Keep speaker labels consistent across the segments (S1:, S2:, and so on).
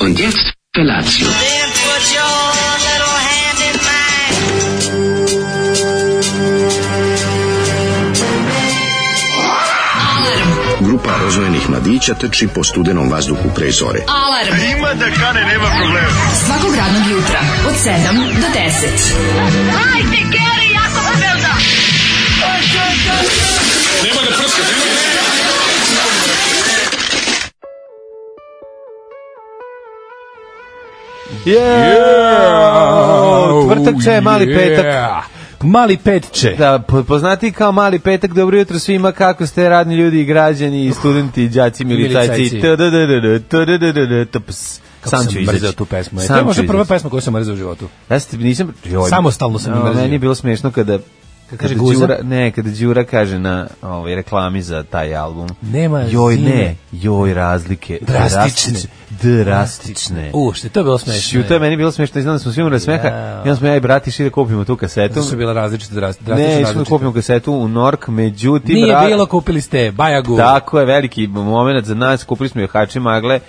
S1: Und jetzt Felatio.
S2: Then put your little hand in mine.
S3: Grupa rozvojenih mladića teči po studenom vazduhu pre zore.
S4: Alarm. Ima da kane, nema problema. Svakog radnog jutra, od 7 do 10.
S5: Yeah!
S6: Tvrtače, mali petak.
S5: Mali petče. Da.
S6: Da, po- poznati kao mali petak, dobro jutro svima, kako ste radni ljudi i građani i studenti, i đaci, milicajci.
S5: Milicajci.
S6: Tadadadada, tadadadada, taps. Sam ću
S5: mrzeo
S6: izrezati
S5: tu pesmu. E, to je možda prva pesma koju sam mrzeo u životu.
S6: Ja se nisam... joj,
S5: Samostalno sam
S6: no,
S5: mrzio.
S6: Meni je bilo smešno kada... Kada
S5: kaže Guza?
S6: Đura, ne, kada Đura kaže na ovaj, reklami za taj album.
S5: Nema
S6: Joj,
S5: zime.
S6: ne, joj, razlike.
S5: Drastične.
S6: Drastične. drastične.
S5: U, što je to bilo smešno.
S6: Šuta, meni je bilo smešno, znam da smo svi umrli od smeha,
S5: Ja.
S6: i onda smo ja i brat išli da kupimo tu kasetu.
S5: To su bila različita drast- drastično
S6: Ne, išli da
S5: različita.
S6: kupimo kasetu u Nork, međutim...
S5: Nije
S6: ra-
S5: bilo, kupili ste Bajagu.
S6: Tako je, veliki moment za nas, kupili smo jahači magle,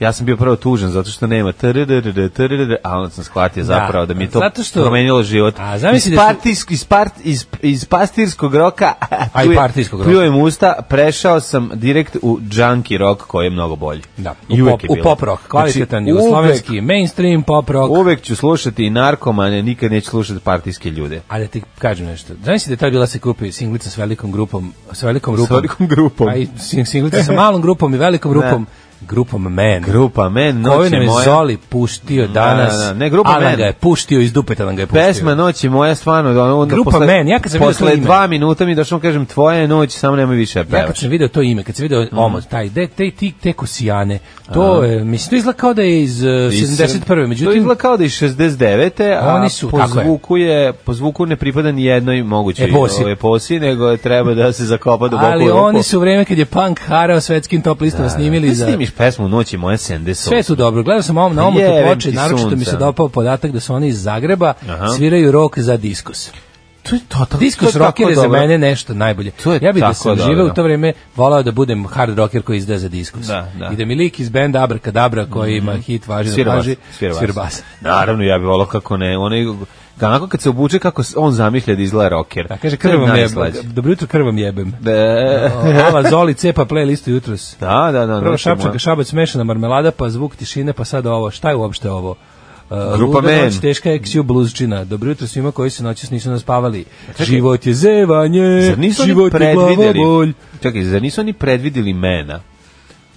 S6: ja sam bio prvo tužan zato što nema trrrrrr, trrrrrr, a onda sam shvatio zapravo da mi je to
S5: zato što-
S6: promenilo život.
S5: A, zamisli
S6: iz,
S5: da su-
S6: partijsk, iz, part, iz, iz pastirskog roka
S5: A i
S6: plju-
S5: partijskog roka.
S6: pljujem usta, prešao sam direkt u junkie rock koji je mnogo bolji.
S5: Da, u,
S6: I uvek
S5: pop,
S6: je
S5: u
S6: bilo.
S5: pop rock, kvalitetan
S6: Znači,
S5: jugoslovenski, mainstream pop rock.
S6: Uvek ću slušati i narkomane, nikad neću slušati partijske ljude.
S5: A da ti kažem nešto. Znaš si da je tad bila se kupi singlica s velikom grupom, s velikom grupom.
S6: velikom grupom.
S5: A i sing- singlica sa malom grupom i velikom grupom. Grupom Men.
S6: Grupa Men,
S5: Koju
S6: noći
S5: nam je
S6: moja.
S5: Zoli puštio danas.
S6: da, da. Ne, grupa
S5: Alan
S6: Men.
S5: ga je puštio iz dupeta, nam ga je puštio.
S6: Pesma Noć je moja stvarno ono, onda
S5: Grupa
S6: posle,
S5: Men, ja kad sam vidio
S6: posle
S5: to ime.
S6: dva minuta mi došao kažem tvoja je Mm. noć samo nemoj više
S5: Ja kad
S6: pevaš.
S5: sam video to ime, kad sam video omot, taj, de, te, ti, te kosijane, to je, mislim, to izgleda kao da je iz uh, 71.
S6: to
S5: Međutim,
S6: izgleda kao da je iz 69. a
S5: Oni su,
S6: po
S5: tako je.
S6: zvuku je po zvuku ne pripada ni jednoj mogućoj
S5: Eposi.
S6: ovaj, eposi, nego je treba da se zakopa duboko.
S5: ali
S6: u rupu.
S5: oni su u vreme kad je punk harao svetskim top listama snimili
S6: Ti
S5: za...
S6: snimiš pesmu Noć je moja 70.
S5: Sve su dobro. Gledao sam ovom na omotu
S6: Jebem
S5: ploče,
S6: ti
S5: naročito mi se
S6: sunca.
S5: dopao podatak da su oni iz Zagreba
S6: Aha.
S5: sviraju rok za diskus.
S6: to je to, to,
S5: Diskus
S6: to je
S5: rocker
S6: tako
S5: je za
S6: dobro.
S5: mene nešto najbolje.
S6: To je
S5: ja bih da
S6: tako
S5: sam
S6: dobro.
S5: živeo u to vreme volao da budem hard rocker koji izdaje za diskus.
S6: Da, da. Mhm.
S5: I da mi lik iz benda Abrakadabra koji ima hit važi
S6: Svira
S5: na
S6: bas,
S5: plaži,
S6: svira bas.
S5: svira bas.
S6: Naravno, ja bih volao kako ne. Onaj, onako kad se obuče kako s- on zamišlja da izgleda rocker.
S5: Da, kaže
S6: To je
S5: krvam jebem.
S6: najslađe.
S5: Dobro jutro krvam jebem.
S6: Da,
S5: Ava Zoli cepa playlistu jutros.
S6: da, da. da
S5: Prvo
S6: noć je moja.
S5: šapčaka, šabac, smešana marmelada, pa zvuk tišine, pa sad ovo. Šta je uopšte ovo? Uh,
S6: Grupa
S5: luda
S6: Men.
S5: Noć, teška je ksiju bluzčina. Dobro jutro svima koji se noćas nisu naspavali. Život je zevanje,
S6: Zar nisu oni
S5: život je glavobolj.
S6: predvideli? Čekaj, zar nisu oni predvideli mena?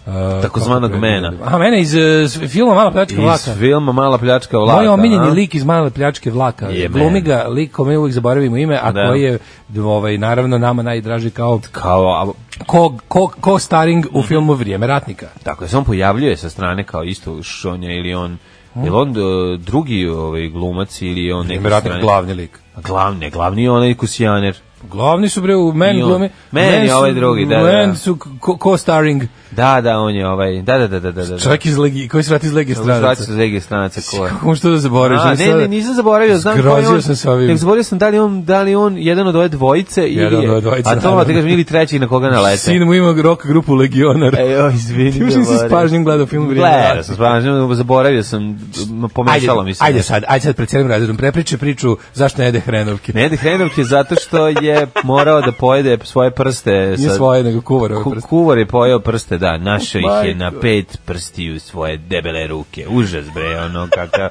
S5: Uh,
S6: Takozvanog mena.
S5: A mene iz uh, filma Mala pljačka vlaka.
S6: Iz filma Mala pljačka vlada.
S5: Moj omiljeni
S6: a?
S5: lik iz Male pljačke vlaka.
S6: Je
S5: Glumi
S6: men.
S5: ga lik kome uvijek zaboravimo ime, a
S6: Da.
S5: koji je ovaj, naravno nama najdraži kao
S6: Kao, a,
S5: ko, ko, ko staring
S6: Mhm.
S5: u filmu Vrijeme ratnika.
S6: tako je, se on pojavljuje sa strane kao isto šonja ili on...
S5: Hm?
S6: Je on e, drugi ovaj, glumac ili je on neki
S5: Vrijeme ratnika,
S6: strani-
S5: glavni lik.
S6: A Glavni, glavni je onaj kusijaner.
S5: Glavni su bre u
S6: I
S5: men
S6: on.
S5: glume.
S6: Men je
S5: su-
S6: ovaj drugi, da, da,
S5: Men
S6: da.
S5: su ko- co-starring.
S6: Da, da, on je ovaj... Da, da, da, da, da. da.
S5: Čovjek iz legi, koji se vrati iz legi
S6: Zvrati
S5: stranaca.
S6: se Zegi stranaca ko je.
S5: Kako mu što da zaboraviš?
S6: A, ne, ne, nisam zaboravio, znam ko je on.
S5: Zgrozio sam se ovim.
S6: Nek zaboravio sam da li on, da li on jedan od ove dvojice ili...
S5: Jedan od ove dvojice,
S6: A to,
S5: naravno.
S6: ti kažem, ili treći na koga nalete.
S5: Sin mu ima rock grupu Legionar.
S6: E, joj, izvini.
S5: Ti možda nisi
S6: Bore.
S5: s pažnjom gledao film Vrijeme
S6: Gledao
S5: ratnika.
S6: sam s pažnjom, zaboravio sam, m, pomešalo mi se.
S5: ajde sad, ajde sad pred cijelim razredom. Prepriče priču zašto ne jede hrenovke.
S6: Ne jede hrenovke zato što je morao da pojede svoje prste.
S5: Nije
S6: sa-
S5: svoje, nego kuvarove
S6: Ku-
S5: prste.
S6: Kuvar je pojeo prste, da, našao ih je
S5: Majko.
S6: na pet prstiju svoje debele ruke. Užas bre, ono kakav...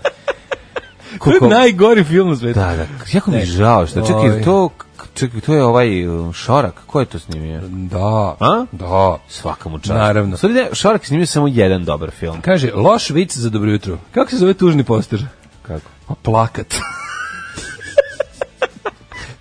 S5: To je najgori film u svetu.
S6: Da, da, jako mi je žao što, čekaj,
S5: Oj.
S6: jel to, čekaj, to je ovaj uh, Šorak, ko je to snimio?
S5: Da.
S6: A?
S5: Da.
S6: Svaka mu čast.
S5: Naravno.
S6: Sorry, ne, Šorak je snimio samo jedan dobar film.
S5: Kaže, loš vic za dobro jutro. Kako se zove tužni poster?
S6: Kako?
S5: Pa plakat.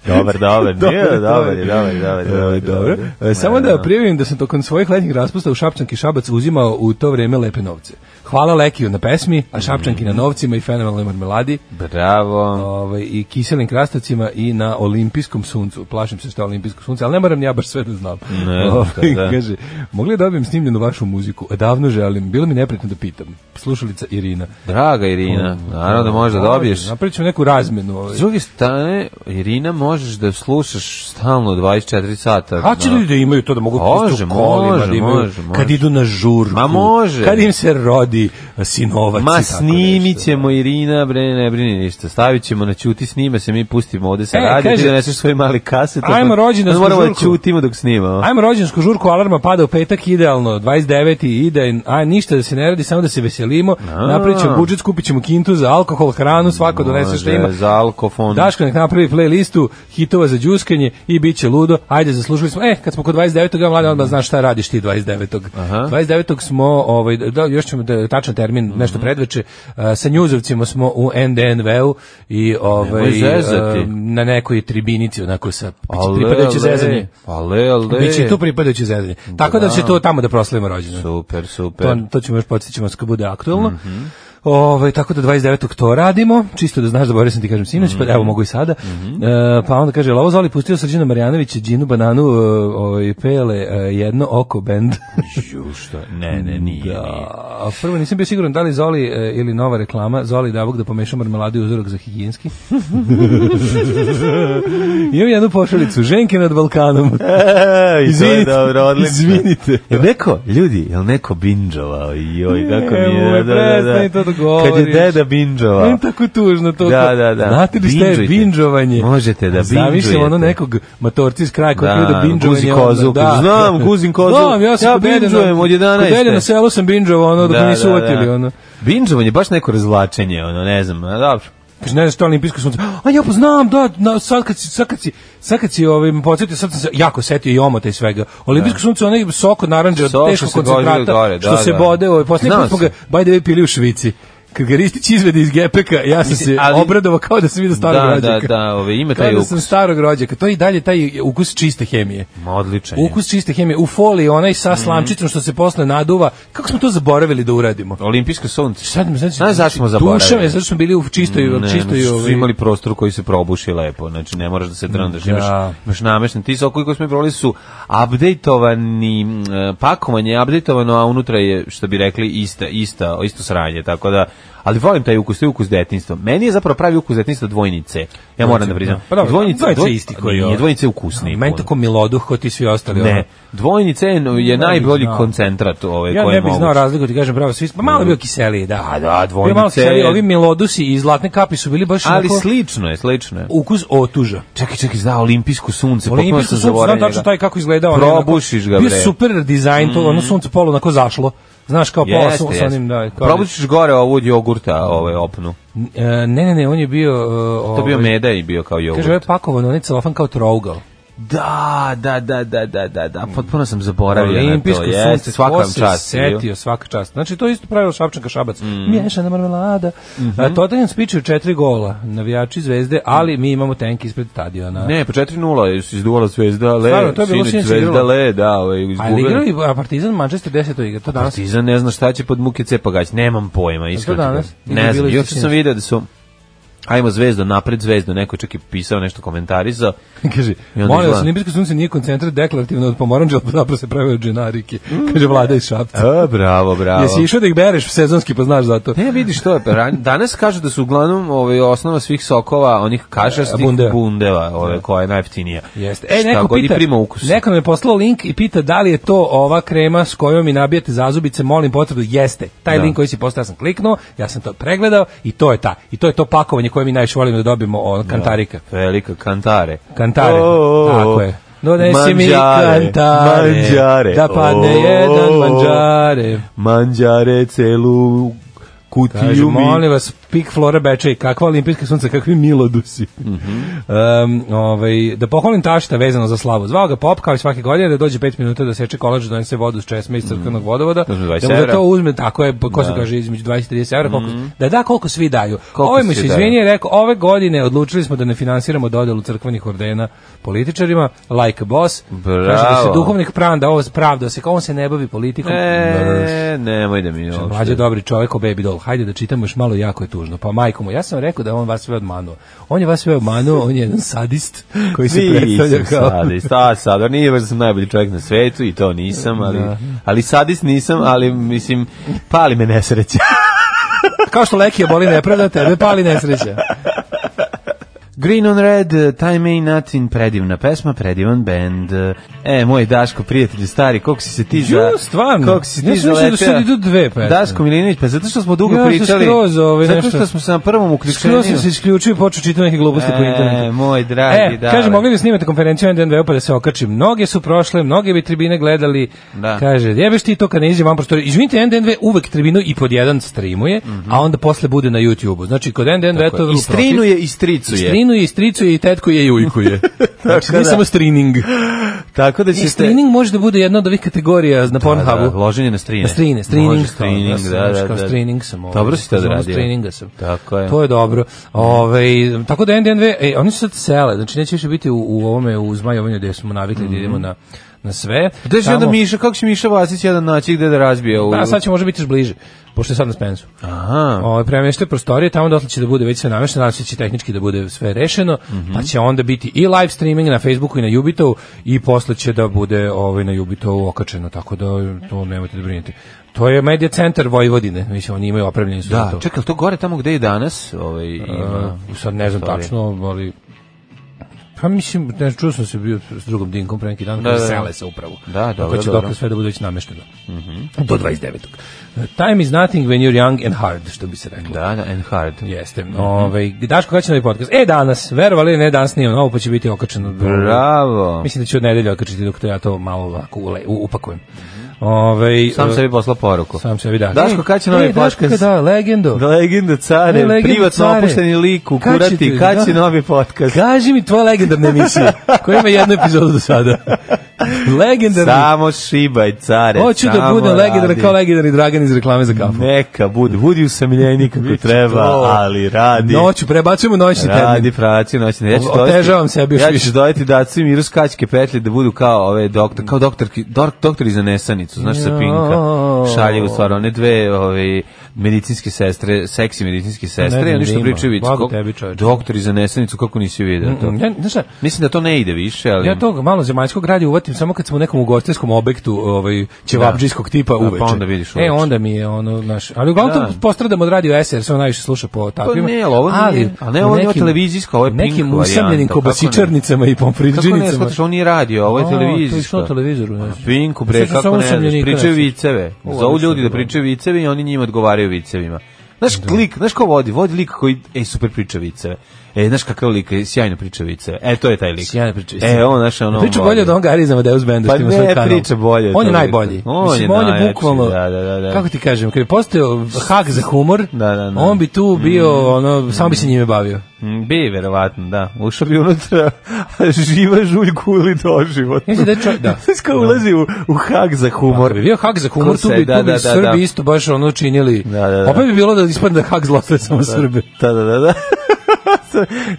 S6: Dobar, dobar, nije,
S5: Dobar,
S6: dobar, je, dobar, je, dobar, je, dobar,
S5: E,
S6: je,
S5: Dobro.
S6: dobar.
S5: E, Samo da prijavim da sam tokom svojih letnjih raspusta u Šapčanki Šabac uzimao u to vreme lepe novce. Hvala Lekiju na pesmi, a Šapčanki na novcima i fenomenalnoj marmeladi
S6: Bravo.
S5: ovaj, i kiselim krastavcima i na olimpijskom suncu. Plašim se što je olimpijsko sunce, ali ne moram ni ja baš sve da znam.
S6: Ne,
S5: Ovaj,
S6: da, da.
S5: Kaže, mogli da dobijem snimljenu vašu muziku? E, Davno želim, bilo mi neprijatno da pitam. Slušalica Irina.
S6: Draga Irina, naravno da možeš da dobiješ.
S5: Napravit ćemo neku razmenu. Ovaj.
S6: S druge strane, Irina možeš da slušaš stalno 24 sata.
S5: A će
S6: na-
S5: ljudi da imaju to da mogu
S6: Može,
S5: pustiti u kolima,
S6: može,
S5: da imaju,
S6: može, može.
S5: kad idu na žurku,
S6: Ma može.
S5: kad im se rodi a, sinovac
S6: Ma
S5: i tako
S6: snimit
S5: nešto.
S6: ćemo Irina, bre, ne brini ništa. Stavit ćemo na ćuti, snime se, mi pustimo ovde sa
S5: E,
S6: e, radija, ti
S5: kaže-
S6: doneseš svoj mali kaset.
S5: Ajmo rođendansku
S6: Moramo da
S5: žurku.
S6: ćutimo dok snimamo.
S5: Ajmo rođensku žurku, alarma pada u petak, idealno, 29. ide, a ništa da se ne radi, samo da se veselimo, napravit ćemo budžet, kupit ćemo kintu za alkohol, hranu, svako donese što ima.
S6: Može, Za ono. alkofon.
S5: Daško nek napravi playlistu hitova za đuskanje i bit će ludo. Ajde, zaslužili smo. E, kad smo kod 29. ja mladen odmah znaš šta radiš ti 29.
S6: Aha. Mhm.
S5: 29. smo, ovaj, da, još ćemo da, tačan termin, nešto predveče, a, sa njuzovcima smo u NDNV-u i
S6: Nemoj
S5: ovaj,
S6: zezati.
S5: a, na nekoj tribinici, onako sa
S6: Ale,
S5: pripadajuće
S6: ale,
S5: zezanje.
S6: Ale, ale.
S5: Biće i tu pripadajuće zezanje. Tako da će to tamo da proslavimo rođendan.
S6: Super, super.
S5: To, to ćemo još podsjećamo kad bude aktualno. Ovaj, tako da 29. to radimo, čisto da znaš, zaboravio sam ti kažem sinoć, pa evo mogu i sada. E, pa onda kaže, Lavo Zoli pustio Srđana Marjanovića, Džinu Bananu, e, ovaj, pele e, jedno oko bend.
S6: Ju, šta? Ne, ne, nije. nije.
S5: A, prvo nisam bio siguran da li Zoli e, ili nova reklama, Zoli davog da pomeša marmeladu i uzorak za higijenski. Imam jednu pošalicu, ženke nad Balkanom.
S6: E, i to je
S5: Izvinite,
S6: dobro, odlično.
S5: izvinite.
S6: Jel neko, ljudi, jel neko binđovao? Joj, kako mi
S5: Nemoj,
S6: je, da, da, da.
S5: prestani to da
S6: Kad je
S5: govoriš.
S6: deda
S5: Meni
S6: binđovao.
S5: je tako tužno to.
S6: Da, da, da.
S5: Znate li šta je
S6: Binđujte.
S5: binđovanje?
S6: Možete da
S5: Zamišljam
S6: binđujete.
S5: ono nekog matorci iz kraja koji
S6: Da,
S5: da, da binđovanje.
S6: guzi
S5: onda-
S6: kozu, kaže, "Znam, guzim kozu,
S5: Znam, ja, sam
S6: ja
S5: kod dede na-
S6: binđujem od
S5: kod
S6: 11.
S5: dede na selu sam binđovao ono dok da, nisu uvatili. Ono.
S6: Binđovanje je baš neko razvlačenje, ono, ne znam, a dobro.
S5: Kaže, ne znaš što je olimpijsko sunce. A ja pa znam, da, na, sad kad si, sad kad si, sad kad si ovim, podsjetio, sad sam se jako setio i omota i svega. Olimpijsko sunce, onaj sok od naranđe, od
S6: Sok što
S5: teškog
S6: se bode
S5: koncentrata,
S6: gore, da,
S5: što se
S6: da.
S5: bode, ovaj, posljednji
S6: Znao
S5: put smo ga, by the way, pili u Švici. Kad ga Ristić izvede iz gepeka, ja sam se
S6: Mislim, ali-
S5: obradovao kao da sam vidio starog
S6: Da, da,
S5: rođaka.
S6: da, ove, ima
S5: Kao
S6: taj
S5: da sam
S6: ukus.
S5: starog rođaka. To je i dalje taj ukus čiste hemije.
S6: Ma, odličan je. Mhm.
S5: Ukus čiste hemije. U foliji onaj sa slamčicom što se posle naduva. Kako smo to zaboravili da uradimo?
S6: Olimpijsko sunce.
S5: Sad mi znači,
S6: Znaš zašto smo zaboravili?
S5: Duša me, zato što smo bili u čistoj,
S6: Ne,
S5: čistoj,
S6: znači, su
S5: ovaj,
S6: imali prostor koji se probuši lepo, znači ne moraš da se trendaš, imaš,
S5: Da.
S6: imaš namešten. Ti sokovi koji smo provali su updateovani, mm, e, pakovanje je updateovano, a unutra je, što bi rekli, ista, ista, isto sranje, tako da, ali volim taj ukus, to je ukus detinstva. Meni je zapravo pravi ukus detinstva dvojnice, ja moram da priznam.
S5: Pa dobro, dvojnice
S6: dvoj-
S5: je isti koji je
S6: Nije,
S5: ovaj.
S6: dvojnice je ukusniji.
S5: Meni
S6: puno.
S5: tako miloduh kao ti svi ostali. ono.
S6: Ne, dvojnice je, je
S5: bih
S6: najbolji
S5: znao.
S6: koncentrat ove,
S5: Ja
S6: koje
S5: ne
S6: je
S5: bih
S6: moguć.
S5: znao razliku, ti kažem pravo, svi smo, malo je bio kiseliji, da.
S6: A da,
S5: Bio malo
S6: dvojnice
S5: kiseliji,
S6: je-
S5: ovi milodusi i zlatne kapi su bili baš
S6: Ali
S5: onako
S6: slično je, slično je.
S5: ukus otuža.
S6: Čekaj, čekaj, zna, olimpijsko sunce, potpuno
S5: Olimpijsko
S6: sam
S5: sunce,
S6: zaboravio njega.
S5: znam tačno taj kako izgledao. onaj,
S6: Probušiš
S5: onako-
S6: ga,
S5: Bio
S6: bre. Mm.
S5: super dizajn, to ono sunce polo onako zašlo. Znaš, kao pola
S6: Jeste,
S5: sun,
S6: jeste.
S5: sa onim, da. kao-
S6: Probušiš gore ovu od jogurta, ovaj opnu.
S5: E, Ne, ne, ne, on je bio... e,
S6: To je bio
S5: ovaj,
S6: meda i bio kao jogurt.
S5: Kaže, ovo je pakovan, on je celofan kao trougal.
S6: da, da, da, da, da, da, da, potpuno sam zaboravio
S5: Olimpijsko
S6: na to.
S5: sunce,
S6: Jeste, svaka
S5: ko
S6: vam
S5: se
S6: čast. Mm.
S5: Setio, svaka čast. Znači, to je isto pravilo Šapčanka Šabac. Miješana marmelada.
S6: Mhm.
S5: A, Tottenham spičaju četiri gola, navijači zvezde, ali mi imamo tenk ispred stadiona.
S6: Ne, po 4-0 je izduvala zvezda, le,
S5: Stvarno, to je bilo
S6: sinoć
S5: sinoć
S6: zvezda,
S5: igralo.
S6: le, da, ovaj,
S5: Ali
S6: izgubili.
S5: igrali a Partizan Manchester 10 igra, to danas
S6: Partizan ne zna šta će pod muke cepagać, nemam pojma, iskreno. ti
S5: danas?
S6: kažem.
S5: Ili
S6: Ne
S5: bilo
S6: znam,
S5: isto
S6: juče sam
S5: sinoć?
S6: video da su Ajmo zvezdo, napred zvezdo, neko je čak i pisao nešto komentarisao.
S5: Kaže,
S6: I onda
S5: molim vas,
S6: izgleda.
S5: olimpijsko sunce nije koncentrat deklarativno od pomoranđa, ali zapravo se pravi od dženarike. Kaže, vlada iz Šapca.
S6: A, bravo, bravo.
S5: Jesi išao da ih bereš sezonski, pa znaš zato.
S6: Ne, vidiš to E, je. pa ran- Danas kažu da su uglavnom ovaj, osnova svih sokova, onih kašastih
S5: Bundeva.
S6: bundeva, ove, koja je najeftinija.
S5: Jeste. E, neko
S6: Šta god i
S5: pita,
S6: prima ukus.
S5: Neko mi je poslao link i pita da li je to ova krema s kojom mi nabijate zazubice, molim potvrdu. Jeste. Taj
S6: Da.
S5: link koji si poslao, ja sam kliknuo, ja sam to pregledao i to je ta. I to je to pakovanje koje mi najviše volimo da dobijemo od kantarika.
S6: Velika kantare.
S5: Kantare.
S6: O, o, o.
S5: Tako je. Donesi mi
S6: Manđare,
S5: kantare,
S6: manđare.
S5: da padne
S6: O,
S5: jedan
S6: o, o.
S5: manđare.
S6: Manđare celu kutiju
S5: Kaže,
S6: mi.
S5: molim vas, pik Flora Bečej, kakva olimpijska sunca, kakvi milodusi.
S6: Mhm.
S5: um, ovaj, da pohvalim tašta vezano za slavu. Zvao ga Pop, kao i svake godine, da dođe 5 minuta da seče kolač, da donese vodu s česme iz crkvenog vodovoda.
S6: Uzme 20
S5: da mu za
S6: evra. Mhm.
S5: to uzme, tako je, pa ko se kaže, između 20 i 30 evra, koliko, da da koliko svi daju.
S6: Koliko
S5: Ovo mu
S6: svi
S5: se
S6: daju.
S5: izvinje i rekao, ove godine odlučili smo da ne finansiramo dodelu crkvenih ordena političarima, like a boss.
S6: Bravo.
S5: Kaže da se duhovnik pranda, ovo pravda se, kao on se ne bavi politikom.
S6: E, nemoj da mi uopšte.
S5: Mlađe dobri čovjek, o baby doll. Hajde da čitamo još malo, jako je tužno. Pa majko mu, ja sam rekao da on vas sve obmanuo. On je vas sve obmanuo, on je jedan sadist koji se predstavlja
S6: Nisam
S5: kao...
S6: sadist, a sad, nije baš da sam najbolji čovjek na svetu i to nisam, ali, ali sadist nisam, ali mislim, pali me nesreća.
S5: Kao što Lekija boli nepravda, tebe pali nesreća.
S6: Green on Red, eh, Time Ain't Nothing, predivna pesma, predivan band. E, moj Daško, prijatelj stari, koliko si se ti za...
S5: Ju, stvarno.
S6: Koliko si
S5: Ja
S6: ti
S5: sam mislio da sad idu dve pesme.
S6: Daško Milinović, pa zato što smo dugo
S5: Ja sam
S6: pričali.
S5: skroz, ovaj,
S6: zato
S5: nešto-
S6: što smo se na prvom uključenju.
S5: Skroz sam se isključio i počeo čitati neke gluposti po
S6: E,
S5: internetu.
S6: moj dragi,
S5: E,
S6: da.
S5: kaže, mogli bi snimati konferenciju NDNV pa da se okači. Mnoge su prošle, mnoge bi tribine gledali.
S6: Da.
S5: Kaže, jebeš ti to kad ne izađe van prostorije. Izvinite, NDNV uvek tribinu i pod jedan streamuje, a onda posle bude na YouTube-u. Znači, kod NDNV to je vrlo
S6: Mhm. I strinuje i stricuje.
S5: Strinuje i stricuje i tetkuje i ujkuje. znači,
S6: da.
S5: ne samo streaming.
S6: Tako da
S5: I
S6: ćete...
S5: streaming može da bude jedna od ovih kategorija na
S6: Da,
S5: Pornhubu.
S6: da, loženje na strine.
S5: Na strine, streaming,
S6: Može
S5: kao, da,
S6: streaming,
S5: sam,
S6: da, da,
S5: kao
S6: da.
S5: streaming sam. ovaj,
S6: Dobro si to
S5: u zonu
S6: odradio.
S5: Streaminga sam.
S6: Tako je.
S5: To je dobro. Ove, tako da NDNV, e, oni su sad sele, znači neće više biti u, u ovome, u zmajovanju gde smo navikli da idemo na, na sve.
S6: Mhm. Gde će
S5: Tamo-
S6: onda Miša, kako će Miša Vasić jedan naći gde da razbije ovu?
S5: Da, sad će možda biti još bliže, pošto je sad na Spensu.
S6: Aha.
S5: Ovaj premeštaj prostorije tamo dotle će da bude već sve namešteno, znači će tehnički da bude sve rešeno,
S6: Mhm.
S5: pa će onda biti i live streaming na Facebooku i na Jubitovu i posle će da bude ovaj na Jubitovu okačeno, tako da to nemojte da brinete. To je medija centar Vojvodine, mislim oni imaju opremljeni su za
S6: Da,
S5: to.
S6: čekaj, ali to gore tamo gde je danas? Ovaj, ima,
S5: E, sad ne znam
S6: prostorije.
S5: tačno, ali Pa mislim, ne znam, čuo sam se bio s drugom Dinkom pre neki dan, da,
S6: da, da.
S5: sele se upravo.
S6: Da, dobro,
S5: Kako će
S6: dobro. Mhm.
S5: dokle sve da bude već namešteno. Do 29. Time is nothing when you're young and hard, što bi se reklo.
S6: Da, da, and hard.
S5: Jeste. Ovaj Daško kada će novi podcast? E danas, verovali ili ne, danas nije novo, pa će biti okačeno.
S6: Bravo.
S5: Mislim da ću od nedelje okačiti dok to ja to malo ovako ule, u- upakujem. Ovaj
S6: Sam
S5: e,
S6: sebi poslao poruku.
S5: sam sebi da.
S6: Daško, kad će novi
S5: e, Daško,
S6: podcast?
S5: Da, legendo.
S6: Legenda care,
S5: E, legenda
S6: privatno
S5: care.
S6: opušteni lik u
S5: Kad će
S6: kurati,
S5: ti-
S6: kad
S5: da.
S6: će novi podcast?
S5: Kaži mi tvoja legendarna emisija, koja ima jednu epizodu do sada. Legendarna.
S6: Samo šibaj, care.
S5: Hoću da
S6: samo
S5: budem legendaran
S6: radi.
S5: kao legendarni Dragan iz reklame za kafu.
S6: Neka, budi, budi usamljenik kako
S5: Biće
S6: treba,
S5: to.
S6: ali radi.
S5: Noću, prebacujemo noćni
S6: Radi
S5: termin.
S6: praci noćne. Ja ću dodati-
S5: Otežavam sebi još
S6: ja
S5: više.
S6: ću dodati da svi miru skačke petlje da budu kao ove doktor, kao doktor, doktor iz nesanicu, znaš sa Pinka.
S5: Jao.
S6: Šalje u stvar, one dve ove, medicinske sestre, seksi medicinske
S5: Ne
S6: sestre,
S5: znam
S6: oni
S5: da
S6: što
S5: ima.
S6: pričaju vicu.
S5: Blago
S6: kako-
S5: tebi, čoveče.
S6: Doktor iz nesanicu, kako nisi vidio to?
S5: Ja, Mm, znaš šta,
S6: Mislim da to ne ide više, ali...
S5: Ja tog malo zemaljskog radija uvatim samo kad smo u nekom ugostiteljskom objektu, ovaj ćevabdžijskog tipa
S6: pa
S5: uveče.
S6: onda vidiš
S5: E
S6: uveče.
S5: onda mi je ono naš, ali uglavnom
S6: Da. Pa
S5: to postradam od radio SR, se on najviše sluša po takvim.
S6: ne, ali ovo nije- a ne, ovo
S5: u
S6: nije
S5: nekim-
S6: televizijsko, ovo je Pink
S5: nekim
S6: varijanta,
S5: usamljenim
S6: kako ne?
S5: kobasičarnicama i
S6: Kako ne,
S5: pomfridžinicama.
S6: shvataš, ovo nije radio, ovo je
S5: A,
S6: televizijsko.
S5: to je išlo na televizoru, ne
S6: A,
S5: znam.
S6: Pinku, bre,
S5: Sad su
S6: kako
S5: samo
S6: ne znaš,
S5: usamljenika,
S6: pričaju
S5: ne znam.
S6: viceve.
S5: Ovo
S6: Zovu
S5: više
S6: ljudi da
S5: dobro.
S6: pričaju viceve i oni njima odgovaraju vicevima. Znaš, klik, znaš ko vodi? Vodi lik koji, ej, super priča viceve. E, znaš kakav lik, je, sjajno priča viceve. E, to je taj lik.
S5: Sjajno priča viceve.
S6: E, on, znaš, ono...
S5: Priča bolje od onoga Arizama Deus Benda
S6: Pa
S5: što ima svoj
S6: ne,
S5: kanal.
S6: priča bolje od
S5: On je
S6: toga.
S5: najbolji.
S6: On je
S5: Mislim, on je
S6: najjači,
S5: bukvalno,
S6: da, da, da, da.
S5: kako ti kažem, kad je postao hak za humor,
S6: Da, da, Mm. da.
S5: on bi tu bio, ono, samo bi se njime bavio.
S6: Mm, Bi, verovatno, da. Ušao bi unutra, a živa žulj kuli doživot.
S5: Mislim da je čo- da.
S6: Znaš kao ulazi u, u hak za humor.
S5: Ako bi bio hak za humor,
S6: Ko
S5: tu
S6: se-
S5: bi,
S6: da,
S5: tu bi
S6: da, da,
S5: Srbi
S6: da.
S5: isto baš ono činili.
S6: Da, da, da.
S5: Opet bi bilo da ispadne da je hak zlostavlja samo Srbe.
S6: Da, da, da, da.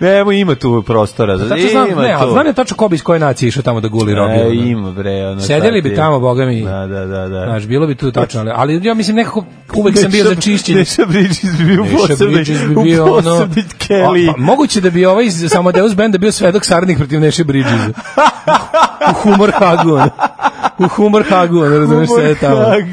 S6: Nemo, ima tu prostora. Ima
S5: Tačno znam, ne, ali
S6: tu.
S5: znam je tačno ko bi iz koje nacije išao tamo da guli robio.
S6: E,
S5: ono.
S6: ima bre, ono
S5: Sedeli
S6: sad
S5: bi
S6: je-
S5: tamo, boga mi.
S6: Da, da, da, da.
S5: Znaš, bilo bi tu tačno, ali, ali ja mislim nekako uvek sam bio za čišćenje.
S6: Neša Bridges bi bio
S5: Neša
S6: posebni,
S5: Bridges bi bio
S6: u
S5: ono...
S6: posebni Kelly.
S5: A, pa, moguće da bi ovaj iz Samodeus benda bio svedok sarnih protiv Neše Bridges. U humor hagu, ono. U humor hagu, ono, razumeš sve tamo.
S6: Humor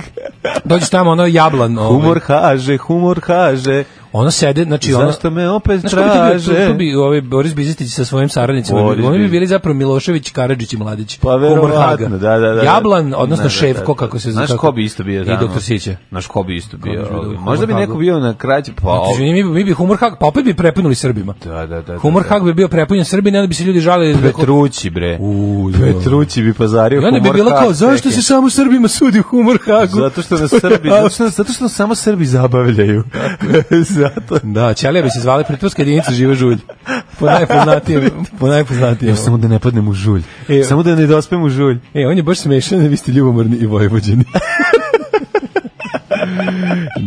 S5: Dođeš tamo, ono, jablan, ovaj.
S6: Humor haže, humor haže.
S5: Ono sede, znači, ono...
S6: Zašto me opet
S5: Znaš ko bi to bio?
S6: traže?
S5: Tu, tu bi ovaj Boris Bizistić sa svojim saradnicima.
S6: Boris
S5: Boris Oni bi
S6: Bizetić.
S5: bili zapravo Milošević, Karadžić i Mladić.
S6: Pa
S5: Humor
S6: verovatno,
S5: Haga.
S6: da, da, da, da.
S5: Jablan, odnosno
S6: Da, da, da,
S5: Šefko,
S6: da.
S5: kako se
S6: Znaš
S5: kako-
S6: ko bi isto bio
S5: I
S6: tamo?
S5: doktor Sića.
S6: Znaš ko bi isto bio?
S5: bi bio
S6: ovaj?
S5: u
S6: Možda bi
S5: Humor
S6: neko
S5: Hagu?
S6: bio na krađi, pa...
S5: Znači,
S6: ovo-
S5: mi, bi- mi bi Humor Hag, pa opet bi prepunili Srbima.
S6: Da, da, da.
S5: Humor
S6: da, da.
S5: Hag bi bio prepunjen Srbima, i onda bi se ljudi žalili. zbog-
S6: Petrući, bre.
S5: U, da.
S6: Petrući bi pazario
S5: I onda
S6: humor
S5: bi bilo kao,
S6: Hag,
S5: zašto
S6: čekaj.
S5: se samo Srbima sudi u Humor Hagu?
S6: Zato što nas Srbi, zato što, nas- zato što nas samo Srbi zabavljaju. zato.
S5: Da, Ćelija bi se zvali pritvorska jedinica Živa žulj. Po najpoznatijem, po najpoznatijem.
S6: Samo da ne padnem u žulj.
S5: E,
S6: Samo da ne dospem u žulj.
S5: E, on je baš smešan, vi ste ljubomorni i vojvođeni.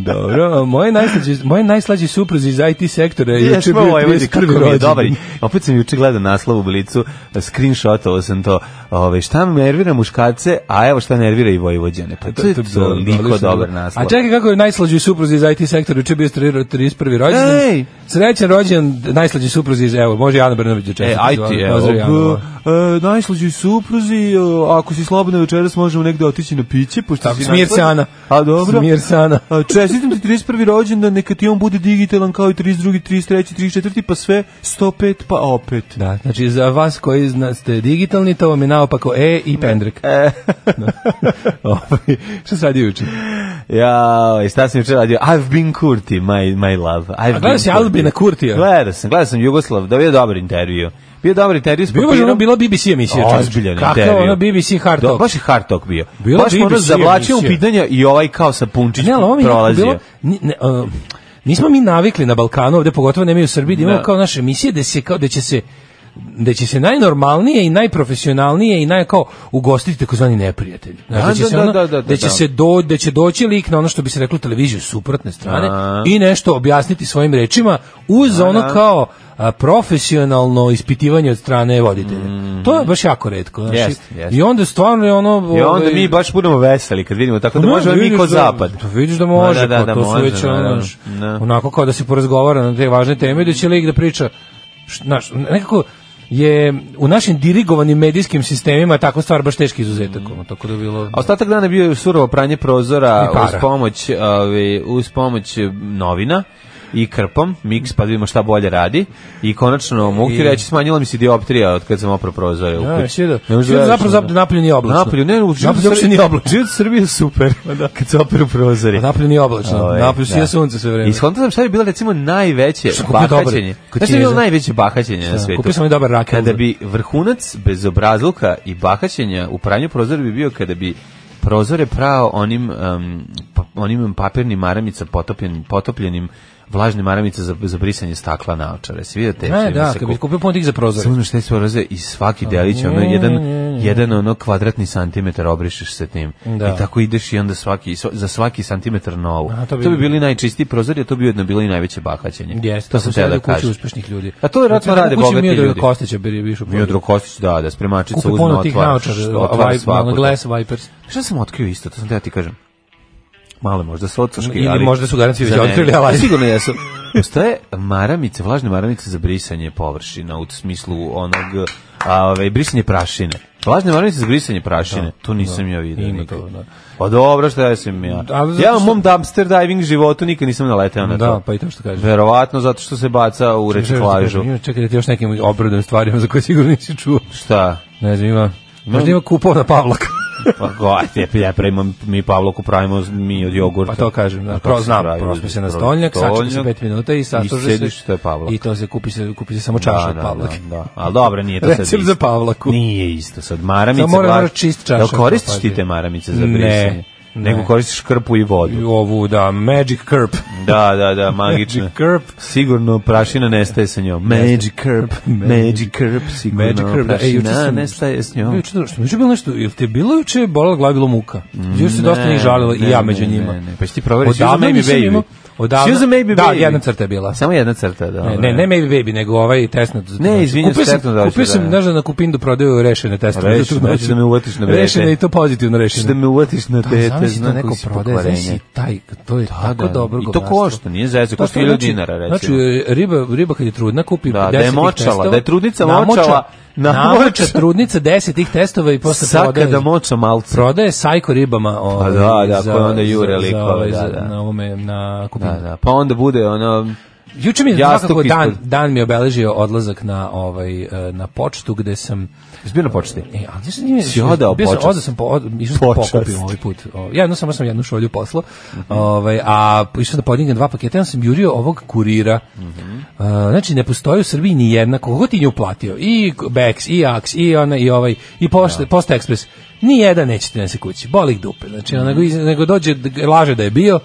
S5: Dobro, moje najslađe, moje najslađe supruzi iz IT sektora je juče
S6: Jesmo
S5: bio
S6: ovaj vidi
S5: 31.
S6: kako mi je
S5: rođendan.
S6: dobar. Opet sam juče gledao naslov u blicu, screenshotovao sam to. Ove, šta me nervira muškarce, a evo šta nervira i vojvođane. Pa to je
S5: To- to-
S6: toliko
S5: odlično.
S6: dobar naslov.
S5: A čekaj kako je najslađi supruzi iz IT sektora juče bio 31. rođendan.
S6: Ej,
S5: Srećan rođen, najslađi supruzi iz, evo, može i Ana Brnović da
S6: E,
S5: čestiti.
S6: aj ti, evo,
S5: Pozdrav, Ana.
S6: e, e, najslađoj supruzi, e, ako si slobodna večeras možemo negde otići na piće, pošto
S5: Tako,
S6: si
S5: smir se
S6: najslađa.
S5: Ana.
S6: A dobro.
S5: Smir se Ana.
S6: A, Čestitam ti 31. rođendan, neka ti on bude digitalan kao i 32., 33., 34., pa sve 105, pa opet.
S5: Da, znači za vas koji zna, ste digitalni, to vam je naopako E i Pendrek. E. Šta se radi juče?
S6: Ja, i šta sam juče radio? I've been Kurti, my, my love. I've
S5: A gledao
S6: been
S5: si
S6: Kurti.
S5: Albina Kurtija?
S6: Gledao sam, gledao sam Jugoslav, da je dobar intervju. Bio je dobar intervju s
S5: Bio je ono
S6: papirom.
S5: bila BBC emisija. čoveče.
S6: Ozbiljan
S5: Kakav
S6: intervju.
S5: ono BBC Hard
S6: Do-
S5: Talk.
S6: Baš je hard talk bio.
S5: Bila
S6: baš mu ono
S5: BBC
S6: zavlačio u
S5: emisija.
S6: pitanja i ovaj kao sa Punčić
S5: Ne, ali ovo mi je nekako
S6: prolazio.
S5: bilo... ni- ne, uh, Nismo mi navikli na Balkanu, ovde pogotovo ne mi u Srbiji, da imamo
S6: Da.
S5: kao naše emisije da se kao da će se da će se najnormalnije i najprofesionalnije i naj kao ugostiti takozvani neprijatelj. Znaš,
S6: Da,
S5: da, će
S6: da,
S5: se
S6: da,
S5: ono,
S6: da, da,
S5: da će
S6: da.
S5: se do, da će doći lik na ono što bi se reklo u televiziju suprotne strane
S6: A.
S5: i nešto objasniti svojim rečima uz ono kao a, profesionalno ispitivanje od strane voditelja. To je baš jako retko. Znaš,
S6: Mm. Jest,
S5: i-
S6: jest.
S5: I onda stvarno je ono...
S6: I onda
S5: ovaj,
S6: mi baš budemo veseli kad vidimo, tako Pa da
S5: ne,
S6: možemo mi
S5: vidiš
S6: kao
S5: da- Pa
S6: zapad.
S5: Da, vidiš da može,
S6: Da, da,
S5: pa
S6: da,
S5: to su
S6: može,
S5: već ono,
S6: naravno.
S5: znaš,
S6: Da.
S5: onako kao da se porazgovara na te važne teme, da će lik da priča, š- znaš, nekako je u našim dirigovanim medijskim sistemima tako stvar baš teški izuzetak, ono, tako da je bilo...
S6: A Ostatak dana je bio surovo pranje prozora
S5: I para.
S6: uz pomoć, ovaj, uz pomoć eh, novina i krpom, miks, pa da vidimo šta bolje radi. I konačno, mogu ti reći, smanjila mi se dioptrija od kad sam opro prozore u
S5: Ja,
S6: kući.
S5: sve da-
S6: Ne možeš
S5: sve da
S6: veruješ,
S5: zapravo
S6: ono.
S5: zap- napolju nije oblačno.
S6: Napolju, ne, u životu
S5: Napolju uopšte
S6: Srbije- Pa
S5: nije oblačno.
S6: Život Srbije je super, kad se operu prozori.
S5: A napolju nije oblačno,
S6: Ovaj,
S5: napolju sije sunce sve vreme.
S6: I shvatio sam šta je bilo recimo najveće
S5: Šta kupio dobar?
S6: bahaćenje. Šta je
S5: Kutije
S6: bilo
S5: za-
S6: najveće bahaćenje na svetu?
S5: kupio sam i dobar rakel.
S6: Kada bi vrhunac bezobrazluka i bahaćenja u pranju prozora bi bio kada bi prozore prao onim, um, pa- onim papirnim maramicama potopljenim, potopljenim vlažnim maramicama za, za brisanje stakla naočare. Svi da te
S5: Ne,
S6: čime
S5: da,
S6: se
S5: kad bi
S6: kup-
S5: kupio puno tih za prozor.
S6: Samo što je sve i svaki delić, ono,
S5: ne,
S6: jedan,
S5: ne, ne.
S6: jedan ono kvadratni santimetar obrišeš se tim.
S5: Da.
S6: I tako ideš i onda svaki, sva- za svaki santimetar novu. to,
S5: A, to
S6: bi,
S5: bi-
S6: bili najčistiji prozori, a to bi ujedno bilo i najveće bahaćenje.
S5: Jeste,
S6: to sam
S5: se
S6: teo da
S5: radi u kući
S6: kažem.
S5: uspešnih ljudi.
S6: A to vjerojatno
S5: Recimo,
S6: rade
S5: u kući
S6: bogati
S5: Miodraga
S6: ljudi.
S5: Kostića bi je više u prozoru.
S6: Miodrag Kostić, da, da, spremačica
S5: Kupi
S6: uzme
S5: puno tih
S6: otvara,
S5: naočara,
S6: što- otvara
S5: vibe- ono,
S6: svaku.
S5: Glass Vipers.
S6: Šta sam otkrio isto, to sam teo ti kažem. Malo možda su otuški,
S5: Ili
S6: ali...
S5: možda su garancije već
S6: Za mene.
S5: otkrili, ali-
S6: Sigurno jesu. Postoje maramice, vlažne maramice za brisanje površina, u smislu onog, a, ovaj, brisanje prašine. Vlažne maramice za brisanje prašine, to nisam ja vidio
S5: Ima
S6: nikad.
S5: to, da.
S6: Pa dobro, šta ja sam ja.
S5: Ali zato
S6: Ja u
S5: što-
S6: mom dumpster diving životu nikad nisam naleteo na
S5: Da,
S6: to.
S5: pa i to što kažeš.
S6: Verovatno zato što se baca u reciklažu.
S5: Ima, Čekaj da ti još nekim obradujem stvarima za koje sigurno nisi čuo.
S6: Šta?
S5: Ne znam, ima... Možda ima kupovna Pavlaka.
S6: Pa gledajte, ja pravimo, mi Pavloku pravimo mi od jogurta.
S5: Pa to kažem, da,
S6: Pa
S5: pro,
S6: se
S5: znam,
S6: pravi
S5: prospe
S6: od-
S5: se na
S6: pro-
S5: stolnjak, sačeka se
S6: stolnjak
S5: pet minuta i sastože se.
S6: sediš, to je Pavlak.
S5: I to se kupi se, kupi se samo čaša
S6: Da,
S5: od
S6: da, da,
S5: Pavlaka.
S6: da. Ali dobro, nije to sad
S5: Recept
S6: isto.
S5: za Pavlaku.
S6: Nije isto sad. Maramice,
S5: Samo mora-
S6: vlaž-
S5: mora čist čaša
S6: Jel koristiš
S5: kupati.
S6: ti te maramice za
S5: Ne,
S6: brisanje?
S5: ne.
S6: Nego koristiš krpu i
S5: I
S6: vodu.
S5: ovu, da, Magic Curp.
S6: Da, da, da, magično.
S5: Magic Curp.
S6: Sigurno prašina nestaje sa njom. Magic Curb, Magic Curb, sigurno
S5: Magic Curp, da. E, juče
S6: prašina
S5: sam-
S6: nestaje s
S5: No.
S6: njom.
S5: Juče, što mi je bilo nešto, jel ti je bilo juče bolala glava bilo muka? Juče se dosta
S6: Ne,
S5: njih žalilo
S6: ne,
S5: i ja među
S6: ne,
S5: njima.
S6: ne, ne. Pa ću ti proveriti. She was a
S5: Odavno
S6: maybe
S5: nisam
S6: baby.
S5: imao-
S6: She
S5: Odavno,
S6: was a maybe
S5: da,
S6: baby.
S5: jedna crta je bila.
S6: Samo jedna crta, da.
S5: Ne, ne, ne Maybe Baby, nego ovaj tesnat.
S6: Ne, izvinjam se,
S5: Kupio sam-
S6: tesnat dođe,
S5: Kupio sam,
S6: da.
S5: znaš da na Kupindu prodaju rešene tesnate.
S6: Rešene, hoćeš da me uvatiš na vrete.
S5: znači- Rešene i to pozitivno rešene.
S6: Znači da me uvatiš na
S5: Da,
S6: tete,
S5: zamisli
S6: zna
S5: to neko prodaje, znači taj, to je tako dobro
S6: I to
S5: gobarstvo.
S6: košta, nije zezo,
S5: To
S6: košta
S5: što,
S6: 1000
S5: znači-
S6: dinara, recimo.
S5: Znači, riba, riba kad je trudna, kupi
S6: Da,
S5: 10
S6: da je
S5: tih
S6: močala,
S5: testova,
S6: da je trudnica
S5: namoča-
S6: močala, namoča.
S5: namoča trudnica 10 tih testova i posle
S6: Sad
S5: prodaje.
S6: kada moča malce.
S5: Prodaje sajko ribama. Ovaj,
S6: da, da,
S5: za-
S6: koje onda jure
S5: za- za
S6: likove,
S5: ovaj,
S6: da,
S5: za-
S6: da.
S5: Na ovome, na kupinu.
S6: Da, da, pa onda bude ono...
S5: Juče mi je
S6: Jastuk
S5: svakako dan,
S6: ispod.
S5: dan mi je obeležio odlazak na, ovaj, eh, na počtu gde sam
S6: Zbirno početi.
S5: E, ali znaš, nije,
S6: Si odao
S5: bio sam,
S6: počast?
S5: odao sam, po, od, išao sam
S6: Počast.
S5: počast. pokupim ovaj put. O, ja jedno samo sam jednu šolju poslao, ovaj, a po- išao sam da podignem dva paketa, ja sam jurio ovog kurira.
S6: Mhm.
S5: A, znači, ne postoji u Srbiji ni jedna, koliko ti nju uplatio, i Bex, i Ax, i ona, i ovaj, i Pošta, Posta Express, ni jedan neće ti nese kući, boli ih dupe. Znači, ono, nego, iz- nego dođe, d- g- laže da je bio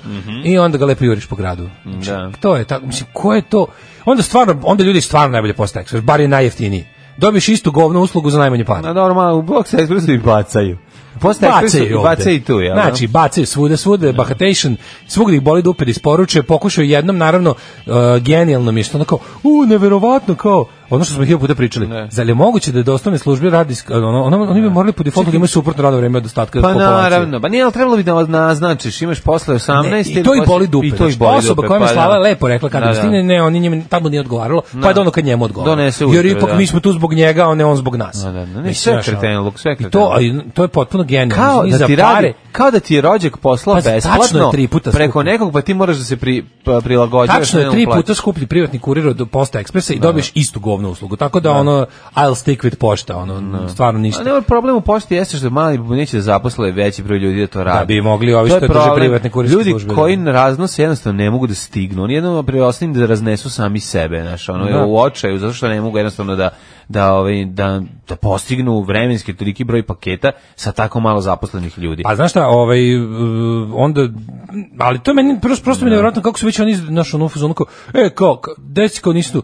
S5: i onda ga lepo juriš po gradu. Znači,
S6: Mhm. Da.
S5: To je tako, mislim, ko je to? Onda stvarno, onda ljudi stvarno najbolje Posta Express, bar je najjeftiniji. Dobiješ istu govnu uslugu za najmanje para.
S6: Na normalno, u Box Expressu i bacaju. Posle Expressu
S5: Bacaju
S6: bacaju i tu, jel? da?
S5: Znači, bacaju svuda, svuda, bahatation, svugdje ih boli uh, dupe da isporuče, pokušaju jednom, naravno, e, genijalno mi je što ono kao, u, neverovatno, kao, Ono što smo hiljadu puta pričali.
S6: Ne.
S5: Zar je moguće da dostavne službe radi sk- ono, ono, oni bi morali po defaultu da imaju suprotno radno vreme od ostatka
S6: Pa
S5: populacije.
S6: naravno, pa nije, ali trebalo bi da naznačiš, imaš posle 18
S5: Ne,
S6: ili
S5: I to i
S6: posle-
S5: boli dupe.
S6: I to i
S5: znači,
S6: boli
S5: osoba
S6: dupe,
S5: koja mi
S6: pa
S5: slava
S6: da.
S5: je lepo rekla kad
S6: Da,
S5: da,
S6: da.
S5: stigne, ne, on njemu tamo nije odgovaralo, pa je da ono kad njemu odgovara.
S6: Donese
S5: Jer
S6: ujutro,
S5: ipak
S6: da.
S5: mi smo tu zbog njega, a ne on zbog nas.
S6: Da, da, da, ne,
S5: Mislim,
S6: sve
S5: znaš, ono.
S6: kretenluk, sve
S5: I to,
S6: kretenluk.
S5: a, to je potpuno genijalno.
S6: kao
S5: Ni
S6: da
S5: za
S6: ti radi,
S5: pare.
S6: kao da ti je rođak poslao
S5: Pazi, tačno je
S6: besplatno
S5: tri puta
S6: preko
S5: skuplje.
S6: nekog, pa ti moraš da se pri, pa, prilagođavaš.
S5: Tačno
S6: ne,
S5: je
S6: ono,
S5: tri
S6: plaćaš.
S5: puta skuplji privatni kurir od Posta Ekspresa i dobiješ istu govnu uslugu. Tako da ono I'll stick with pošta, ono stvarno ništa.
S6: A ne, ovaj problem u pošti jeste što mali neće da zaposle veći broj ljudi da to radi.
S5: bi mogli ovi
S6: To je
S5: što drže
S6: problem.
S5: privatne kurirske
S6: Ljudi
S5: službe, da.
S6: koji raznose jednostavno ne mogu da stignu. Oni jednostavno preostaju da raznesu sami sebe, znaš, ono,
S5: Da.
S6: u očaju, zato što ne mogu jednostavno da, da, ovaj, da, da postignu vremenski toliki broj paketa sa tako malo zaposlenih ljudi.
S5: Pa znaš šta, ovaj, uh, onda, ali to je meni, prosto, prosto mi je nevjerojatno kako su već oni, naš ono, u fazonu kao, e, kao, ka- deci kao nisu tu,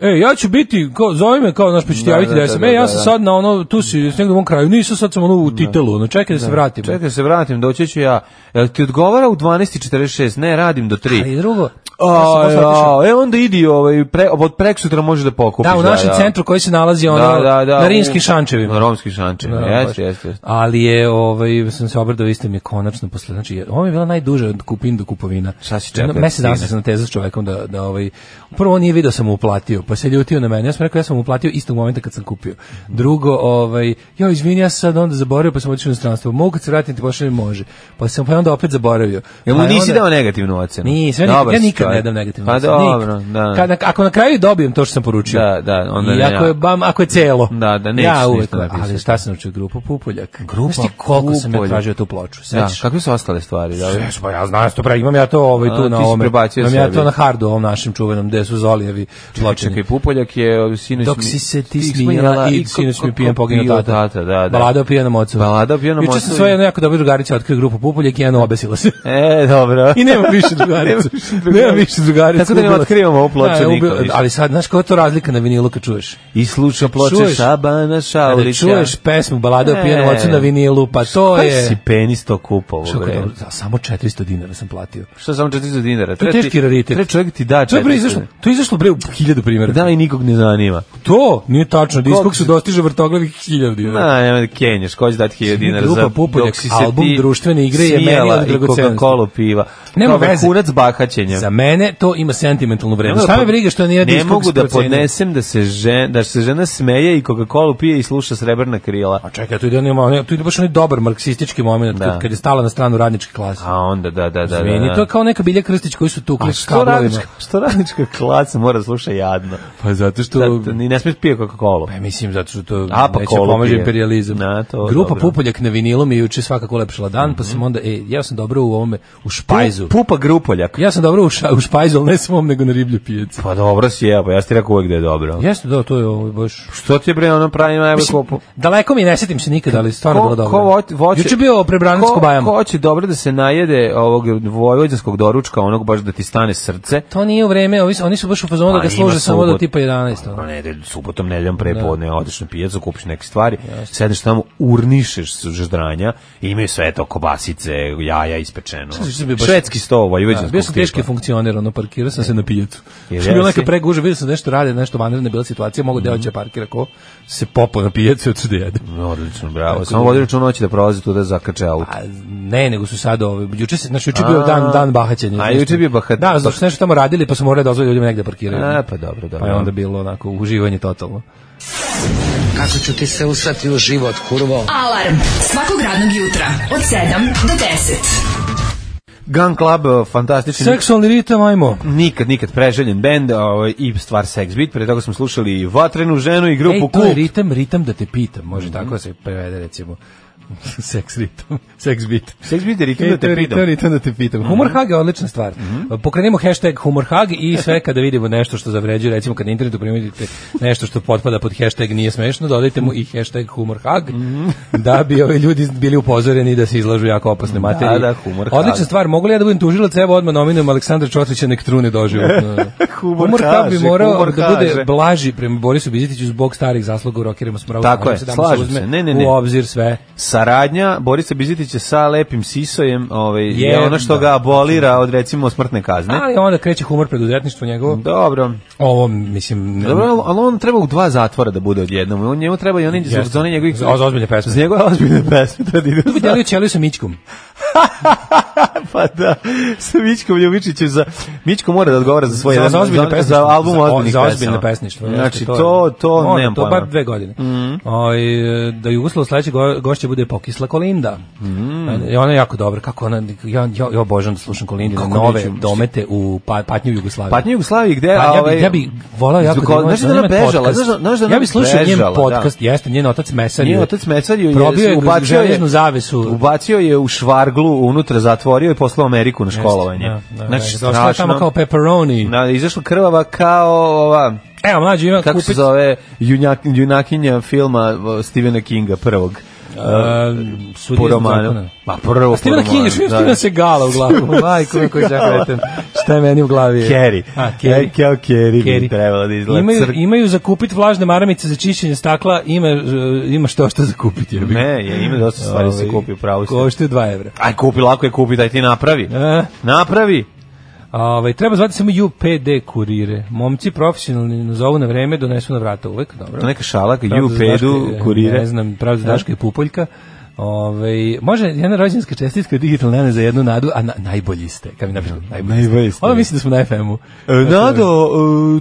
S5: e, ja ću biti, kao, zove me, kao, naš, pa ću ti
S6: Da,
S5: javiti
S6: da,
S5: da, sam,
S6: da,
S5: e,
S6: da,
S5: ja
S6: da.
S5: sam sad na ono, tu si, s negdje u mom kraju, nisam sad sam ono u titelu, ono, čekaj da se vratim.
S6: Čekaj da se vratim, doći ću ja. Jel ti odgovara u 12.46? Ne, radim do 3.
S5: Ali drugo,
S6: A,
S5: znaš šta, posle otišao-
S6: ja, e onda idi ovaj pre, od preksutra možeš da pokupiš.
S5: da, u našem centru koji se nalazi ono, na rinskim šančevima.
S6: Na romskim šančevima,
S5: Da, baš.
S6: jeste, jeste. jeste.
S5: Ali je, ovaj, sam se obradao, isto mi je konačno posle, znači, jer ovo mi je bila najduža od kupin do kupovina.
S6: Šta si čekao
S5: Jedno
S6: da
S5: Mesec dana
S6: stigne?
S5: sam se natezao s čovekom da, da ovaj, prvo on nije video sam mu uplatio, pa se ljutio na mene, ja sam rekao ja sam mu uplatio istog momenta kad sam kupio. Drugo, ovaj, ja izvini, ja sam sad onda zaboravio, pa sam otišao u inostranstvo, mogu kad se vratim ti pošaljem, može. Pa sam pa onda opet zaboravio.
S6: Jel mu
S5: Pa je
S6: nisi
S5: onda-
S6: dao negativnu ocenu?
S5: Nisam, ja, nikad,
S6: Dobar
S5: ja
S6: si
S5: nikad ne
S6: čovjek.
S5: dam negativno.
S6: Pa dobro, da.
S5: Kada, ako na kraju dobijem to što sam poručio.
S6: Da, da, onda
S5: I
S6: ne,
S5: ako
S6: ja.
S5: je, bam, ako je celo.
S6: Da, da, nećeš
S5: ja
S6: ništa
S5: uvek,
S6: napisati.
S5: Ali šta sam naučio? Grupa Pupoljak.
S6: Grupa
S5: Znaš ti koliko sam ja
S6: Pupoljak.
S5: tražio tu ploču?
S6: Da,
S5: Sećaš?
S6: kakve su ostale stvari? Da,
S5: Znači- Sve, pa ja znam to pravi, imam ja to ovaj
S6: A,
S5: tu
S6: ti
S5: na
S6: si
S5: ovome.
S6: prebacio
S5: Imam ja
S6: sebi.
S5: to na hardu ovom našem čuvenom, gde su Zolijevi zločini.
S6: Čekaj, Pupoljak je sinoć...
S5: Dok
S6: mi-
S5: si se ti
S6: stih
S5: smijela i
S6: ko-
S5: sinoć mi
S6: ko-
S5: pijen
S6: ko-
S5: poginuo
S6: pio
S5: tata.
S6: tata, da, da.
S5: Balada o pijenom ocu.
S6: Balada o pijenom
S5: Juče sam
S6: ocu.
S5: svoje jedno jako dobro drugarice otkrio grupu Pupoljak i jedna obesila se.
S6: E, dobro.
S5: I nema više drugarica. nema više drugarica.
S6: Tako da ne
S5: Ubila-
S6: otkrivamo ovu ploču
S5: Da, je
S6: nikom
S5: ubila-
S6: više.
S5: Ali sad, znaš koja je to razlika na vinilu kad čuješ?
S6: I sluča ploče
S5: Čuješ?
S6: Šabana
S5: Kada
S6: Šaulića.
S5: čuješ pesmu balada o pijenom
S6: E.
S5: ocu na vinilu, pa to
S6: Koji si
S5: je...
S6: penis to kupao?
S5: Što
S6: bre?
S5: kao dobro, za- Samo 400 dinara sam platio.
S6: Šta samo 400 dinara?
S5: To je
S6: Treba ti-
S5: teški raritet.
S6: Treba čovjek ti da
S5: To je bre
S6: 400.
S5: izašlo, to je izašlo bre u hiljadu primjera.
S6: Da, i nikog ne zanima.
S5: To nije tačno, da
S6: Koliko
S5: iskog se
S6: si-
S5: dostiže vrtoglavih hiljadu dinara.
S6: Na, nema da kenješ, ko će dati 1000 dinara
S5: Grupa
S6: za
S5: Pupoljak, album društvene igre je meni
S6: sijela
S5: od
S6: i
S5: dragocenosti.
S6: Coca-Cola piva. Kao
S5: Nema veze.
S6: Vrhunac bahaćenja.
S5: Za mene to ima sentimentalnu vrednost.
S6: da
S5: Šta me
S6: pod-
S5: briga što nije
S6: pa- Ne
S5: diskog
S6: mogu da
S5: procenio.
S6: podnesem da se, žen, da se žena smeje i Coca-Cola pije i sluša srebrna krila.
S5: A čekaj, tu ide, onaj- onaj- tu ide baš onaj dobar marksistički moment
S6: Da.
S5: kad, kad je stala na stranu radničke klase.
S6: A onda, da, da, da. da,
S5: Izvini,
S6: da.
S5: to je kao neka Bilja Krstić koji su tukli
S6: A
S5: s
S6: što
S5: kablovima.
S6: radnička, što radnička klasa mora da sluša jadno?
S5: Pa zato što...
S6: Da, ni ne smije pije Coca-Cola.
S5: Pa mislim, zato što to
S6: A, pa
S5: neće
S6: kolu
S5: pomaže
S6: pije.
S5: imperializam.
S6: Na, to,
S5: Grupa
S6: dobro. Mhm.
S5: Pupoljak na vinilu mi je juče svakako ulepšala dan, pa sam onda, e, ja sam dobro u ovome, u špajzu.
S6: Pupa grupoljak.
S5: Ja sam dobro u, ša, u špajzu, ali ne svom, nego na riblju pijacu.
S6: Pa dobro si jebo, ja ti rekao uvek da je dobro.
S5: Jeste, da, to je ovo baš...
S6: Što ti je bre ono pravi najbolj
S5: Mislim,
S6: kopu?
S5: Daleko mi je, ne setim se nikada, ali stvarno bilo dobro.
S6: voće- voće-
S5: Juče bio prebranac
S6: ko-
S5: Kobajama.
S6: Ko hoće dobro da se najede ovog vojvođanskog doručka, onog baš da ti stane srce,
S5: To nije u vreme, ovi su- oni su baš u fazonu da
S6: Pa,
S5: ga
S6: ima
S5: služe samo do
S6: subot-
S5: tipa 11.
S6: Pa
S5: ono.
S6: nedelj, subotom, nedeljom prepodne, da. odeš na pijacu, kupiš neke stvari, sedneš tamo, urnišeš s ždranja, i imaju sve to, kobasice, jaja ispečeno.
S5: Sad ću se bi baš-
S6: Švedski sto,
S5: Da,
S6: vojvođanskog
S5: bio sam
S6: tipa.
S5: teški funkcioner, ono, parkirao sam se na pijacu.
S6: Jer
S5: Što je bila
S6: jesi?
S5: neka preguža, vidio sam nešto rade, nešto vanredna je bila situacija, mogu
S6: Mhm.
S5: da hoće parkira ko se popo na pijacu i odsud jede.
S6: No, Odlično, bravo.
S5: Tako
S6: Samo
S5: da-
S6: vodi račun hoće da prolazi tu da zakače auto.
S5: A, ne, nego su sad ove, juče se, znači juče je bio dan, dan bahaćenja.
S6: A, juče je bio bahat-
S5: Da, zato što su nešto tamo radili, pa su morali da dozvoliti ljudima negde da parkiraju.
S6: A, pa dobro, dobro.
S5: Pa je onda bilo onako uživanje totalno.
S1: Kako ću ti se usrati u život, kurvo?
S4: Alarm svakog radnog jutra od 7 do 10.
S6: Gun Club, e, fantastični
S5: Seksualni ritam, ajmo.
S6: nikad, nikad preželjen bend ovaj, i stvar Sex Beat. Pre toga smo slušali Vatrenu ženu i grupu
S5: Ej, to je
S6: Kult. Mhm.
S5: ritam, ritam da te pitam, može tako da se prevede recimo. seks ritam, seks bit.
S6: Sex Beat je ritam
S5: Ej,
S6: da
S5: to
S6: te
S5: je ri-
S6: pitam. Mhm.
S5: to je ritam da te pitam. Humor Hag je odlična stvar. Pa Pokrenimo hashtag Humor Hag i sve kada vidimo nešto što zavređuje, recimo kad na internetu primetite nešto što potpada pod hashtag nije smešno, dodajte mu i hashtag Humor Hag
S6: Mhm.
S5: da bi ovi ljudi bili upozoreni da se izlažu jako opasne materije.
S6: da, humor hag.
S5: Odlična stvar, mogu li ja da budem tužilac, evo odmah nominujem Aleksandra Čotrića nek trune doživotno.
S6: Humor
S5: Hag bi
S6: kaže,
S5: morao
S6: humor
S5: da bude
S6: kaže.
S5: blaži prema Borisu Bizitiću zbog starih zasluga u rokerima smrava.
S6: Tako je, slažem se. Ne, ne, ne.
S5: U obzir sve.
S6: saradnja Borisa Bizitića sa Lepim Sisojem ovaj, je
S5: Jedna.
S6: ono što ga abolira od recimo smrtne kazne.
S5: Ali onda kreće humor preduzetništvo
S6: Mhm.
S5: njegovo.
S6: Dobro.
S5: Ovo, mislim... ne-
S6: Dobro, ali- ali on treba u dva zatvora da bude odjednom. On njemu treba i oni za
S5: Jeste.
S6: za one njegovih...
S5: Za- za ozbiljne pesme.
S6: Za njegove ozbiljne pesme. Da ide u
S5: Bi delio ćeliju sa Mićkom.
S6: pa da, sa Mićkom Ljubičićem za... Mićko mora da odgovara za svoje...
S5: Za, za ozbiljne
S6: Pa za,
S5: pesništvo.
S6: za album
S5: Za-
S6: ozbiljnih
S5: Za ozbiljne
S6: pesama.
S5: pesništvo.
S6: Znači,
S5: jeste,
S6: to, to,
S5: Mora,
S6: nemam
S5: To
S6: pojma. Mhm.
S5: bar dve godine. Oj, e, da Jugoslav sledeće go, gošće bude pokisla Kolinda.
S6: Mhm.
S5: E, Ona je jako dobra. Kako ona, ja, ja, ja obožavam da slušam Kolindine
S6: Kako
S5: nove
S6: neću, mislim.
S5: domete u pa, patnju Jugoslavije.
S6: Patnju Jugoslavije gde...
S5: Pa, ja,
S6: ovaj,
S5: bi, ja bi volao jako
S6: Zbog-
S5: da ima,
S6: znaš da ona
S5: ima
S6: bežala,
S5: podcast.
S6: znaš da- znaš da ona
S5: ja bi slušao njen
S6: bežala, da.
S5: podcast, jeste, njen otac Mesar.
S6: Nije
S5: je-
S6: otac Mecar je
S5: probio je
S6: ubacio
S5: železnu zavesu.
S6: Ubacio je u švarglu, unutra zatvorio i poslao u Ameriku na školovanje.
S5: Da, da,
S6: znači,
S5: da, ostala je tamo
S6: strašno.
S5: kao pepperoni.
S6: Na, izašla krvava kao ova,
S5: Evo, mlađi ima
S6: kako se
S5: kupit-
S6: zove, junak, junakinja filma uh, Stephena Kinga prvog. e,
S5: A, sudija
S6: po
S5: iz
S6: romanu.
S5: zakona.
S6: Ma prvo
S5: A Stevena
S6: po romanu,
S5: King, još mi
S6: da.
S5: Stevena Segala u glavu. Majko, kako je žakvetem. Šta je meni u glavi? je?
S6: Kerry.
S5: A, Kerry.
S6: E, kao Kerry bi
S5: Kerry.
S6: trebala da izgleda
S5: Imaju,
S6: crk-
S5: imaju za kupit vlažne maramice za čišćenje stakla, ima, e, ima što što za kupit. Je
S6: Ne, je, ima dosta stvari se kupi, pravo ste.
S5: Košte 2 evra.
S6: Aj, kupi, lako je kupi, daj ti napravi.
S5: E,
S6: Napravi.
S5: ovaj, treba zvati samo UPD kurire. Momci profesionalni nazovu na vreme, donesu na vrata uvek. Dobro.
S6: To neka šala, kad
S5: Pravda za
S6: UPD-u
S5: Daške,
S6: kurire.
S5: Ne znam, pravda za Daška je pupoljka. Ove, može jedna rođenska čestitka i digitalna nane za jednu nadu, a na, najbolji ste. Kad mi napišu, najbolji,
S6: Najbolji ste.
S5: ste. Ono mislim da smo na Dakle, FM-u.
S6: E, Nado,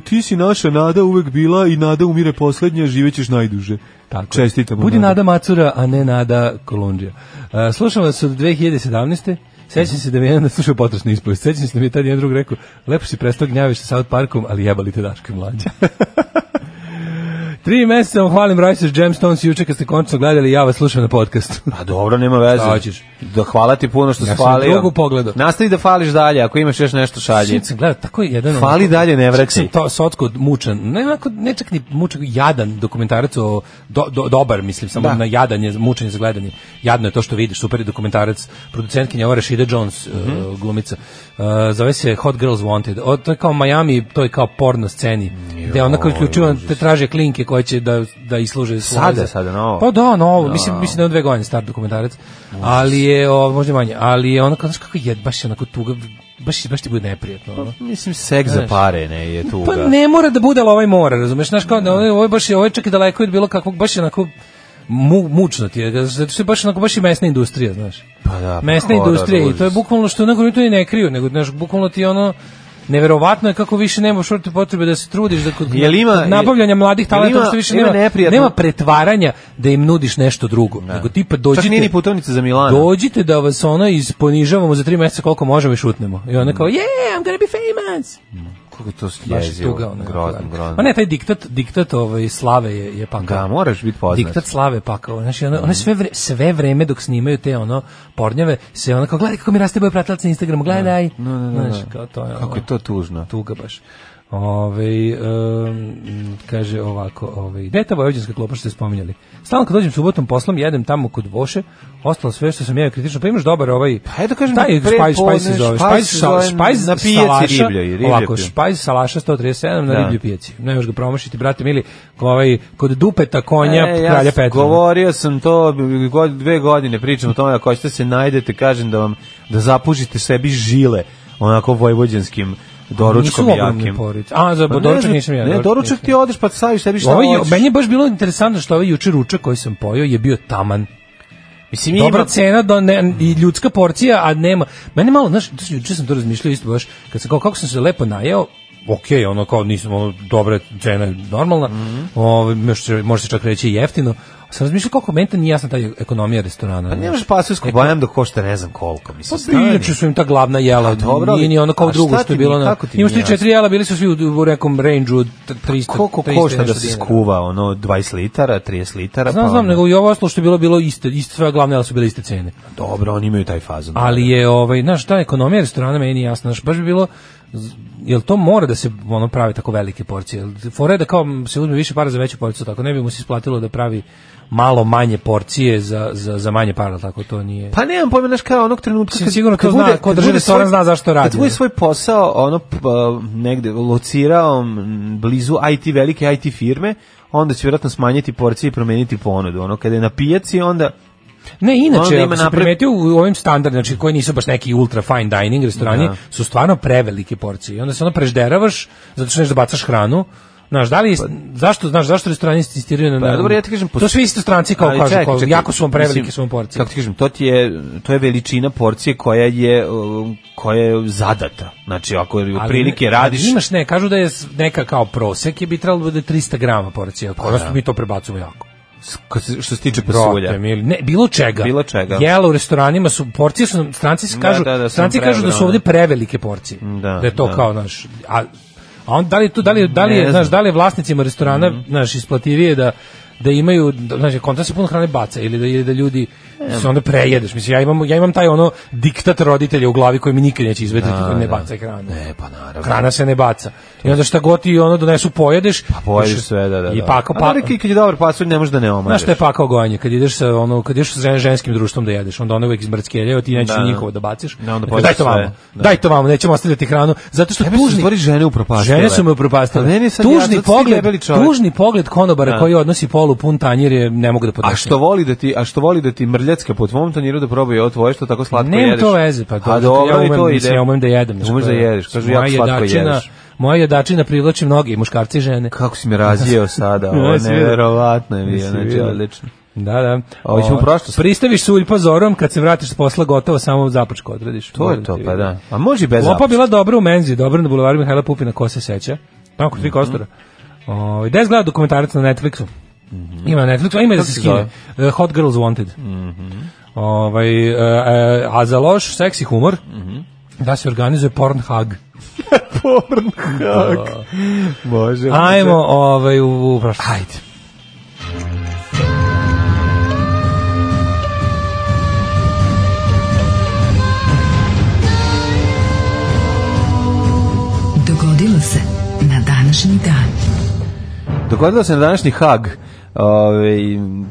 S6: e, ti si naša Nada uvek bila i Nada umire poslednja, živećeš najduže.
S5: Tako.
S6: Čestitamo.
S5: Budi
S6: Nada.
S5: Nada Macura, a ne Nada Kolundžija. E, slušam vas od 2017. Sećam se da mi je jedan slušao potresni ispovest. Sećam se da mi je tad jedan drug rekao, lepo si prestao gnjaviš sa South Parkom, ali jebali te Daško i mlađa. Tri meseca vam hvalim Rice's Gemstones juče kad ste končno gledali, ja vas slušam na podcastu.
S6: Pa dobro, nema veze.
S5: Šta hoćeš?
S6: Da hvala ti puno što
S5: Ja
S6: si
S5: sam
S6: falio.
S5: drugu pogledao.
S6: Nastavi da fališ dalje, ako imaš još nešto šalje.
S5: Sinoć sam gledao, tako je jedan...
S6: Fali
S5: onako-
S6: dalje, ne
S5: čak
S6: vraćaj.
S5: sam To sotsko mučan, ne, onako, ne čak ni mučan, jadan dokumentarac o, do, do, dobar, mislim, samo
S6: Da.
S5: na jadanje, mučenje za gledanje. Jadno je to što vidiš, super je dokumentarac, producentkinja ova Rashida Jones,
S6: Mhm.
S5: uh, glumica. Uh, zove se Hot Girls Wanted. O, to je kao Miami, to je kao porno sceni, gde ona kao isključivo te traže klinke koje će da, da isluže svoje
S6: Sada,
S5: za-
S6: sada, novo?
S5: Pa da, novo, mislim, mislim da je on dve godine star dokumentarac, ali je, o, možda i manje, ali je onako, znaš kako je, baš je onako tuga, baš, baš ti bude neprijatno.
S6: Pa
S5: Ono.
S6: Mislim, seks za pare, ne, je tuga.
S5: Pa ne mora da bude, ali ovaj mora, razumeš? Znaš, kao, da ovaj, ovaj baš je, ovaj čak i daleko od bilo kakvog, baš je onako mu, mučno ti je, zato što je baš onako, baš i mesna industrija, znaš.
S6: Pa da, pa
S5: mesna
S6: horor,
S5: industrija i to je
S6: užas.
S5: bukvalno što onako oni to i ne kriju, nego, znaš, bukvalno ti je ono, Neverovatno je kako više nemaš uopšte potrebe da se trudiš da kod
S6: Jel ima-
S5: kod nabavljanja mladih
S6: jel
S5: talenata
S6: ima-
S5: uopšte više
S6: ima
S5: nema
S6: neprijatno-
S5: nema pretvaranja da im nudiš nešto drugo. Nego tipa dođite
S6: Čak nije ni putovnica za Milano.
S5: dođite da vas ono isponižavamo za tri meseca koliko možemo i šutnemo. I ona kao, yeah, I'm gonna be famous.
S6: Kako je to
S5: Baš je
S6: jezivo,
S5: tuga, ono,
S6: grozno,
S5: jako.
S6: grozno.
S5: Ma ne, taj diktat, diktat ovaj, slave je, je pakao.
S6: Da, moraš biti poznat.
S5: Diktat slave pakao. Znači, ono, one sve, vre, sve vreme dok snimaju te ono pornjave, se ono kao, gledaj kako mi raste boj pratalac na Instagramu, gledaj. No, no, no, Znaš, kao to je ono,
S6: Kako je to tužno.
S5: tuga baš. Ove, um, kaže ovako, ove, gde je ta vojvođanska klopa što ste spominjali? Stalno kad dođem subotom poslom, jedem tamo kod Voše, ostalo sve što sam jeo je kritično, pa imaš dobar ovaj,
S6: Pa eto kažem,
S5: taj
S6: pre
S5: špajz, špajz se
S6: podne,
S5: zove,
S6: špajz
S5: špajz,
S6: se
S5: šal,
S6: zove
S5: špajz
S6: na pijaci
S5: salaša,
S6: ribljoj, ribljoj
S5: ovako,
S6: pijac.
S5: špajz salaša 137 na
S6: Da.
S5: riblju pijaci, ne možeš ga promašiti, brate mili, ovaj, kod dupeta konja
S6: E, ja
S5: kralja
S6: s-
S5: Petra.
S6: Govorio sam to god- dve godine, pričam o tome, ako hoćete se najdete, kažem da vam, da zapužite sebi žile, onako vojvođanskim doručkom
S5: Nisu ogromne
S6: jakim.
S5: porice. A, za
S6: Pa ne
S5: doručak
S6: znam,
S5: nisam ja.
S6: Ne, doručak
S5: nisam.
S6: ti odeš pa staviš sebi šta
S5: Ovaj,
S6: hoćeš.
S5: meni je baš bilo interesantno što ovaj jučer ručak koji sam pojeo je bio taman.
S6: Mislim, ima-
S5: Dobra cena da ne, i ljudska porcija, a nema. Mene malo, znaš, to sam- juče sam to razmišljao isto baš, kad sam kao, kako sam se lepo najeo, ok, ono kao nisam, ono, dobra cena je normalna,
S6: Mhm.
S5: ovaj, još se- može se čak reći i jeftino, sam razmišljao koliko meni to nije jasna ta ekonomija restorana.
S6: Pa
S5: znaš.
S6: nemaš pasovsku bajam da košta ne znam koliko, mislim.
S5: E, Pa
S6: stani.
S5: inače su im ta glavna jela,
S6: dobro, ali-
S5: nije ni ono kao
S6: a
S5: drugo
S6: šta
S5: što je
S6: ti
S5: bilo.
S6: nije-
S5: Na,
S6: kako ti
S5: imaš
S6: nije
S5: tri četiri jela, bili su svi u, u nekom range-u od 300,
S6: Koliko
S5: 300 i
S6: košta da
S5: nešto
S6: se
S5: dinara.
S6: skuva, ono, 20 litara, 30 litara?
S5: Znam,
S6: pa
S5: znam,
S6: onda-
S5: nego i ovo ostalo što je bilo, bilo iste, iste sve glavne jela su bile iste cene.
S6: Dobro, oni imaju taj fazon.
S5: ali je ovaj znaš ta ekonomija restorana meni nije jasna znaš, baš bi bilo z- jel to mora da se ono pravi tako velike porcije jel fora je da kao se uzme više para za veću porciju tako ne bi mu se isplatilo da pravi malo manje porcije za, za, za manje para tako to nije
S6: Pa nemam pojma, znaš kao onog trenutka
S5: Mislim, sigurno to zna, ko drži restoran
S6: svoj-
S5: zna zašto radi,
S6: Kad bude
S5: da.
S6: svoj posao ono p- a, negde locirao m, blizu IT velike IT firme, onda će vjerojatno smanjiti porcije i promeniti ponudu. Ono kada je na pijaci onda
S5: Ne,
S6: Onda
S5: inače,
S6: ima
S5: ako si
S6: napred-
S5: primetio u ovim standardima, znači koji nisu baš neki ultra fine dining restorani, su stvarno prevelike porcije. I onda se ono prežderavaš, zato što nešto bacaš hranu, Znaš, da li, je- zašto, znaš, zašto restorani insistiraju na...
S6: Pa, dobro, ja ti kažem,
S5: to svi isto stranci kao
S6: Ali
S5: kažu,
S6: čekaj,
S5: kao,
S6: čekaj,
S5: jako su vam prevelike
S6: mislim,
S5: su vam porcije.
S6: Kako ti kažem, to ti je to je veličina porcije koja je um, koja je zadata. Znači ako je
S5: Ali
S6: prilike
S5: ne-
S6: radiš
S5: ali Imaš ne, kažu da je s- neka kao prosek je bi trebalo da bude 300 grama porcija,
S6: Pa
S5: kod nas mi to prebacujemo jako.
S6: s- kad se- što se tiče pasulja.
S5: Brate, mili, ne, bilo čega.
S6: Bilo čega.
S5: Jela u restoranima su, porcije su, nam- stranci se
S6: Da,
S5: kažu,
S6: da, da, su
S5: stranci
S6: nam
S5: kažu da su
S6: preogromne.
S5: ovde prevelike porcije.
S6: Da,
S5: je to
S6: da.
S5: kao, naš, a, a on, da li, je tu, da li, je- da li, je,
S6: Ne
S5: znaš,
S6: znam. Mhm.
S5: da li je vlasnicima restorana, znaš, isplativije da da imaju da, znači kontra se puno hrane baca ili da ili da ljudi se onda prejedeš mislim ja imam ja imam taj ono diktat roditelja u glavi koji mi nikad neće izvetriti koji ne baca hranu
S6: E pa naravno.
S5: hrana se ne baca. I onda šta god ti ono donesu pojedeš, pa
S6: Pojedeš sve, da, da.
S5: I
S6: da.
S5: pakao
S6: A
S5: pa.
S6: dobro, kad je dobar pasulj, ne možeš da ne omažeš.
S5: Znaš šta je pakao gojanje, kad ideš sa ono, kad ideš sa žen- ženskim društvom da jedeš, onda one uvek izmrckeljaju, ti nećeš
S6: Da, da.
S5: njihovo da baciš.
S6: Da, onda
S5: Dakle, daj
S6: pojedeš
S5: to
S6: sve,
S5: vamo.
S6: da.
S5: Daj to vamo, nećemo ostavljati hranu, zato što
S6: Tebe su
S5: tužni
S6: u stvari žene upropastile.
S5: Žene su me
S6: A meni
S5: upropastile.
S6: je sad jasno,
S5: Tužni
S6: zato si ti debeli
S5: pogled,
S6: čovek.
S5: tužni pogled konobara
S6: Da.
S5: koji odnosi polu pun tanjir je ne mogu da podnesem.
S6: A što voli da ti, a što voli da ti mrljacka po tvom tanjiru da probaju ovo tvoje što tako slatko
S5: Nema
S6: jedeš.
S5: to veze, pa
S6: A
S5: to,
S6: dobro,
S5: ja
S6: i to
S5: umem,
S6: ide.
S5: mislim, ja umem da jedem. znači, pa
S6: Umeš da jedeš, kažu
S5: Moja
S6: jako slatko
S5: jedačina-
S6: jedeš.
S5: Moja jedačina privlači mnogi, muškarci i žene.
S6: Kako si me razjeo sada, ovo je
S5: Jesi vidio?
S6: nevjerovatno je bio,
S5: Jesi
S6: znači
S5: vidio?
S6: odlično.
S5: Da, da.
S6: A hoćemo
S5: Ovo,
S6: prošlost?
S5: Pristaviš suljpa zorom, kad se vratiš s posla, gotovo samo započko odradiš.
S6: To je to, pa da. A može i bez
S5: Lopa
S6: zapušta.
S5: bila dobra u menzi, dobra na bulevaru Mihajla Pupina, ko se seća. Pa Tamo kod tri
S6: Mhm.
S5: kostora. Ovaj, Gde gleda dokumentarac na Netflixu? Ima na Netflixu, a ima i da se
S6: Mhm. se Mhm.
S5: skine. Uh, Hot Girls Wanted. Ovaj, e, e, a za loš, seksi humor,
S6: Mhm.
S5: da se organizuje Pornhag.
S6: Može.
S5: Ajmo ovaj, u, u prošlost. Ajde.
S4: Dogodilo se na današnji dan.
S6: Dogodilo se na današnji hag. Ove,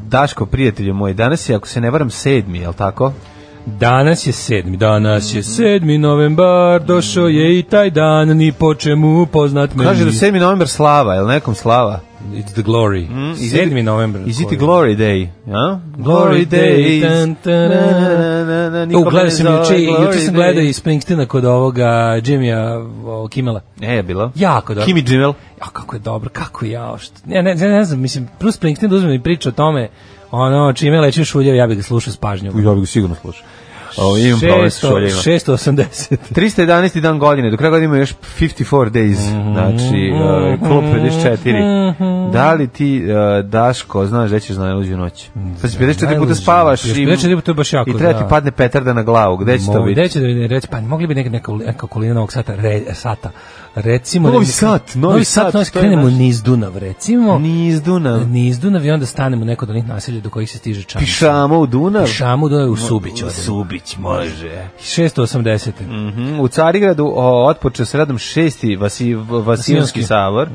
S6: Daško, prijatelju moj, danas je, ako se ne varam, sedmi, jel tako?
S5: Danas je sedmi, danas je sedmi novembar, došao je i taj dan, ni po čemu poznat meni.
S6: Kaže da sedmi novembar slava, jel nekom slava?
S5: It's the glory.
S6: is it-
S5: sedmi novembar.
S6: Is Mhm. it glory day? A?
S5: Glory day, tan, tan, U, gledao sam juče, juče sam gledao i Springsteena kod ovoga Jimmya o, Kimela.
S6: E, je bilo.
S5: Jako dobro.
S6: Kimi Jimmel.
S5: A kako je dobro, kako ja, što, ne, ne, ne, ne znam, mislim, Bruce Springsteen da uzme i priča o tome, ono, čime leči šuljev, ja bih ga slušao s pažnjom.
S6: Ja bih ga sigurno slušao. O, imam problem sa
S5: Šesto-
S6: šoljima.
S5: 680.
S6: 311. dan godine, do kraja godine ima još 54 days, znači uh, klub 54. Da li ti, uh, Daško, znaš da ćeš na najluđu noć? Pa si 54 puta
S5: Najluđu.
S6: spavaš i,
S5: Još 54 puta je baš jako,
S6: i treba ti
S5: da.
S6: padne petarda na glavu, gde će to
S5: Mogu-
S6: biti?
S5: gde će da mi reći, pa mogli bi neka, neka, neka okolina novog sata, re, sata. Recimo,
S6: Novi
S5: ne-
S6: Sad, Novi Sad,
S5: Novi Sad,
S6: to je
S5: krenemo
S6: naš-
S5: niz Dunav, recimo.
S6: Niz Dunav.
S5: Niz Dunav i onda stanemo u neko od onih naselja do kojih se stiže čam.
S6: Pišamo u Dunav?
S5: Pišamo u Dunav u Subić.
S6: U Subić, može.
S5: 680.
S6: Mhm, U Carigradu o, otpoče s radom šesti vasi, Vasiljonski
S5: Vasiljonski.
S6: savor.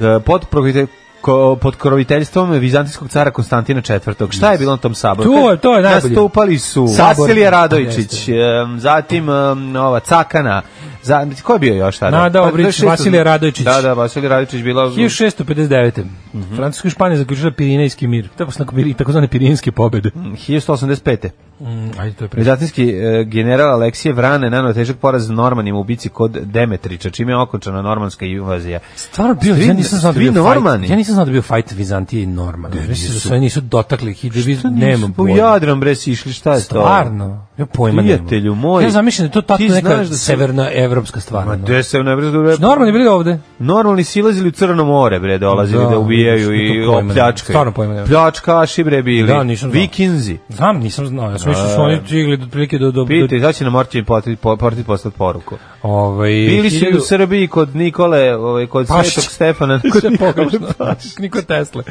S6: E, Pod provite- ko- pod kroviteljstvom vizantijskog cara Konstantina IV. Šta je bilo na tom saboru?
S5: To je- to je najbolje.
S6: Nastupali su
S5: Sabor.
S6: Vasilije Radojčić,
S5: Jeste.
S6: em, zatim em, ova Cakana, za, ko je bio još tada?
S5: Nada
S6: Pa,
S5: Obrić,
S6: to je šesto-
S5: Vasilije Radojčić.
S6: Da, da, Vasilije Radojčić bila...
S5: 1659.
S6: Mhm.
S5: Francuska i Španija zaključila Pirinejski mir. Tako su nakon Piri- takozvane Pirinejske pobede.
S6: Mhm. 1185.
S5: Mm, ajde, to je pre.
S6: Vizantinski e, general Aleksije Vrane nanao težak poraz Normanima u bici kod Demetriča, čime je okončana normanska invazija.
S5: Stvarno bio,
S6: Svi-
S5: ja nisam znao da bio
S6: svi normani.
S5: fight. Ja nisam znao da bio fight Vizantije i Normana. Mislim da su oni nisu dotakli hiđevi, nemam
S6: U
S5: pojma.
S6: Jadran bre si išli, šta je to?
S5: Stvarno? Ja pojma nemam.
S6: Prijatelju moj.
S5: Ja zamišljam da je to tako
S6: Ti
S5: neka
S6: znaš da su-
S5: severna evropska stvar. ono.
S6: Gde se ne bre, da bre-
S5: Normalni bili ovde.
S6: Normalni silazili u Crno more bre, dolazili da,
S5: Da,
S6: ubijaju
S5: vidiš,
S6: i
S5: to pojma nemam.
S6: opljačkaju.
S5: Stvarno pojma nemam.
S6: Pljačkaši bre bili.
S5: Da, nisam znao.
S6: Vikinzi.
S5: Znam, nisam znao. Ja sam mislio da su oni igli do prilike do... do, do
S6: Pitaj, sad će nam Martin potit- po- Portit poslati poruku.
S5: ovaj,
S6: Bili su i u
S5: hiljadu-
S6: Srbiji kod Nikole, ovaj, kod
S5: Pašić.
S6: Svetog Stefana.
S5: Kod pogrešno. Niko Tesle.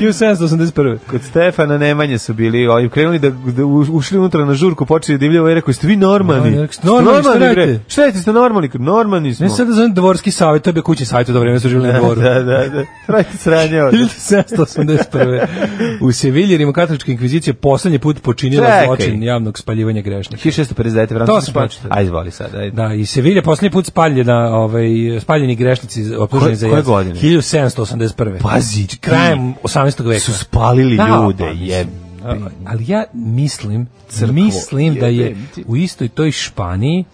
S5: 1781.
S6: Kod Stefana Nemanje su bili, ovi krenuli da, da u- ušli unutra na žurku, počeli da divljaju, i rekao, jeste vi
S5: Da, ja
S6: normani?
S5: rekao, "Ste normalni, šta
S6: bre?
S5: radite?"
S6: Šta radite, ste normalni? Kao, Normalni smo.
S5: Ne sad da zovem dvorski savjet, to je bio kući savjet, u to vreme su živjeli na dvoru.
S6: Da, da, da. Radite sranje ovde.
S5: 1781. U Sevilji rimokatolička inkvizicija poslednji put počinila
S6: Čekaj.
S5: zločin javnog spaljivanja grešnika.
S6: 1659.
S5: To
S6: Francuski
S5: sam
S6: spanč.
S5: pročitao.
S6: Ajde, izvoli sad. Ajde.
S5: Da, i Sevilja poslednji put spaljena, ovaj, spaljeni grešnici optuženi
S6: Koje-
S5: za
S6: koje
S5: jec.
S6: godine?
S5: 1781.
S6: Pazi, ti.
S5: krajem 18. veka.
S6: Su spalili
S5: Da,
S6: ljude,
S5: pa, mislim,
S6: je
S5: A, ali ja mislim, mislim da je
S6: jebem ti.
S5: u istoj toj Španiji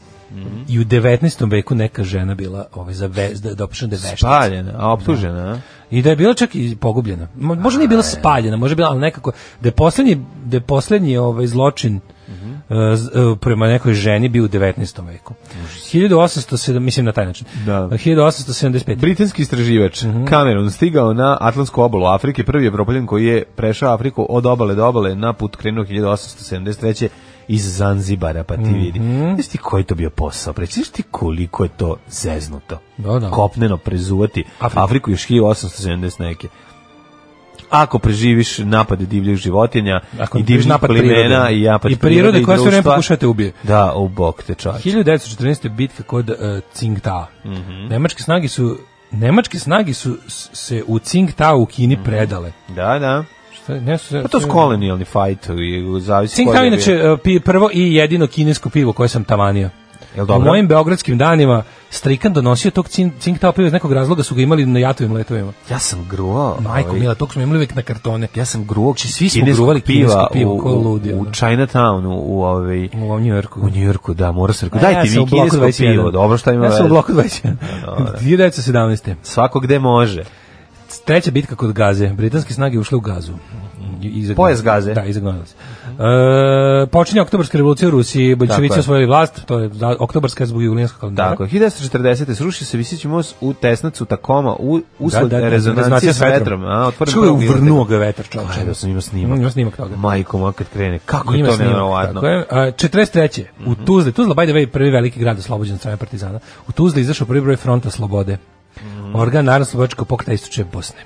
S5: i u 19. veku neka žena bila ovaj, za vez, da, da opšena da je veštica.
S6: Paljena, a optužena, a?
S5: I da je bila čak i pogubljena. Mo- Možda nije bila spaljena, možda je bila, ali nekako, da je posljednji, da je posljednji ovaj, zločin
S6: Mhm.
S5: e, z- e, prema nekoj ženi bio u 19. veku. 1807, mislim na taj način.
S6: Da.
S5: 1875.
S6: Britanski istraživač
S5: Mhm.
S6: Cameron stigao na Atlantsku obalu Afrike, prvi je propoljen koji je prešao Afriku od obale do obale na put krenuo 1873 iz Zanzibara, pa ti vidi.
S5: Mhm.
S6: Znaš ti koji je to bio posao? Prećiš ti koliko je to zeznuto?
S5: Da, da.
S6: Kopneno prezuvati
S5: Afriku.
S6: Afriku, još 1870 neke. Ako preživiš napade divljih životinja
S5: Ako
S6: i
S5: preživiš
S6: divljih
S5: napad
S6: plemena
S5: prirode.
S6: i napad
S5: I prirode koja sve vreme
S6: društva,
S5: pokušava te ubije.
S6: Da, u bok te
S5: Pa,
S6: čače.
S5: 1914. bitka kod uh, Tsingtao.
S6: Mhm.
S5: Nemačke snage su Nemačke snage su s- se u Tsingtao u Kini predale.
S6: Da, da.
S5: Šta je- ne su-
S6: Mhm. Pa to su kolonijalni fajt i zavisi
S5: Tsingtao
S6: koji
S5: je
S6: je bio.
S5: Mhm. inače e, pi- prvo i jedino kinesko pivo koje sam tamanio.
S6: Jel
S5: U
S6: Pa dobro?
S5: mojim beogradskim danima Strikan donosio tog cin- Tsingtao piva iz nekog razloga su ga imali na jatovim letovima.
S6: Ja sam gruvao.
S5: Majko
S6: ovaj,
S5: mila, tog smo imali uvijek na kartone. Znači,
S6: Ja sam gruvao. Či
S5: svi smo gruvali kinesko pivo, ko
S6: u,
S5: ludi,
S6: u
S5: ono.
S6: Chinatownu, u ovaj...
S5: U ovom New Yorku.
S6: U Njujorku, da, mora se rekao.
S5: A
S6: Dajte
S5: sam u
S6: mi
S5: bloku
S6: kinesko
S5: 21.
S6: pivo, dobro šta ima
S5: Ja sam u
S6: veze.
S5: bloku 21. 1917.
S6: Svako gde može.
S5: Treća bitka kod Gaze. Britanske snage ušle u Gazu. I- izagnale-
S6: Pojas Gaze.
S5: Da, izagnale se. E, počinje oktobarska revolucija u Rusiji. Bolševici
S6: Tako je.
S5: osvojili vlast. To je za- oktobarska zbog julijanskog kalendara.
S6: Tako, je. 1940. srušio se visići most u tesnacu Takoma u, usled
S5: Da, da, da,
S6: rezonancije s vetrom. A, otvoren
S5: Što je
S6: prvi
S5: uvrnuo
S6: internet.
S5: ga vetar, čovječe.
S6: Ajde, da sam imao snimak.
S5: Ima snimak toga.
S6: Majko, ma kad krene, kako je
S5: Ima
S6: to
S5: snimak,
S6: nevjerovatno. Mhm.
S5: Tako je. A, 43. U Tuzli, Tuzla, by the way, prvi veliki grad oslobođen od strane partizana. U Tuzli izašao prvi broj fronta slobode.
S6: Mhm.
S5: Organ Narodno slobodačkog pokreta istočne Bosne.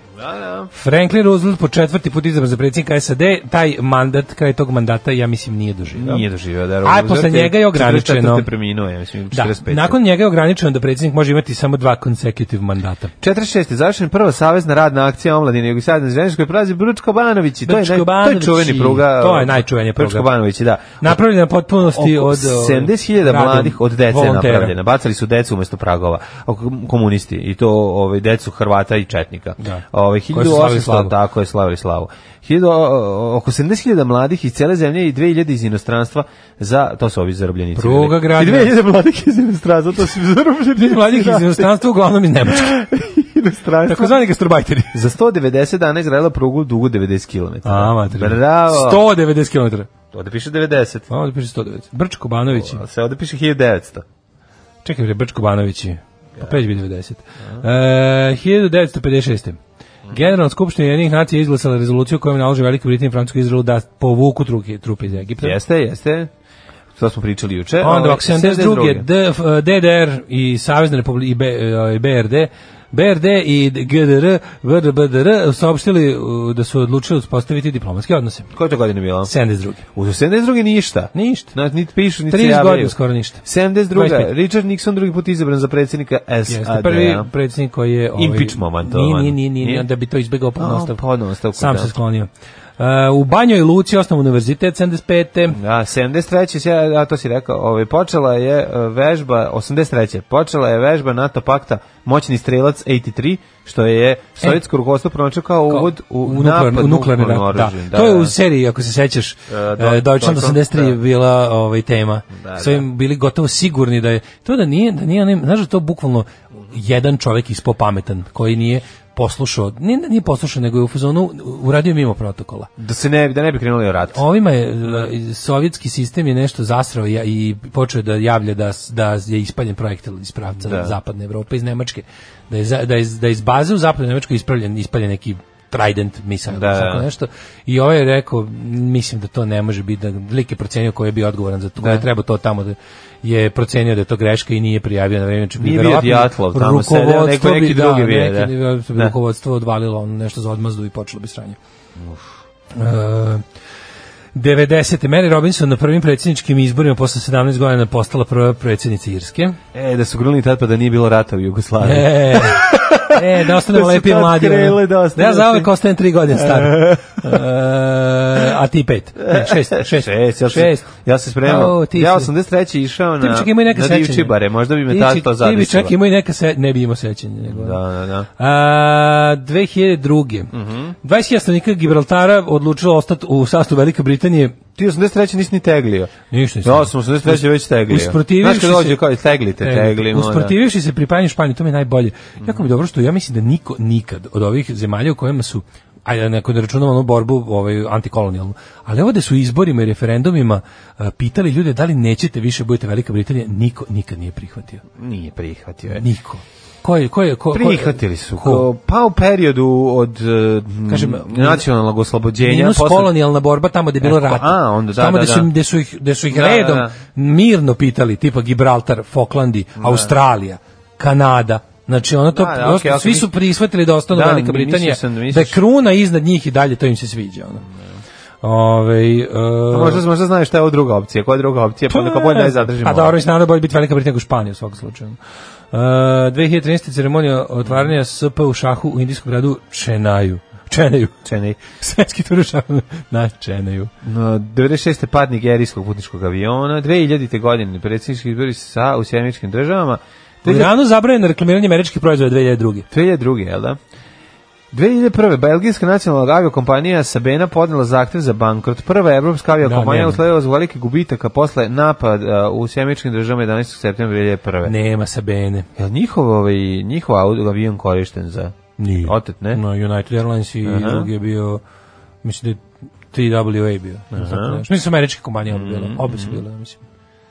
S5: Franklin Roosevelt po četvrti put izabran za predsjednika SAD, taj mandat, kraj tog mandata, ja mislim, nije doživio.
S6: Nije doživio da
S5: A posle njega je ograničeno.
S6: 44. preminuo, je, mislim,
S5: Da,
S6: 45.
S5: nakon njega je ograničeno da predsjednik može imati samo dva consecutive mandata.
S6: 46. završena prva savezna radna akcija omladine Jugoslavije Zemljišta koja prelazi Brčko Banovići. To je, naj, to je
S5: Brčko-Banovići.
S6: čuveni pruga.
S5: To je najčuvenija pruga.
S6: Brčko Banovići, da.
S5: Napravljena potpunosti
S6: Oko
S5: od... o,
S6: 70.000
S5: radom
S6: mladih od dece je
S5: volontera.
S6: napravljena. Bacali su decu umesto pragova. Oko- Komunisti. I to ovaj, decu Hrvata i Četnika.
S5: Da.
S6: Ovaj,
S5: Koji su slavili slavu.
S6: 1800, tako je, slavili slavu. 1000, o- oko 70.000 mladih iz cele zemlje i 2000 iz inostranstva za, to su ovi zarobljenici.
S5: Pruga
S6: bili.
S5: gradnja.
S6: I 2000 mladih iz inostranstva, to su zarobljenici.
S5: Mladih iz inostranstva, uglavnom iz Nemačke.
S6: inostranstva.
S5: Takozvani gastarbajteri.
S6: Za 190 dana Izraela prugu dugu 90 km.
S5: A, mater.
S6: Bravo.
S5: 190 km.
S6: Ovde piše 90.
S5: Ovo da piše 190. Brčko Banovići.
S6: Ali se ovde piše 1900.
S5: Čekaj, bre, Brčko Banovići. Pa preć bi 90. E, 1956. Generalna skupština jednih nacija izglasala rezoluciju kojom nalože Velikoj Britaniji i Francuskoj Izraelu da povuku truke, trupe iz Egipta.
S6: Jeste, jeste. To smo pričali juče.
S5: Onda
S6: Ovaj,
S5: ovako, 72. D- F- DDR i Savezna republika i, B, e, i BRD BRD i GDR VRBDR saopštili uh, da su odlučili uspostaviti diplomatske odnose.
S6: Koje to godine bilo?
S5: 72.
S6: U 72. ništa.
S5: Ništa.
S6: Na, niti pišu, niti se
S5: 30
S6: javljaju.
S5: godina skoro ništa.
S6: 72.
S5: 25.
S6: Richard Nixon drugi put izabran za predsjednika
S5: Jeste
S6: SAD.
S5: prvi predsjednik koji je ovaj
S6: Impeach momentovan.
S5: Nije, nije, nije, nije,
S6: Nije?
S5: da bi to izbegao
S6: A,
S5: podnostavku. ostavku.
S6: podnovu ostavku,
S5: Sam
S6: da.
S5: se sklonio. Uh, u Banjoj Luci osnovu univerzitet 75.
S6: A 73. se ja to si rekao, ovaj počela je e, vežba 83. Počela je vežba NATO pakta Moćni strelac 83 što je sovjetsko rukovodstvo pronašlo kao uvod u,
S5: E. u,
S6: napad
S5: nuklearni, u nuklearni rat. Da.
S6: oružjem.
S5: to je u seriji, ako se sećaš,
S6: Do-
S5: e, Deutschland
S6: Deutschland,
S5: 83
S6: da.
S5: bila ovaj, tema.
S6: Da,
S5: Da, Svojim bili gotovo sigurni da je, to da nije, da nije, onim- znaš da to bukvalno jedan čovjek ispo pametan koji nije poslušao, nije, nije poslušao, nego je u fazonu uradio mimo protokola.
S6: da se ne da ne bi krenuli u rat.
S5: Ovima je e, sovjetski sistem je nešto zasrao i, i počeo da javlja da s- da je ispaljen projektil iz pravca
S6: Da.
S5: zapadne Evrope iz Nemačke. Da je za- da je da je iz baze u zapadnoj Nemačkoj ispravljen ispaljen neki Trident misal
S6: Da,
S5: tako
S6: da.
S5: nešto i ovaj je rekao mislim da to ne može biti da lik je procenio ko je bio odgovoran za to da. je trebao to tamo da je procenio da je to greška i nije prijavio na vreme znači
S6: Nije bio
S5: verovatno
S6: Dijatlov tamo sedeo,
S5: rukovodstvo
S6: neko- neki
S5: bi-
S6: drugi
S5: da,
S6: bio,
S5: neki-
S6: da.
S5: bi-
S6: Da.
S5: rukovodstvo odvalilo ono nešto za odmazdu i počelo bi sranje E, 90. Mary Robinson na prvim predsjedničkim izborima posle 17 godina postala prva predsjednica Irske.
S6: E da su grunili tad pa da nije bilo rata u Jugoslaviji.
S5: E, e da ostanemo
S6: Da su
S5: lepi i
S6: tad
S5: mladi. ono.
S6: krenule da
S5: ja
S6: ostanemo
S5: za
S6: svi.
S5: uvek ostajem tri godine star. E, a ti pet. Ne, šest, šest.
S6: Šest, ja, sam-
S5: šest.
S6: ja se spremao.
S5: O, ti
S6: ja
S5: si-
S6: 83. išao
S5: Ti bi
S6: na,
S5: čak imao i neka
S6: na
S5: sećanja.
S6: divčibare, možda bi me
S5: Ti
S6: tad
S5: čak-
S6: to
S5: Ti bi
S6: zadesilo.
S5: čak imao i neka se, ne bi imao sećanja. Nego,
S6: Da, da, da.
S5: A, 2002. Mm 21 stanovnika Gibraltara odlučilo ostati u sastavu Velike Britanije
S6: Ti 83. nisi ni teglio.
S5: Ništa nisam.
S6: Ja sam 83. već teglio.
S5: Usprotivivši
S6: Znaš kad dođe
S5: se- E,
S6: kao i teglite, teglimo. da.
S5: Usprotivivši se pripajanju Španiji, to mi je najbolje. Jako mi je dobro što ja mislim da niko nikad od ovih zemalja u kojima su ajde neko ne računamo onu borbu ovaj antikolonijalnu. Ali ovde su izborima i referendumima e, pitali ljude da li nećete više budete Velika Britanija, niko nikad nije prihvatio.
S6: Nije prihvatio. je.
S5: Niko. Ko je, ko je, ko, ko-
S6: E. Prihvatili su.
S5: ko?
S6: Ko? Pa u periodu od eh, m,
S5: Kažem,
S6: nacionalnog oslobođenja.
S5: Minus
S6: posle-
S5: kolonijalna borba tamo gde je bilo
S6: E, ko-
S5: rata.
S6: a, onda da,
S5: tamo
S6: da,
S5: gde su,
S6: da.
S5: gde su ih, gde su ih
S6: Da,
S5: redom
S6: da, da.
S5: mirno pitali, tipa Gibraltar, Foklandi, Australija, Kanada. Znači ono to
S6: Da, da,
S5: prosto
S6: okej, ako
S5: svi
S6: mis-
S5: su prihvatili da ostanu
S6: Da,
S5: Velika
S6: mislio
S5: Britanija.
S6: sam da misliš-
S5: da je kruna iznad njih i dalje to im se sviđa ono. Ovaj
S6: A
S5: e,
S6: Možda, možda znaš šta je ovo druga opcija. Koja je druga opcija? Pa neka bolje da je zadržimo.
S5: A e, dobro, mislim naravno da bolje biti Velika Britanija nego Španija u svakom slučaju. Uh, 2013. ceremonija otvaranja SP u šahu u indijskom gradu Čenaju. Čenaju.
S6: Čenej.
S5: Svetski tur u šahu na Čenaju.
S6: No, 96. pad nigerijskog putničkog aviona, 2000. godine predsjednički izbori sa u sjemičkim državama,
S5: U Iranu zabranjeno reklamiranje američkih proizvoda 2002.
S6: 2002. jel da? 2001. Belgijska nacionalna aviokompanija Sabena podnela zahtev za bankrot. Prva evropska aviokompanija
S5: nema.
S6: usledila zbog velikih gubitaka posle napad a, u sjemičkim državama 11. septembra 2001.
S5: Nema Sabene.
S6: Jel njihov, ovaj, njihov au- avion korišten za
S5: Nije.
S6: otet, ne?
S5: No, United Airlines i
S6: Aha.
S5: drugi je bio, mislim da je TWA bio. Ne znam tako nešto. Mislim su američke kompanije obe bile. Obe su bile, ja mislim.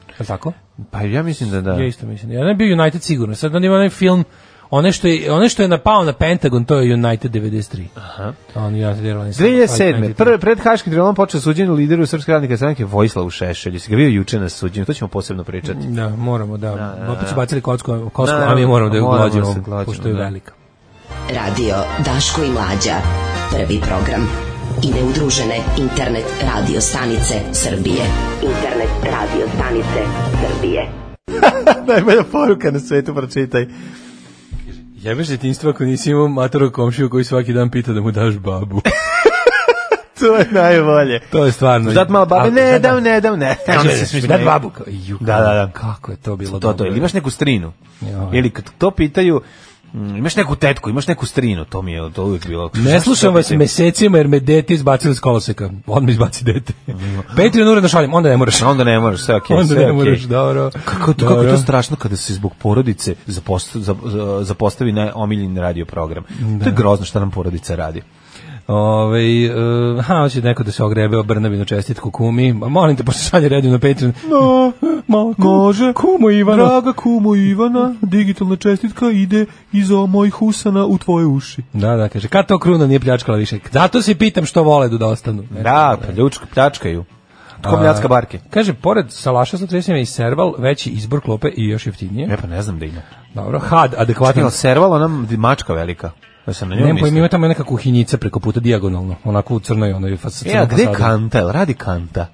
S5: Je li tako?
S6: Pa ja mislim Mhm. da da.
S5: Ja isto mislim. Ja ne bio United sigurno. Sad on ima onaj film One što, je, one što je napao na Pentagon, to je United 93. Aha. On United Airlines.
S6: 2007.
S5: 93.
S6: Prve, pred Haškim tribunalom počeo suđenje lideru Srpske radnike stranke Vojislavu Šešelju. Si ga bio juče na suđenju, to ćemo posebno pričati.
S5: Da, moramo, da. Opet su bacili kocku, kosku,
S6: Da,
S5: a mi moramo da je
S6: moramo da se
S5: uglađimo,
S6: glađemo,
S5: pošto je
S6: da.
S5: velika.
S4: Radio Daško i Mlađa. Prvi program. I neudružene internet radio stanice Srbije. Internet radio stanice Srbije.
S6: Najbolja poruka na svetu, pročitaj.
S5: Jebeš detinjstvo ako nisi imao matorog komšiju koji svaki dan pita da mu daš babu.
S6: To je najbolje.
S5: to je stvarno.
S6: Dat malo babe,
S5: Ali,
S6: ne,
S5: sad
S6: dam, ne, dam, ne. Onda se svi
S5: Dat
S6: smeju.
S5: babu. kao, ju,
S6: Da, da, da.
S5: Kako je to bilo
S6: To, to, ili imaš neku strinu.
S5: Joj.
S6: Ili kad to pitaju, mm, imaš neku tetku, imaš neku strinu, to mi je to uvijek bilo.
S5: Ne slušam vas mesecima jer me dete izbacilo iz koloseka. Odmah izbaci dete. Patreon uredno šaljem, onda ne moraš.
S6: A Onda ne moraš, sve okej,
S5: Onda
S6: sve
S5: ne moraš,
S6: okej.
S5: dobro.
S6: Kako, to, kako je
S5: Dobro.
S6: to strašno kada se zbog porodice zapost, za, za- zapostavi na omiljen radio program. To je grozno što nam porodica radi.
S5: Ove, uh, ha, hoće neko da se ogrebe o Brnabinu čestitku kumi. Ma, molim te, pošto šalje redu na Patreon.
S6: No,
S5: Ma, ku- Kumo Ivano.
S6: kumo Ivana, digitalna čestitka ide iz mojih husana u tvoje uši.
S5: Da, da, kaže, kad to kruna nije pljačkala više? Zato se pitam što vole da ostanu.
S6: Da, pljučka, pljačkaju. Tko
S5: A,
S6: mljacka barke?
S5: Kaže, pored Salaša 130 i Serval, veći izbor klope i još jeftinije.
S6: E pa ne znam da ima.
S5: Dobro, had,
S6: Čekaj,
S5: adekvatan.
S6: ali servala nam mačka velika. Da sam na njoj
S5: Pa- Nemam pojma,
S6: mislim.
S5: ima tamo neka kuhinjica preko puta dijagonalno, onako u crnoj onoj fas,
S6: E, a
S5: crnom
S6: gde je
S5: fasadi.
S6: kanta? Jel radi kanta?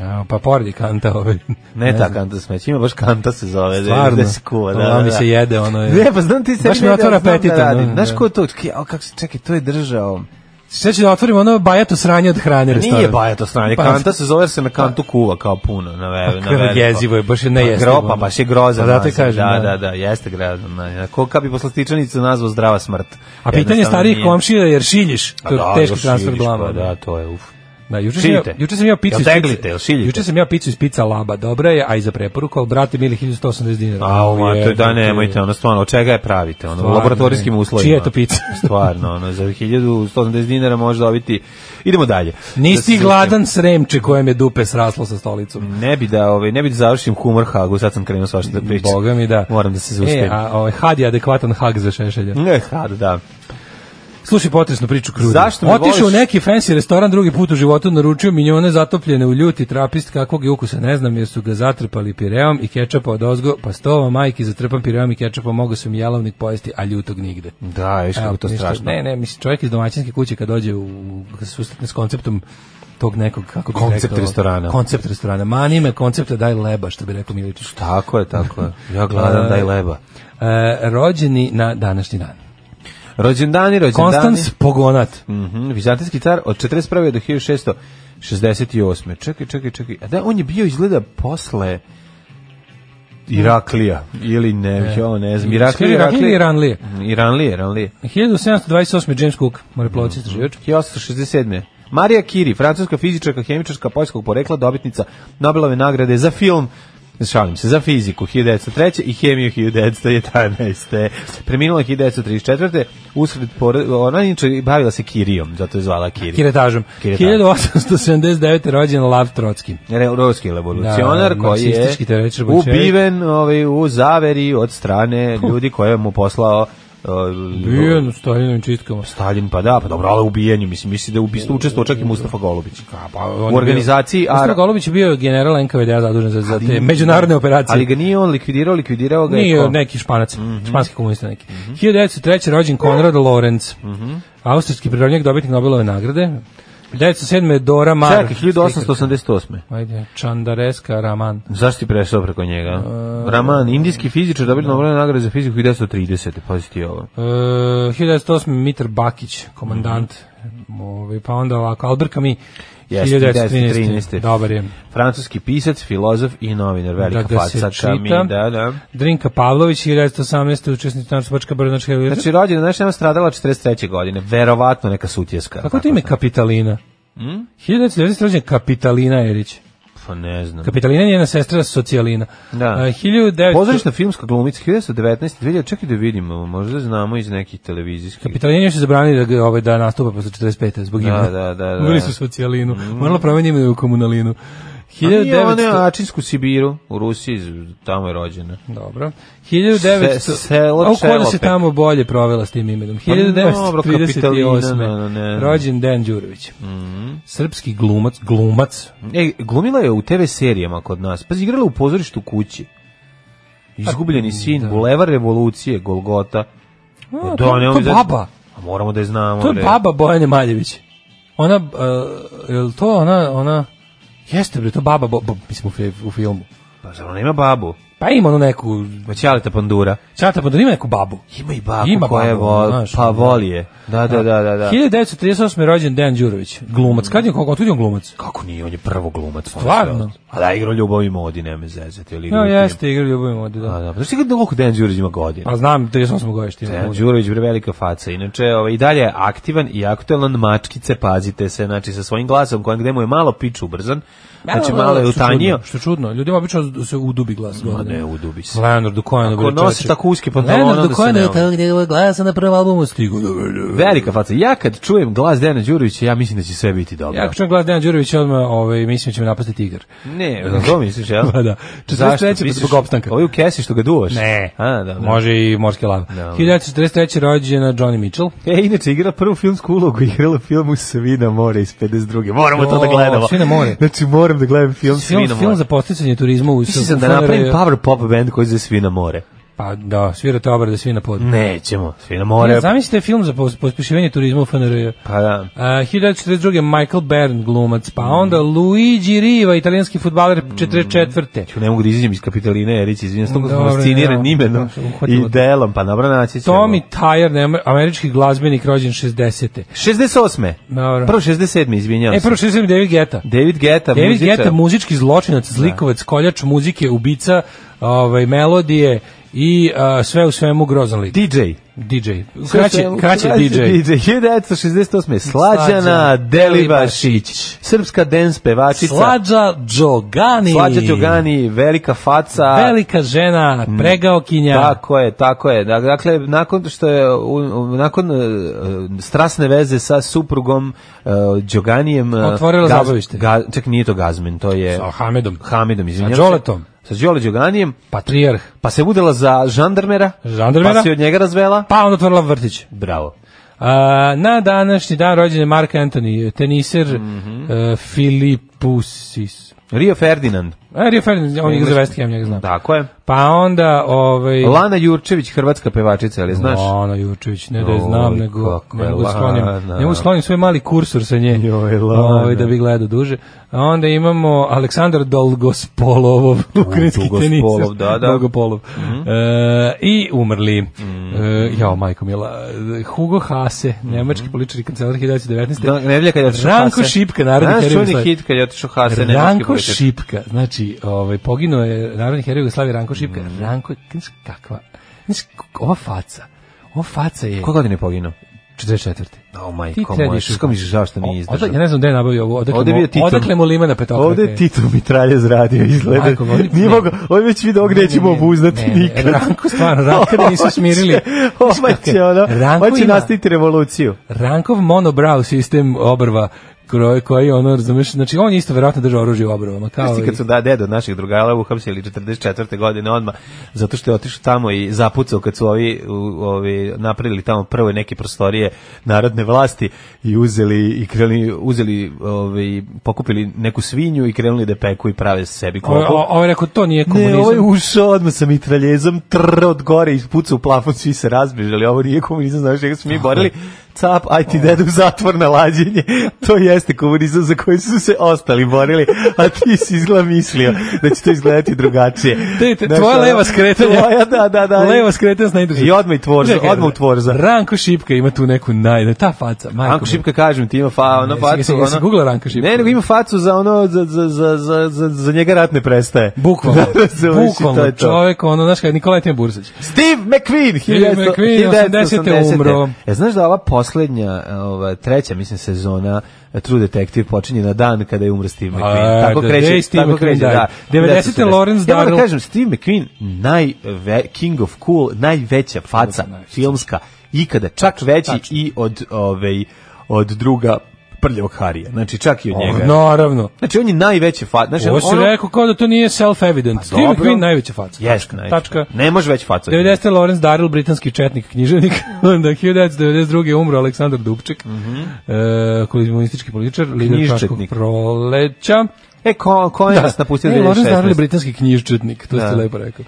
S5: A, pa pored je kanta ovaj.
S6: Ne, ta kanta smeć, ima baš kanta se zove. da-
S5: Stvarno.
S6: Da se kuva, da,
S5: Ona
S6: da,
S5: mi
S6: da.
S5: se jede, ono je.
S6: Ne, pa znam ti se
S5: Baš mi otvara apetit, ono,
S6: Znaš
S5: da.
S6: ko je to? Čekaj, a kako se, čekaj, to je držao.
S5: Sve ću da otvorim ono bajato sranje od hrane restoran. Pa,
S6: Nije baja to stranje, kanta se zove jer se na kantu kuva kao puno, na ve, na
S5: kako je
S6: veliko.
S5: Pa, jezivo je, baš je
S6: Pa
S5: nejestivo,
S6: gropa,
S5: ono.
S6: baš je grozan.
S5: Pa zato i
S6: naziv,
S5: kažem,
S6: Da,
S5: da.
S6: da, da, jeste grozan. naziv. Ko kad bi poslastičanicu nazvao zdrava smrt.
S5: A pitanje
S6: Jednostavno
S5: starijih
S6: nije.
S5: komšija jer šiljiš,
S6: A
S5: to je
S6: da,
S5: teški
S6: još
S5: transfer
S6: širiš,
S5: blama.
S6: pa Da, to je uf.
S5: Da, juče sam, ja,
S6: Šiljite?
S5: juče sam ja picu
S6: Jel
S5: iz pice-
S6: teglite, jel šiljite?
S5: Juče sam ja picu iz pica laba, dobra je, a i za preporuku, ali brate mili 1180 dinara.
S6: A, o, ma, to je da
S5: Jebote.
S6: nemojte, ono stvarno, od čega je pravite, ono, u
S5: Stvarno,
S6: laboratorijskim
S5: ne.
S6: uslovima.
S5: Čija je to pizza?
S6: stvarno, ono, za 1180 dinara može dobiti. Idemo dalje. Da se
S5: Nisi
S6: sjetimo.
S5: gladan sremče kojem je dupe sraslo sa stolicom.
S6: Ne bi da, ovaj, ne bi da završim humor hagu, sad sam krenuo svašta da pričam.
S5: Boga mi da.
S6: Moram da se
S5: E,
S6: zaustavim. Mm.
S5: a ovaj, had je adekvatan hag za šešelja.
S6: Ne, had, da.
S5: Slušaj potresnu priču kruda.
S6: Zašto me
S5: Otišao u
S6: voliš?
S5: neki fancy restoran drugi put u životu, naručio minjone zatopljene u ljuti trapist, kakvog je ukusa ne znam, jer su ga zatrpali pireom i kečapa od ozgo, pa stova majki zatrpan pireom i kečapom, mogo sam jelovnik pojesti, a ljutog nigde.
S6: Da, viš kako
S5: Evo,
S6: to
S5: ništa.
S6: strašno.
S5: Ne, ne, mislim, čovjek iz domaćinske kuće kad dođe u, kad se susretne s konceptom tog nekog, kako bih
S6: Koncept
S5: rekao,
S6: restorana.
S5: Koncept restorana. Mani me koncepta daj leba, što bi rekao Miličić.
S6: Tako je, tako je. Ja gladan, daj leba.
S5: E, rođeni na današnji dan.
S6: Rođendani, rođendani.
S5: Konstans Pogonat.
S6: Mhm, Vizantijski car od 41. do 1600 68. Čekaj, čekaj, čekaj. A da, on je bio izgleda posle Iraklija ili ne, jo, ne znam. Iraklija,
S5: Iraklija ili Iranlije?
S6: Iranlije, Iranlije.
S5: 1728. James Cook, mm-hmm. moreplovac
S6: Mhm.
S5: istraživač.
S6: 1867. Marija Kiri, francuska fizičarka, hemičarka poljskog porekla, dobitnica Nobelove nagrade za film Šalim se, za fiziku 1903. i hemiju 1911. Preminula je 1934. Usred pored, ona inače bavila se Kirijom, zato je zvala Kiri.
S5: Kiretažom.
S6: Kiretažom.
S5: 1879. rođen Lav Trotski.
S6: Re- Ruski revolucionar
S5: Da,
S6: koji je
S5: marksistički teoretičar boljševik.
S6: ubiven ovaj, u zaveri od strane ljudi koje mu poslao ovaj,
S5: Bio u Stalinovim čistkama.
S6: Stalin, pa da, pa dobro, ali ubijenju, mislim, misli da je ubistvo učestvo čak i Mustafa Golubić.
S5: pa, On je
S6: u
S5: bio-
S6: organizaciji
S5: Mustafa
S6: Ara- Pa
S5: Golubić je bio general NKVD-a zadužen za, za te međunarodne operacije.
S6: Ali ga nije on likvidirao, likvidirao ga je
S5: Nije
S6: ko?
S5: neki španac,
S6: Mhm.
S5: španski komunista neki. 1903. rođen Konrad Lorenz, austrijski prirodnjak, dobitnik Nobelove nagrade. 1907. je Dora Mar.
S6: Čekaj, 1888.
S5: Ajde, Čandareska Raman. E,
S6: Zašto ti prešao preko njega? Raman, indijski fizičar, dobili Nobelove nagrade za fiziku 1930. Pazi ti ovo.
S5: E, 1908. Mitar Bakić, komandant. Ovaj, pa onda ovako, Albert Camus,
S6: Mhm. Jeste,
S5: 1913.
S6: 1913.
S5: Dobar je.
S6: Francuski pisac, filozof i novinar, velika
S5: Da ga se
S6: faca.
S5: čita.
S6: Camus, Da, da.
S5: Drinka Pavlović, 1918. učesnik Tančupačka Brnačka.
S6: Znači, rođena, znaš, nema stradala 43. godine. Verovatno neka sutjeska.
S5: Kako to ime
S6: sam.
S5: Kapitalina?
S6: Mhm.
S5: 1990. rođen Kapitalina Erić.
S6: Pa ne znam.
S5: Kapitalina je njena sestra Socijalina.
S6: Da.
S5: A, 1900...
S6: Pozorišna filmska glumica 1919. 2000, čekaj da vidimo, možda znamo iz nekih televizijskih.
S5: Kapitalina je još zabranili da, ga, ovaj, da nastupa posle 45. zbog imena.
S6: da, da, da.
S5: Uveli su Socijalinu. Morala promeniti ime u komunalinu.
S6: A nije ona
S5: 1900...
S6: Ačinsku Sibiru, u Rusiji, z- tamo je rođena.
S5: Dobro. 1900...
S6: Se- selo
S5: A u koda se
S6: Čelopek.
S5: tamo bolje provela s tim imenom.
S6: dobro, Kapitalina, da,
S5: 1938.
S6: ne, Mhm. ne.
S5: Rođen Dan Đurović. Srpski glumac, glumac.
S6: E, glumila je u TV serijama kod nas. Pa igrala u pozorištu kući. Izgubljeni sin, Bulevar revolucije, Golgota.
S5: Mm, A,
S6: Pa
S5: to-
S6: nemoj
S5: to
S6: da-
S5: baba.
S6: A moramo da je znamo.
S5: To je
S6: bre.
S5: baba Bojane Maljević. Ona, uh, je li to ona, ona, jeste bre, to baba, bo, bo, mislim, u, fi- u filmu.
S6: Pa zar ona ima babu?
S5: Pa ima ono neku,
S6: Maćalita Pandura.
S5: čata, pa da ima neku babu.
S6: Ima i babu
S5: Ima
S6: koja je
S5: babu,
S6: vo-
S5: znaš,
S6: pa
S5: da.
S6: voli je. Da, da, da, da. da.
S5: 1938. je rođen Dejan Đurović, glumac. Kad je, kako, otkud je on glumac?
S6: Kako nije, on je prvo glumac. ono
S5: Stvarno?
S6: A da, igrao ljubav i modi, ne me zezati. Ili
S5: Ja,
S6: igrao u
S5: jeste, igra ljubavim odi,
S6: filmu. A
S5: da.
S6: da, pa znaš ti kada koliko Dejan Đurić ima godina?
S5: A znam, 38. godište.
S6: Dejan Đurović bre velika faca. Inače, ovaj i dalje je aktivan i aktuelan mačkice, pazite se, znači sa svojim glasom koji gde mu je malo pič ubrzan. Znači malo je utanjio.
S5: Što je čudno, ljudima obično se udubi glas.
S6: Ma
S5: godine.
S6: ne, udubi se.
S5: Leonard Dukojan.
S6: Ako nosi tako uske pantalone,
S5: Leonard
S6: onda se
S5: Dukojan
S6: ne
S5: je
S6: voli.
S5: tamo gde je ovaj glas na prvom albumu stigu.
S6: Velika faca. Ja kad čujem glas Dejana Đurovića, ja mislim da će sve biti dobro.
S5: Ja ako čujem glas Dejan Đurović, odmah ovaj, mislim da će me napasti tigar.
S6: Ne, to misliš, jel?
S5: Pa da. 43. pa zbog opstanka.
S6: Ovo je u kesi što ga duvaš.
S5: Ne,
S6: A, da, da.
S5: može i morske lave.
S6: Da, da.
S5: 1943. rođena Johnny Mitchell.
S6: E, inače, igra prvu filmsku ulogu, igrala u filmu Svi na more iz 52. Moramo to da gledamo.
S5: O, Svi na more.
S6: Znači, moram da gledam film Svi
S5: Film,
S6: na more.
S5: film za posticanje turizma u
S6: Mislim
S5: u
S6: sam da
S5: Fonare-
S6: napravim pa- power pop band koji za Svi na more.
S5: Pa da, svirate obrade svi na pod.
S6: Nećemo, Svi na
S5: Ja,
S6: more.
S5: zamislite film za pos- pospešivanje turizma u FNR.
S6: Pa da.
S5: Uh, 1942. Michael Bern glumac,
S6: Mm.
S5: pa onda Luigi Riva, italijanski futbaler 44.
S6: Ču, ne mogu da izađem iz Kapitaline Erić, izvinjam, stoga sam
S5: Dobro,
S6: fasciniran
S5: nemamo.
S6: imenom
S5: Da, uhvatilo
S6: i
S5: te.
S6: delom, pa dobro naći ćemo.
S5: Tommy Tyre, nema- američki glazbenik rođen 60.
S6: 68.
S5: Dobro.
S6: Prvo 67. izvinjam
S5: E, prvo
S6: se.
S5: 60. David Geta.
S6: David Geta,
S5: David
S6: muzičar.
S5: Geta, muzički zločinac, zlikovac, koljač muzike, ubica, ovaj, melodije i a, sve u svemu grozan lik.
S6: DJ.
S5: DJ. Kraće, kraće DJ.
S6: DJ. 1968. Slađana
S5: Slađana
S6: Delibašić, srpska dance pevačica.
S5: Slađa Đogani.
S6: Slađa Đogani, velika faca.
S5: Velika žena, pregaokinja.
S6: Tako je, tako je. Dak- Dakle, nakon što je u, u- nakon e, e, strasne veze sa suprugom e, Đoganijem e,
S5: Otvorila
S6: Gaz-
S5: zabavište.
S6: Ga, čak nije to Gazmin, to je
S5: Sa Hamedom.
S6: Hamidom, izvinjavam
S5: Sa Đoletom.
S6: Se. Sa Đole Đoganijem,
S5: Patrijarh.
S6: pa se udala za žandarmera.
S5: Žandarmera.
S6: Pa se od njega razvela.
S5: Pa onda otvorila vrtić.
S6: Bravo.
S5: A, na današnji dan rođen je Mark Anthony, teniser mm uh, Filipusis.
S6: Rio Ferdinand.
S5: E, Rio Ferdinand, on igra za West Ham, njega znam.
S6: Tako je.
S5: Pa onda, ovaj...
S6: Lana Jurčević, hrvatska pevačica, ali znaš?
S5: Lana Jurčević, ne da je znam,
S6: Oj,
S5: nego,
S6: kako je
S5: nego je sklonim,
S6: Lana.
S5: njemu sklonim svoj mali kursor sa nje,
S6: Joj, Lana.
S5: ovaj, da bi gledao duže. A onda imamo Aleksandar Dolgospolovov, ukrajinski
S6: Dolgospolov,
S5: tenisar.
S6: da, Mhm. da.
S5: Dolgopolov. E, I umrli.
S6: Mhm.
S5: E, jao, majko mila. Hugo Hase, nemački političar i kancelar 1919.
S6: Da, nedelja kad je otišao
S5: Ranko
S6: Hase.
S5: Šipka, narodni
S6: Znaš
S5: heroj
S6: čuveni
S5: Jugoslavije.
S6: hit kad je otišao Hase, nemački
S5: Ranko
S6: političar.
S5: Šipka, znači, ovaj, poginuo je narodni heroj Jugoslavije Ranko Šipka.
S6: Mhm.
S5: Ranko je, znaš kakva, znaš, ova faca, ova faca je
S6: Koje godine je poginuo?
S5: 44.
S6: O,
S5: Ti
S6: majko moj,
S5: trebaš
S6: što mi je žao što mi nije izdržao.
S5: Odakle- Ja ne znam gde je nabavio ovo, odakle,
S6: Ovde je
S5: mu,
S6: bio Tito.
S5: odakle mu limena petokraka.
S7: Ovde je Tito mitralje zradio izgleda.
S5: Majko, ovdje-
S7: Nije
S5: ne.
S7: mogao, on je već video gde ćemo obuzdati
S5: ne, ne,
S7: nikad.
S5: Ranko, stvarno, Ranka da nisu
S7: Ovo će-
S5: smirili.
S7: Ovo će, ono,
S5: Ranko
S7: ovo će
S5: ima-
S7: nastaviti revoluciju.
S5: Rankov monobrow sistem obrva koji, koji ono, razumeš, znači on je isto verovatno držao oružje u obrovama. Kao
S6: Znaš ti
S5: i-
S6: kad su da dedo naših drugara uhapsili 44. godine odmah, zato što je otišao tamo i zapucao kad su ovi, u- ovi napravili tamo prve neke prostorije narodne vlasti i uzeli i krenuli, uzeli, ovi, pokupili neku svinju i krenuli da peku i prave sebi
S5: Ovo je-
S6: klopu.
S5: ovo je rekao, to nije komunizam.
S7: Ne, ovo je ušao odmah sa mitraljezom, trr od gore i pucao u plafon, svi se razbježali, ovo nije komunizam, znaš čega smo mi borili, cap, aj ti dedu u zatvor na lađenje, to jeste komunizam za koji su se ostali borili, a ti si izgleda mislio da će to izgledati drugačije.
S5: Te, te,
S7: Znaš,
S5: tvoja
S7: ono,
S5: leva skretanja.
S7: Tvoja, da, da, da.
S5: Leva skretanja na industriju.
S7: I odmah i tvorza, odmah u tvorza.
S5: Ranko Šipka ima tu neku naj, ta faca, majko.
S6: Ranko
S5: moja.
S6: Šipka kažem ti ima fa, ono
S5: Jesi-
S6: facu.
S5: jesi- jesi
S6: ono-
S5: googlao Ranka Šipka?
S6: Ne, nego ima facu za ono za za za za za, za njega rat ne prestaje.
S5: Bukvalno,
S7: Razumeš i to
S5: bukvalno
S7: je to.
S5: čovjek, ono, znaš kada je Nikolaj Tijan Burzić.
S6: Steve McQueen,
S5: Steve
S6: 1900
S5: McQueen,
S6: 1980.
S5: umro.
S6: E, znaš da ova poslednja, ova treća, mislim, sezona e, True Detective počinje na dan kada je umro Steve McQueen.
S5: A,
S6: tako
S5: the
S6: kreće,
S5: day Steve
S6: tako
S5: McQueen
S6: kreće, da.
S5: died. 90.
S6: 1980.
S5: Lawrence
S6: Ja moram
S5: Darrell.
S6: da kažem, Steve McQueen, najve, king of cool, najveća faca filmska ikada, čak veći i od, ovaj, od druga prljavog Harija. Znači, čak i od njega.
S5: Naravno.
S6: Znači, on je najveće faca. Znači,
S5: Ovo si
S6: ono- Pa
S5: rekao kao da to nije self-evident. Steve
S6: dobro.
S5: McQueen najveća faca.
S6: Jest,
S5: Tačka.
S6: najveća.
S5: Tačka.
S6: Ne može već faca.
S5: 90. Lawrence Darrell, britanski četnik, književnik. Onda 1992. je umro Aleksandar Dubček, e, komunistički političar, lider
S6: Mhm. Knjižčetnik.
S5: čaškog proleća.
S6: E, ko, ko je nas napustio
S5: Ne, Lawrence Darrell je
S6: 2016?
S5: britanski knjižčetnik, to ste lepo rekao.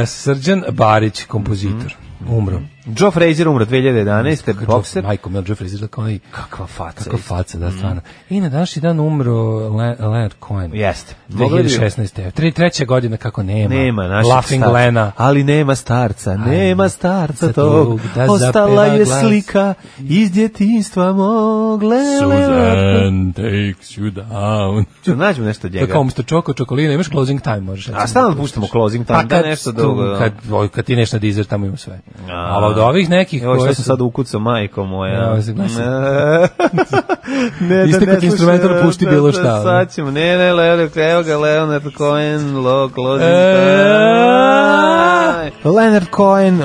S5: E, Srđan Barić, kompozitor,
S6: Mhm.
S5: umro.
S6: Joe Frazier umro 2011. Bokser.
S5: Michael Mel Jeffries, izgleda kao onaj
S6: Kakva faca.
S5: Kako faca,
S6: Mhm.
S5: da, stvarno. I na današnji dan umro Le- Leonard Cohen.
S6: Jeste. Mogli bi-
S5: 2016. Tri, treća godina kako nema.
S6: Nema našeg
S5: Laughing
S6: starca.
S5: Lena.
S6: Ali nema starca, nema starca
S5: za
S6: tog.
S5: tog da
S6: Ostala
S5: zapeva
S6: je
S5: glas.
S6: slika iz djetinstva mog. Le, le, le.
S5: Susan takes you down.
S6: Ću, nađemo nešto od
S5: To je
S6: njega.
S5: E, kao Mr. Čoko, Čokolina, imaš closing time, možeš. recimo,
S6: A stalno
S5: da
S6: puštamo
S5: pustiš.
S6: closing time, da nešto dugo.
S5: Pa Kad, oj, kad ti nešto na Deezer, tamo ima sve. Ali od ovih nekih...
S6: Evo što
S5: koje
S6: sam
S5: su-
S6: sad ukucao, majko moja.
S5: Ja, ovo se glasa.
S6: znači, ne,
S5: Isto kod instrumentora pušti bilo šta, ono.
S6: Sad ćemo, ne, ne, Leonard, evo ga Leonard Cohen, lo, closing
S5: E.
S6: time. Leonard Cohen uh,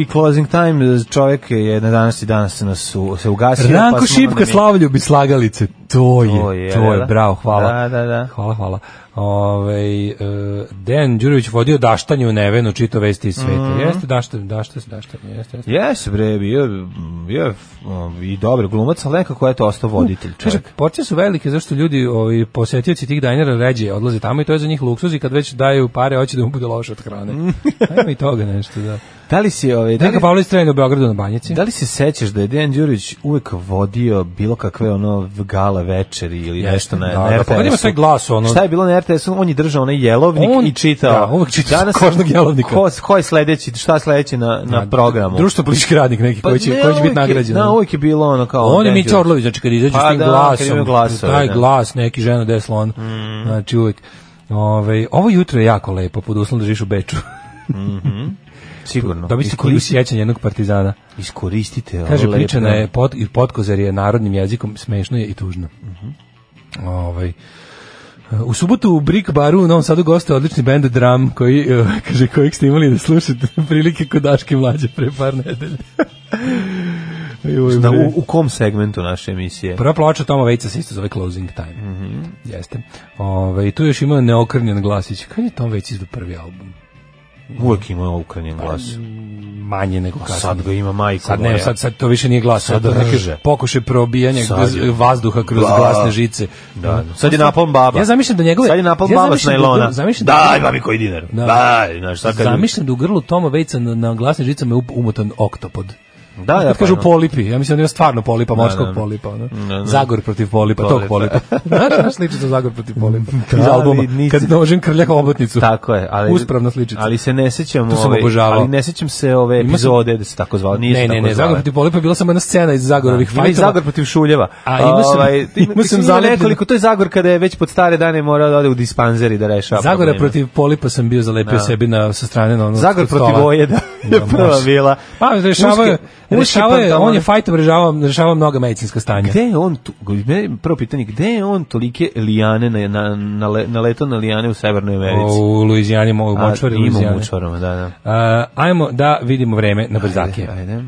S6: i Closing Time, čovjek je na danas i danas nas su, se ugasio.
S5: Ranko
S6: pa smo onda
S5: Šipka,
S6: mi-
S5: Slavlju bi slagalice. To je, to je,
S6: da.
S5: bravo, hvala.
S6: Da, da, da.
S5: Hvala, hvala. Ove, Dejan Đurović vodio daštanje u Nevenu, čito vesti iz sveta.
S6: Mhm.
S5: Jeste daštanje, daštanje, daštanje, jeste, jeste.
S6: Jes, bre, bio je- bio je um, i dobar glumac, ali nekako je to ostao voditelj
S5: Kaže,
S6: čovjek.
S5: porcije su velike zašto ljudi ovi, posjetioci tih dajnera ređe odlaze tamo i to je za njih luksuz i kad već daju pare hoće da mu bude loše od hrane.
S6: Mhm.
S5: Ajmo i toga nešto, da.
S6: Da li si, ovaj, da li-
S5: Danka Pavlović trenuje u Beogradu na banjici.
S6: Da li se sećaš da je Dejan Đurić uvek vodio bilo kakve ono gala večeri ili
S5: Jeste,
S6: nešto na,
S5: da,
S6: na
S5: da,
S6: RTS-u?
S5: pa kad ima taj glas, ono-
S6: Šta je bilo na RTS-u? On je držao onaj jelovnik
S5: On-
S6: i čitao.
S5: Da, uvek čita kožnog jelovnika.
S6: Ko, ko je sledeći, šta je sledeći na, na programu? Pa
S5: Društvo politički radnik neki koji će,
S6: ne,
S5: koji će
S6: uvek
S5: biti
S6: je-
S5: nagrađen.
S6: Da, uvek je bilo ono kao...
S5: On je
S6: Dejan
S5: Mića
S6: Đurić.
S5: Orlović, znači kad izađe
S6: Pa
S5: s tim
S6: da, kad
S5: glasom,
S6: imaju glasove,
S5: taj
S6: da. Mm.
S5: glas neki žena da je slon, znači uvek. Ove, ovo jutro je jako lepo, pod uslovom da živiš u Beču.
S6: Sigurno.
S5: da bi se koju
S6: Iskoristi-
S5: sjećanje jednog partizana.
S6: Iskoristite ovo
S5: Kaže,
S6: lepo.
S5: pričana je pod, i potkozar je narodnim jezikom, smešno je i tužno.
S6: Mhm.
S5: Ovaj, U subotu u Brick baru u Novom Sadu gostuje odlični bend Dram koji, eh, kaže, kojeg ste imali da slušate prilike kod Daške mlađe pre par nedelja. Joj,
S6: Da,
S5: bre.
S6: u, u kom segmentu naše emisije?
S5: Prva ploča Toma Vejca se isto zove Closing Time.
S6: Mhm.
S5: Jeste. Ove, i tu još ima neokrnjen glasić. Kad je Tom Vejc izdao prvi album?
S6: Uvek ima ukranjen glas.
S5: manje nego kasnije.
S6: Pa Sad ga ima majko
S5: Pa- Sad
S6: moja.
S5: ne, sad, sad to više nije glas, sad,
S6: Sad
S5: sad
S6: drže.
S5: pokuše probijanja
S6: Sad
S5: kroz-
S6: je.
S5: vazduha kroz
S6: Da.
S5: glasne žice. Ono,
S6: Da, sad je napalm baba.
S5: Ja zamišljam da njegove-
S6: Sad je napalm
S5: ja
S6: baba s
S5: zamišljam da-
S6: najlona.
S5: da- zamišljam da-
S6: Daj, babi, koji dinar.
S5: Da.
S6: Daj, znaš, sad kad...
S5: Zamišljam da u grlu Toma Vejca na, na glasnim žicama je up- umotan oktopod.
S6: Da,
S5: Znaš
S6: da,
S5: kad
S6: pa
S5: kažu
S6: ono.
S5: polipi, ja mislim da ima stvarno polipa, morskog
S6: da.
S5: polipa. ono.
S6: Da, da.
S5: Zagor protiv polipa, tog
S6: Polipa.
S5: polipa. Znaš, znaš sličicu Zagor protiv polipa iz
S6: ali
S5: albuma,
S6: nisi-
S5: kad nožem krljak obotnicu.
S6: Tako je, ali
S5: Uspravna sličica.
S6: Ali se ne sećam
S5: To sam
S6: ove,
S5: obožavao.
S6: ali ne sećam se ove
S5: sam-
S6: epizode da se tako zvalo, nije
S5: ne,
S6: se
S5: ne,
S6: tako
S5: ne, Zagor
S6: zvala.
S5: protiv polipa je bila samo jedna scena iz Zagorovih
S6: Ima i
S5: fajtova.
S6: Zagor protiv Šuljeva.
S5: A, ima sam-
S6: Ovaj, ima-
S5: ima sam
S6: mislim, ima
S5: zalepljen-
S6: nekoliko, to je Zagor kada je već pod stare dane morao da ode u dispanzeri da rešava
S5: Zagora
S6: probleme.
S5: protiv polipa sam bio zalepio sebi na, sa strane na ono...
S6: Zagor
S5: kod
S6: protiv
S5: stola.
S6: Ojeda je
S5: Da,
S6: prva
S5: može.
S6: bila.
S5: Pa, rešavao je,
S6: Uske- uske
S5: rešavao je, on
S6: pantalone.
S5: je fajtom rešavao, rešavao mnoga medicinska stanja.
S6: Gde je on, tu, meni prvo pitanje, gde je on tolike lijane, na, na, na, le- na leto na lijane u Severnoj Americi?
S5: U Luizijani, mogu
S6: A,
S5: močvari
S6: ima u
S5: Luizijane.
S6: močvarama, da, da.
S5: A, ajmo da vidimo vreme na brzake.
S6: Ajde, ajde.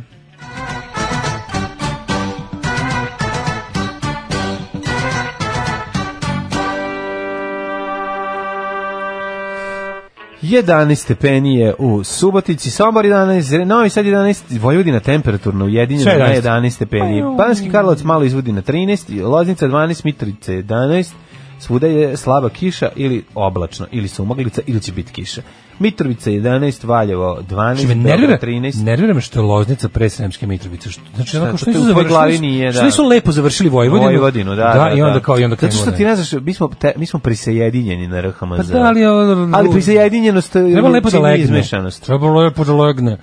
S6: Jedanaest stepeni je u Subotici, Sombor 11, Novi Sad 11, Vojvodina temperaturno ujedinjena
S5: Sve
S6: na
S5: 11.
S6: 11 stepeni. Banski Karlovac malo izvodi na 13, Loznica 12, Mitrovica 11, svuda je slaba kiša ili oblačno, ili sumaglica, ili će biti kiša. Mitrovica 11, Valjevo 12,
S5: Što Znači, me nervira,
S6: Beograd 13,
S5: nervira me što je Loznica pre Sremske Mitrovice. Što, znači, onako,
S6: Znači,
S5: što
S6: to
S5: nisu
S6: u tvojoj
S5: završili,
S6: glavi
S5: što-
S6: nije,
S5: što
S6: da.
S5: nisu lepo završili Vojvodinu.
S6: Vojvodinu, da, da,
S5: Ovaj, i onda
S6: da.
S5: kao, i onda
S6: Zato što
S5: krenulo,
S6: ti
S5: ne.
S6: ne znaš, mi smo, te, mi smo prisjedinjeni na RHMZ.
S5: Pa da, ali... o-
S6: ali prisjedinjenost
S5: Treba lepo da
S6: čini
S5: legne.
S6: izmešanost.
S5: Treba lepo da legne.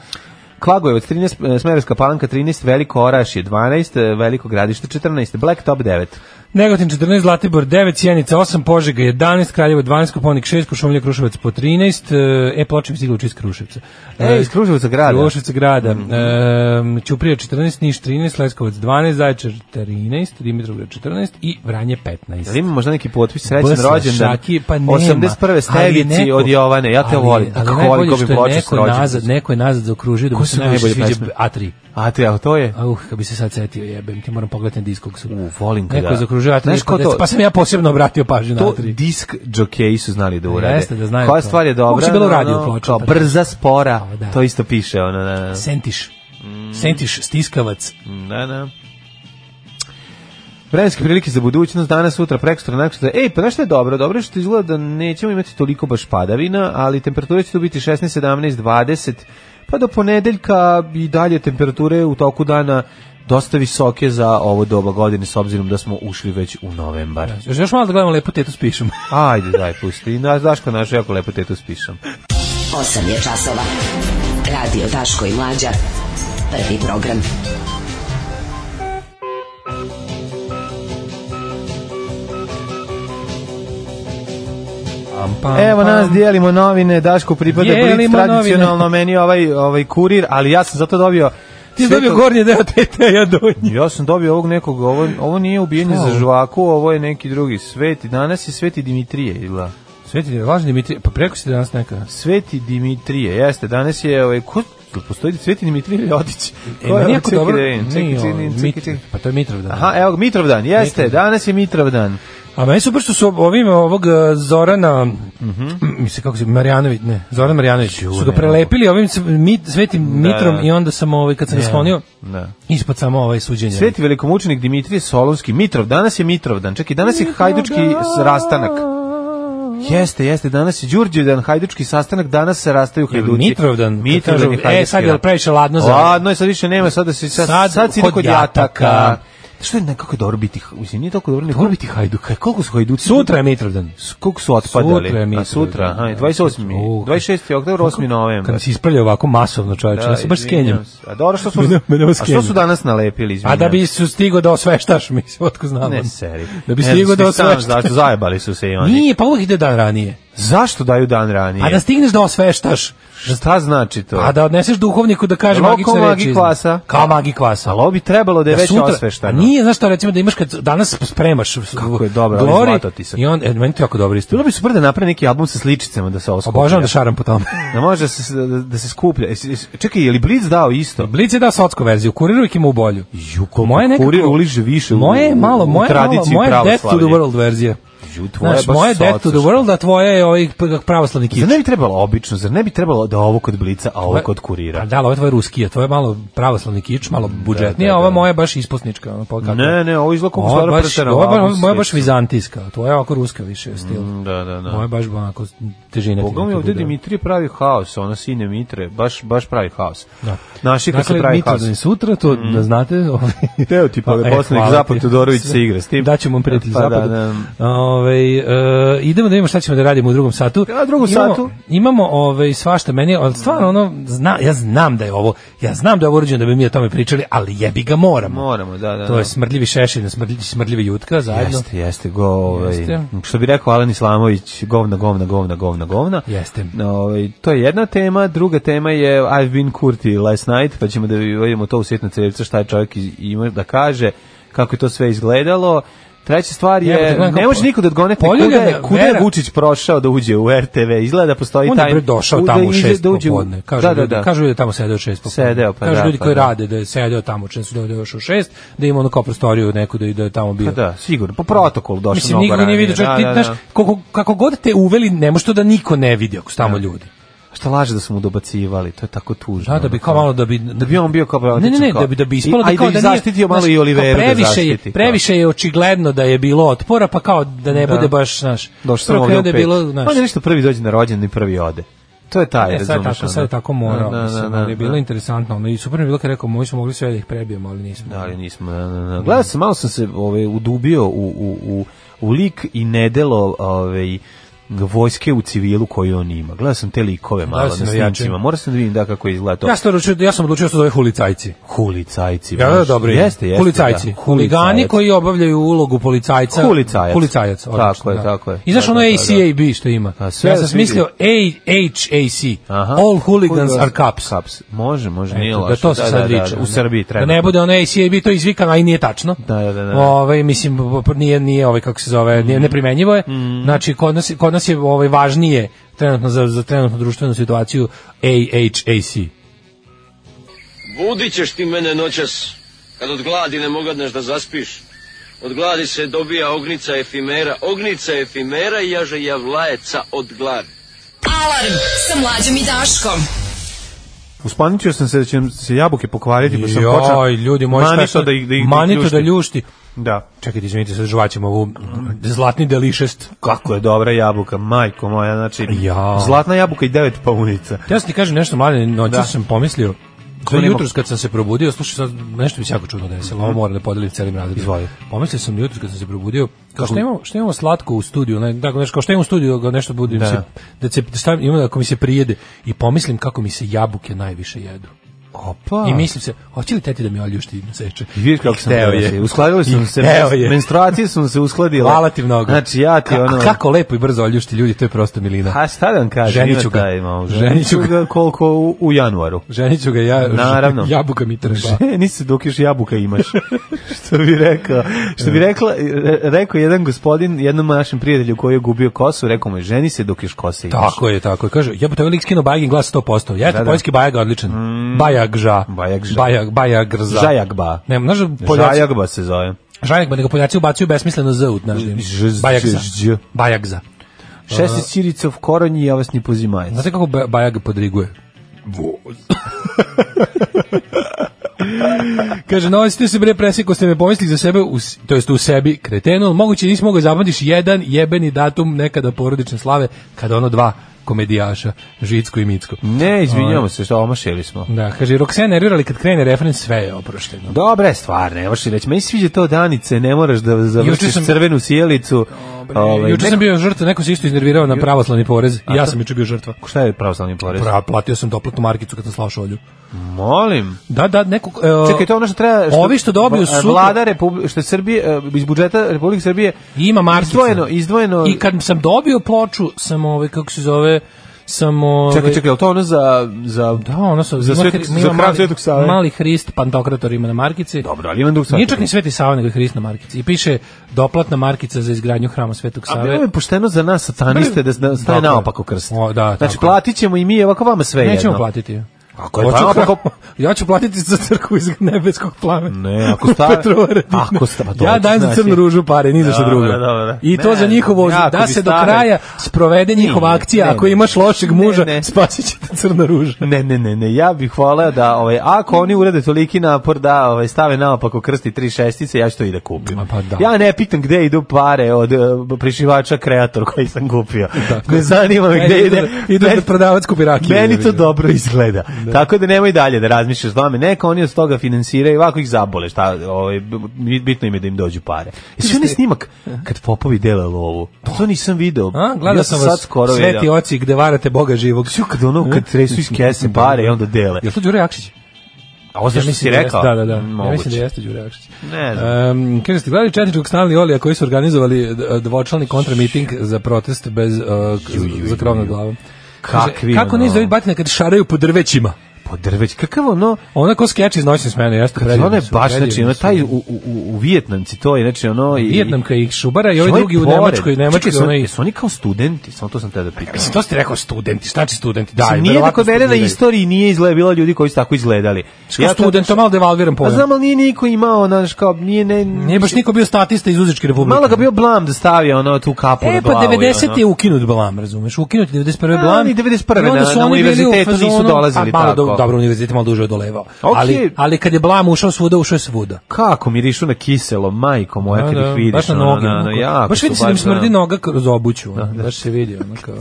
S6: Klagojevac 13, eh, Smederevska palanka 13, Veliko Oraš je 12, eh, Veliko gradište 14, Black Top 9.
S5: Negotin 14, Zlatibor 9, Sjenica 8, Požega 11, Kraljevo 12, Koponik 6, Košumlja Kruševac po 13, e, Ploče mi stigla uče iz Kruševca.
S6: E, iz Kruševca grada. Mhm.
S5: Kruševca grada. E, Ćuprija 14, Niš 13, Leskovac 12, Zaječar 13, Dimitrovgrad 14 i Vranje 15.
S6: Jel ima možda neki potpis srećan
S5: Bsla,
S6: rođendan?
S5: Šaki, pa nema.
S6: 81.
S5: Ali je
S6: Stevici
S5: neko-
S6: od Jovane. Ja te
S5: ali-
S6: volim.
S5: Ali,
S6: Kako volim
S5: najbolje
S6: ko bi
S5: što je
S6: ploču s
S5: neko nazad,
S6: rođendan.
S5: neko je nazad zaokružio da
S6: Ko
S5: mu
S6: su
S5: se najviše
S6: najbolje
S5: sviđa
S6: pesme?
S5: A3.
S6: A te, a to je?
S5: Auh, kad bi se sad setio, jebem, ti moram pogledati na diskoksu.
S6: U, volim kada.
S5: Neko je zaokružio A3,
S6: Znaš ko to-
S5: pa sam ja posebno obratio pažnju na
S6: to
S5: A3.
S6: disk džokeji su znali da urade.
S5: Jeste, da znaju
S6: Koja
S5: to.
S6: stvar je dobra?
S5: Moguće je bilo u
S6: ono,
S5: radiju ploča,
S6: kao
S5: pa da.
S6: brza, spora,
S5: A, da.
S6: to isto piše. Ono, da, da.
S5: Sentiš.
S6: Mm.
S5: Sentiš, stiskavac.
S6: Da, da. Vremenske prilike za budućnost, danas, sutra, prekstra, nakon Ej, pa znaš što je dobro? Dobro je što izgleda da nećemo imati toliko baš padavina, ali temperature će tu biti 16, 17, 20, pa do ponedeljka i dalje temperature u toku dana dosta visoke za ovo doba godine, s obzirom da smo ušli već u novembar.
S5: Još, još malo da gledamo lepo tetu s pišom.
S6: Ajde, daj, pusti. I na- Daško našu jako lepo tetu spišam.
S4: 8 je časova. Radio Daško i Mlađa. Prvi program.
S6: Evo nas dijelimo novine, Daško pripada Blitz
S5: Pa, Dijelimo
S6: tradicionalno meni je ovaj ovaj kurir, ali ja sam zato dobio
S5: Ti si
S6: sve
S5: dobio
S6: to-
S5: gornje deo tete, a ja donji.
S6: Ja sam dobio ovog nekog, ovo, ovo nije ubijenje
S5: Šta je
S6: za
S5: ovo?
S6: žvaku, ovo je neki drugi sveti. Danas je Sveti Dimitrije, ili
S5: Sveti, važno Dimitri, pa preko si danas neka.
S6: Sveti Dimitrije, jeste, danas je, ovaj, ko, jel postoji Sveti Dimitrije ili Otić? Ko
S5: E,
S6: je
S5: meni je
S6: ovo?
S5: jako
S6: Čekaj
S5: dobro.
S6: da vidim, čekaj,
S5: Nije,
S6: čekaj,
S5: ovo,
S6: čekaj,
S5: Mitri.
S6: čekaj.
S5: Pa to je Mitrov dan.
S6: Aha, evo, Mitrovdan, jeste,
S5: Mitrov.
S6: danas je Mitrovdan.
S5: A meni super što su ovim ovog eh, Zorana, mislim kako se, Marjanović, ne, Zoran Marjanović, su ga
S6: ne
S5: prelepili ovim s- mit, svetim mitrom i onda sam ovaj, kad sam ga sklonio,
S6: Da.
S5: ispod samo ovaj suđenje.
S6: Sveti velikomučenik Dimitrije Solonski, Mitrov, danas je Mitrovdan, čekaj, danas je hajdučki s- rastanak. Jeste, jeste, danas je Đurđevdan, hajdučki sastanak, danas se rastaju
S5: Jel
S6: hajduci.
S5: Mitrovdan, kad
S6: Mitrovdan je
S5: kažu,
S6: hajdučki.
S5: e, sad je
S6: dan.
S5: previše ladno za...
S6: Ladno je, sad više nema, sad, da si, sad, sad,
S5: Sad
S6: si
S5: kod
S6: kod jataka.
S5: jataka.
S6: Što je nekako je dobro biti, mislim, nije toliko dobro.
S5: Dobro biti hajduka.
S6: Koliko su hajduci?
S5: Sutra je Mitrovdan.
S6: S- Koliko su otpadali?
S5: Sutra je
S6: A
S5: Mitrovdan.
S6: sutra, aha, 28.
S5: Uh,
S6: 26. oktober, 8.
S5: Kad
S6: novembar.
S5: nas ispravlja ovako masovno čoveče, ja se baš
S6: izvinjam
S5: skenjam.
S6: se. A dobro, što su,
S5: Mene- mene ovo
S6: a što su
S5: skenjam.
S6: danas nalepili, izvinjam.
S5: A da bi su stigo da osveštaš, mislim, otko znam.
S6: Ne, seri.
S5: Da bi
S6: Ne znam,
S5: stigo da
S6: svi sam
S5: osveštaš.
S6: Zašto, zajebali su se i oni.
S5: Nije, pa uvijek ide dan ranije.
S6: Zašto daju dan ranije?
S5: A da stigneš da osveštaš,
S6: Šta znači to?
S5: a da odneseš duhovniku da kaže
S6: Jel ovo
S5: magične
S6: kao
S5: reči.
S6: magi
S5: iz-
S6: kvasa?
S5: Kao magi kvasa.
S6: Ali ovo bi trebalo da je
S5: Da
S6: već
S5: sutra-
S6: osveštano.
S5: A Nije, znaš šta, recimo da imaš kad danas spremaš
S6: Kako je dobro, ali
S5: glori,
S6: zlato ti se.
S5: i on, e, meni to jako dobro isto.
S6: Bilo bi super da naprave neki album sa sličicama da se ovo skuplja.
S5: Obožavam da šaram po tome.
S6: Da može da se, da, da se skuplja. Jesi- jesi- Čekaj, je li Blitz dao isto?
S5: Blic je dao socku verziju, kuriru ih ima u bolju.
S6: Ju, koliko
S5: Moje nekako...
S6: kurir uliže više u-
S5: moje je malo,
S6: u
S5: moje, je malo,
S6: tradiciju
S5: moje je Death to the
S6: pravoslavlja.
S5: World verzija.
S6: Ju, tvoja
S5: Znaš,
S6: baš
S5: moje
S6: soca,
S5: Death to the
S6: što-
S5: World, a tvoje je ovaj p- pravoslavni kič.
S7: Zar ne bi trebalo obično, zar ne bi trebalo da ovo kod Blica, a ovo kod
S5: Pa
S7: kurira?
S5: da, ali ovo je tvoje ruskija, tvoje je malo pravoslavni kič, malo budžetnija,
S6: da,
S5: a ova
S6: da.
S5: moja je baš ispusnička. Ono, pa kako?
S6: Ne, ne, ovo izgleda kako
S5: Ovo je
S6: stvar
S5: baš,
S6: pretera.
S5: ovo je baš, ovo je moja baš vizantijska, tvoja je ovako ruska više stil.
S6: Da, da, Mm, da.
S5: Moja je baš onako težina. ti
S6: Boga mi
S5: neka
S6: ovde
S5: bude.
S6: Dimitrije pravi haos, ona sine Mitre, baš, baš pravi haos.
S5: Da.
S6: Naši kad se
S5: Dakle,
S6: pravi haos. Mm.
S5: Mitrovdan je sutra, to da znate. ovaj.
S7: Teo ti, pa,
S5: A, e,
S7: poslanik
S5: hvala
S7: Zapad
S5: ti.
S7: Todorović se igra s tim.
S5: Daćemo vam prijatelj
S6: Pa da,
S5: Zapadu.
S6: da.
S5: Ovaj, e, idemo da vidimo šta ćemo da radimo u drugom satu.
S7: A, u drugom
S5: imamo,
S7: satu?
S5: Imamo ovaj, svašta meni, ali stvarno ono, zna, ja znam da je ovo, ja znam da je ovo urađeno da bi mi o tome pričali, ali jebi ga moramo.
S6: Moramo, da, da.
S5: To
S6: da.
S5: je smrdljivi šešelj, smrdljivi, smrdljivi jutka zajedno.
S6: Jeste, jeste, go, ovaj,
S5: Jeste.
S6: što bi rekao Alan Islamović, govna, govna, govna, govna, govna.
S5: Jeste.
S6: Ovaj, to je jedna tema, druga tema je I've been Kurti last night, pa ćemo da vidimo to u sitna crevca, šta je čovjek iz- ima da kaže, kako je to sve izgledalo. Treća stvar
S5: Evo te
S6: je,
S5: gledam
S6: ne
S5: kako-
S6: može niko da odgone kuda
S5: Poljuljana
S6: je, kuda je
S5: Vera-
S6: Vučić prošao da uđe u RTV, izgleda da postoji
S5: On
S6: taj...
S5: je bre došao
S6: da
S5: tamo u
S6: iđe-
S5: šest
S6: da uđe u-
S5: popodne. Kažu,
S6: da, da,
S5: ljudi-
S6: da.
S5: kažu ljudi tamo sedeo u šest popodne.
S6: Sedeo, pa
S5: kažu
S6: da,
S5: ljudi
S6: pa
S5: koji
S6: da.
S5: rade da je sedeo tamo, čim su da je došao u šest, da ima ono kao prostoriju neku da, da je tamo bio.
S6: Pa da, sigurno, po protokolu došao
S5: Mislim,
S6: mnogo
S5: niko nije
S6: ranije,
S5: vidio čovjek,
S6: da,
S5: ti,
S6: da, da.
S5: znaš, kako, kako god te uveli, ne može to da niko ne vidi ako su tamo ljudi.
S6: Pa Šta laže da su mu dobacivali, to je tako tužno. ono,
S5: Da, da bi kao malo da bi
S6: Da bi on bio kao
S5: Ne, ne, ne,
S6: otičan kao-
S5: da bi da bi
S6: I-
S5: ispalo
S6: a
S5: da
S6: i
S5: kao
S6: da
S5: da
S6: ih
S5: nije-
S6: zaštitio malo
S5: znaš,
S6: i Oliveru
S5: kao
S6: da
S5: previše je
S6: zaštiti, kao.
S5: previše je očigledno da je bilo otpora, pa kao da ne
S6: Da.
S5: bude baš, znaš.
S6: Došao sam
S5: prvo
S6: ovdje
S5: krenuo
S6: u
S5: da je
S6: pet. Pa
S5: bilo, znaš.
S6: On je nešto prvi dođe na rođendan i prvi ode. To je taj, ono.
S5: Ne,
S6: razumiješ.
S5: E, sad tako, sad tako morao,
S6: Da, da,
S5: mislim,
S6: da,
S5: ali je bilo
S6: da.
S5: interesantno, ono, i super mi je bilo kad je rekao, moji smo mogli sve da ih prebijemo, ali nismo.
S6: Da, ali nismo, da, da, da. Gledao sam, malo sam se ovaj, udubio u, u, u, u lik i nedelo ovaj, vojske u civilu koju on ima. Gledao sam te likove malo
S5: si
S6: na
S5: navijače.
S6: snimcima. Morao sam da vidim da kako izgleda to.
S5: Ja sam, odlučio, ja sam odlučio da se zove hulicajci.
S6: Hulicajci.
S5: Ja, da,
S6: znaš.
S5: dobro. ime.
S6: Jeste, jeste.
S5: Hulicajci.
S6: da.
S5: Huligani
S6: Hulicajac.
S5: koji obavljaju ulogu policajca.
S6: Hulicajac.
S5: Policajac. odlično,
S6: Tako je,
S5: da. Pa
S6: tako je.
S5: I znaš
S6: Da,
S5: ono
S6: da, da,
S5: ACAB što ima?
S6: A, sve
S5: ja
S6: da
S5: sam
S6: se
S5: smislio AHAC.
S6: Aha.
S5: All hooligans are cops.
S6: Caps. Može, može, nije
S5: Eto,
S6: loše.
S5: da to se sad riče.
S6: u Srbiji treba.
S5: Da ne bude ono ACAB, to izvikano, a i nije tačno.
S6: Da, da, da, da. Mhm.
S5: Ovaj, mislim, p- nije, nije ovaj, kako se zove, nije, neprimenjivo je. Znači, kod nas, kod nas je ovaj, važnije trenutno za, za trenutnu društvenu situaciju AHAC.
S8: Budit ćeš ti mene noćas, kad od gladi ne mogadneš da zaspiš. Od gladi se dobija ognica efimera, ognica efimera i jaže javlajeca od gladi.
S4: Alarm sa mlađom i Daškom.
S6: Uspaničio sam se da će se jabuke pokvariti, pa sam počeo...
S5: Joj, ljudi moji, šta je
S6: manito
S5: sad-
S6: da ih, da ih
S5: manito da
S6: ljuštim.
S5: ljušti.
S6: Da.
S5: Čekajte, izvinite, sad žvaćemo ovu mm, zlatni delišest.
S6: Kako je dobra jabuka, majko moja, znači...
S5: Ja.
S6: Zlatna jabuka i devet paunica.
S5: Ja sam ti kažem nešto, mlade, noći
S6: Da.
S5: sam pomislio,
S6: nema-
S5: Sve jutros kad sam se probudio, slušaj sad, nešto mi se jako čudno desilo, ovo moram da podelim celim razredom.
S6: Mhm. Izvoli.
S5: Pomislio sam jutros kad sam se probudio, kao što imamo, što imamo slatko u studiju, ne, tako nešto, kao što imamo u studiju, da nešto bude, da, se, da se, da stavim, imam, ako mi se prijede, i pomislim kako mi se jabuke najviše jedu.
S6: Opa.
S5: I mislim se, hoće li teti da mi oljušti seče?
S6: I vidiš kako sam
S5: Hteo
S6: hteo je.
S5: je.
S6: Uskladili
S5: I
S6: smo se,
S5: hteo je.
S6: menstruacije su nam se uskladile.
S5: Hvala ti mnogo.
S6: Znači ja ti
S5: Ka-
S6: ono...
S5: Kako lepo i brzo oljušti ljudi, to je prosto milina.
S6: A šta da vam kažem? ima
S5: Ženiću ga.
S6: taj malo.
S5: Ženiću
S6: Ženiću ga koliko u, u januaru.
S5: Ženiću ga ja,
S6: Naravno.
S5: jabuka mi treba.
S6: Ženi se dok još jabuka imaš. što bi rekao, što bi rekla, re- rekao jedan gospodin, jednom našem prijatelju koji je gubio kosu, rekao mu je, ženi se dok još kose imaš.
S5: Tako je, tako je. Kaže, jebote, ovaj lik skinuo Bajagin glas 100%. Ja,
S6: Da, da.
S5: da, poljski Bajag je odličan. Bajagža.
S6: Bajagža.
S5: Bajag, Bajagrza.
S6: Žajagba.
S5: Ne, znaš, Poljaci, Žajag.
S6: Žajagba se zove.
S5: Žajagba, nego Poljaci ubacuju besmisleno Z u, znaš, da im-
S6: Ž- ž-
S5: Bajagza.
S6: ž- ž.
S5: Bajagza.
S6: 16 ciricov koronji, ja vas ni pozimajec.
S5: Znate kako Ba- Bajag podriguje? Kaže, no, ste se bre presekao, ste me pomislili za sebe, u, s- to jest u sebi, kretenu, ali moguće nisi mogao zapamtiš jedan jebeni datum nekada porodične slave, kada ono dva komedijaša, Žicko i Micko.
S6: Ne, izvinjamo se, što omašili smo.
S5: Da, kaže, Roxana nervira, ali kad krene refren, sve je oprošteno.
S6: Dobre stvar, ne možeš reći. Meni se sviđa to danice, ne moraš da završiš
S5: Juče sam-
S6: crvenu sjelicu. Ovaj,
S5: Juče sam
S6: neko-
S5: bio žrtva, neko se isto iznervirao na pravoslavni porez. I ja sam juče bio žrtva.
S6: Šta je pravoslavni porez?
S5: Pra, platio sam doplatnu markicu kad sam slao šolju.
S6: Molim.
S5: Da, da, neko... e,
S6: Čekaj, to je ono što treba... Što,
S5: Ovi što dobiju
S6: Vla-
S5: sutra-
S6: Vlada Republike, što je Srbije, e, iz budžeta Republike Srbije...
S5: Ima markica.
S6: Izdvojeno, izdvojeno...
S5: I kad sam dobio ploču, sam ovaj, kako se zove, sam ovaj...
S6: Čekaj, čekaj, je li to ono za... za...
S5: Da, ono sam...
S6: Za
S5: ima
S6: Svetog-
S5: hri-
S6: za
S5: ima
S6: kralj
S5: mali-
S6: Svetog Save.
S5: Mali Hrist, pantokrator ima na markici.
S6: Dobro, ali imam dug
S5: Nije čak ni Sveti Sava, nego je Hrist na markici. I piše doplatna markica za izgradnju hrama Svetog
S6: A
S5: Save.
S6: bilo je pošteno za nas sataniste da, da staje
S5: Tako je.
S6: naopako krst.
S5: O, da,
S6: znači,
S5: tako je.
S6: platit ćemo i mi ovako vama sve
S5: Nećemo
S6: jedno.
S5: platiti.
S9: Ako je
S5: Hoću
S9: pa,
S5: kra-
S9: ako,
S5: ja ću platiti za crkvu iz nebeskog plamena.
S9: Ne, ako stara-
S5: Petrova Radina.
S9: ako sta- pa to
S5: ja
S9: hoću
S5: dajem za
S9: znati.
S5: crnu ružu pare, ni za što
S9: Dobro,
S5: drugo.
S9: dobro.
S5: I to
S9: Ne,
S5: za njihovo,
S9: ja ako
S5: da
S9: bi
S5: se do
S9: stara-
S5: kraja sprovede njihova
S9: Ne,
S5: akcija.
S9: ne,
S5: ako
S9: ne.
S5: imaš lošeg muža,
S9: Ne,
S5: ne,
S9: ne.
S5: spasit će te crna ruža.
S6: Ne, ne, ne, ne, ja bih voleo da, ovaj, ako oni urade toliki napor da ovaj, stave naopako krsti tri šestice, ja ću to i da kupim.
S5: Ma pa da.
S6: Ja ne pitam gde idu pare od eh, prišivača kreator koji sam kupio. Ne zanima me gde
S5: Meni
S6: ide.
S5: idu- idu
S6: meni-
S5: E, da prodavac kupi rakiju,
S6: Meni
S5: jebi
S6: to
S5: ga.
S6: dobro izgleda. Tako da nemoj dalje da razmišljaš o tome. Neka oni od toga finansiraju, ovako ih zabole, šta, ovaj, bi- bitno im je da im dođu pare. Jesi onaj snimak kad popovi dele lovu? To nisam video.
S5: A, gledao
S6: ja
S5: sam
S6: sad
S5: vas,
S6: skoro
S5: sveti
S6: video.
S5: oci gde varate Boga živog.
S6: Sju kad ono kad tresu iz kese pare i onda dele.
S5: Jel to Đure Jakšić?
S6: A ovo
S5: Ja
S6: što si
S5: mislim da
S6: rekao?
S5: jeste, Da, da, da. Ja
S6: Moguće.
S5: mislim da jeste Đure Jakšić.
S6: Ne znam.
S5: Um, kaže, ste gledali četničkog stalni Olija koji su organizovali d- dvočlani kontramiting za protest bez, uh, k- za krov nad glavom? Kaže,
S6: Kakvi
S5: Kako
S6: ono-
S5: ne zove batina kad šaraju po drvećima?
S6: Po drveć, kakav ono...
S5: Ona ko skeč iz noćne smene, jeste predivni
S6: Ono je
S5: su,
S6: baš,
S5: predivni
S6: znači, ono,
S5: su.
S6: taj u, u, u- u Vijetnamci, to je, znači, ono... I,
S5: Vijetnamka i Šubara i ovaj
S6: Ovaj
S5: drugi u
S6: pored.
S5: Nemačkoj, Nemačkoj,
S6: Čekaj, su,
S5: onaj...
S6: jesu oni kao studenti, samo to sam te da pitam.
S5: Mislim, to ste rekao studenti, šta će studenti? Da,
S6: Mislim, nije da kod mene na istoriji nije izgleda bilo ljudi koji su tako izgledali.
S5: Ja student, to malo devalviram
S6: A
S5: pojam.
S6: znam, ali nije niko imao, znaš, kao, nije, ne...
S5: Nije baš niko bio statista iz Uzičke republike.
S6: Malo ga bio blam da stavio, ono, tu kapu na
S5: E, pa
S6: glavu.
S5: 90.
S6: ono.
S5: je ukinut blam, razumeš? Ukinut je 91.
S6: A,
S5: blam.
S6: oni 91.
S5: I onda
S6: na-
S5: su
S6: na
S5: oni bili u
S6: univerzitetu nisu
S5: fazonu-
S6: dolazili
S5: a, malo
S6: tako.
S5: do- dobro, univerzitet je malo duže odolevao.
S6: Okej.
S5: Ali, ali kad je blam ušao svuda, ušao je svuda.
S6: Kako mirišu na kiselo, majko moja, kad ih vidiš.
S5: baš na
S6: ono,
S5: noge.
S6: ono,
S5: onako.
S6: jako
S5: baš
S6: su
S5: vidi se da im
S6: baš, ono. da.
S5: smrdi noga kroz obuću. ono, Baš se vidi. Ono, kao.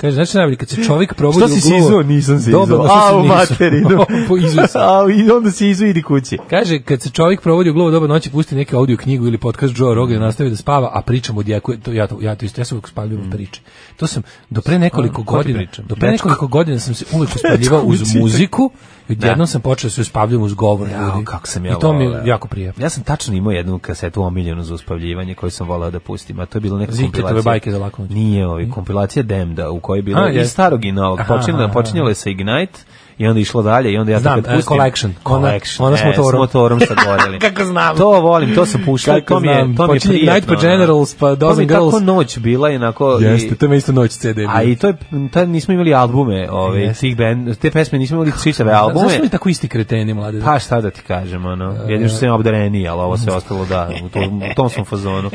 S5: Kaže, znači najbolje, kad se čovjek probudi u
S6: Što
S5: glavu...
S6: si sizuo? Nisam sizuo.
S5: Dobro, što
S6: A, u
S5: si nisam?
S6: materinu.
S5: Po izuo si.
S6: A, i onda si izu idi kući.
S5: Kaže, kad se čovjek provodi u glovo doba noći, pusti neke audio knjigu ili podcast Joe Rogan i nastavi da spava, a pričam od jako, to, ja, to, ja to isto, ja sam uvijek spavljivao priče. To sam, do pre nekoliko godina,
S6: Mm. priča?
S5: do pre nekoliko godina sam se uvijek uspavljivao uz
S6: učitak.
S5: muziku, i odjednom sam počeo da se uspavljujem uz govor ljudi.
S6: Jao, kako sam ja
S5: I to mi je
S6: voleo.
S5: jako prijatno.
S6: Ja sam tačno imao jednu kasetu omiljenu za uspavljivanje koju sam volao da pustim, a to je bilo neka
S5: Ziketove
S6: kompilacija.
S5: bajke za laku noć.
S6: Nije, ovi, kompilacija Demda u kojoj je bilo
S5: Znači, A,
S6: i
S5: jeste.
S6: starog i novog.
S5: Aha,
S6: Počinjelo,
S5: aha,
S6: počinjelo je sa Ignite i onda je išlo dalje i onda ja to
S5: Znam,
S6: kad
S5: e,
S6: pustim.
S5: Collection. Ona-
S6: Collection,
S5: ona s
S6: e,
S5: motorom.
S6: sa goreli.
S5: Kako znam.
S6: To volim, to sam puštao, i
S5: Kako
S6: to mi je,
S5: znam,
S6: to mi je
S5: počinje
S6: prijatno.
S5: Ignite pa
S6: ono.
S5: Generals, pa
S6: To mi
S5: Dozen
S6: je tako
S5: Girls.
S6: noć bila i onako... i-
S5: Jeste, to mi je isto noć CD. bio.
S6: A i to je, tad nismo imali albume, ove, tih band, te pesme nismo imali čitave
S5: A Znaš
S6: albume.
S5: li tako isti kreteni, mlade?
S6: Pa šta da ti kažem, ono,
S5: E.
S6: jedino što sam obdareni, ali ovo se ostalo da, u tom, u tom sam fazonu.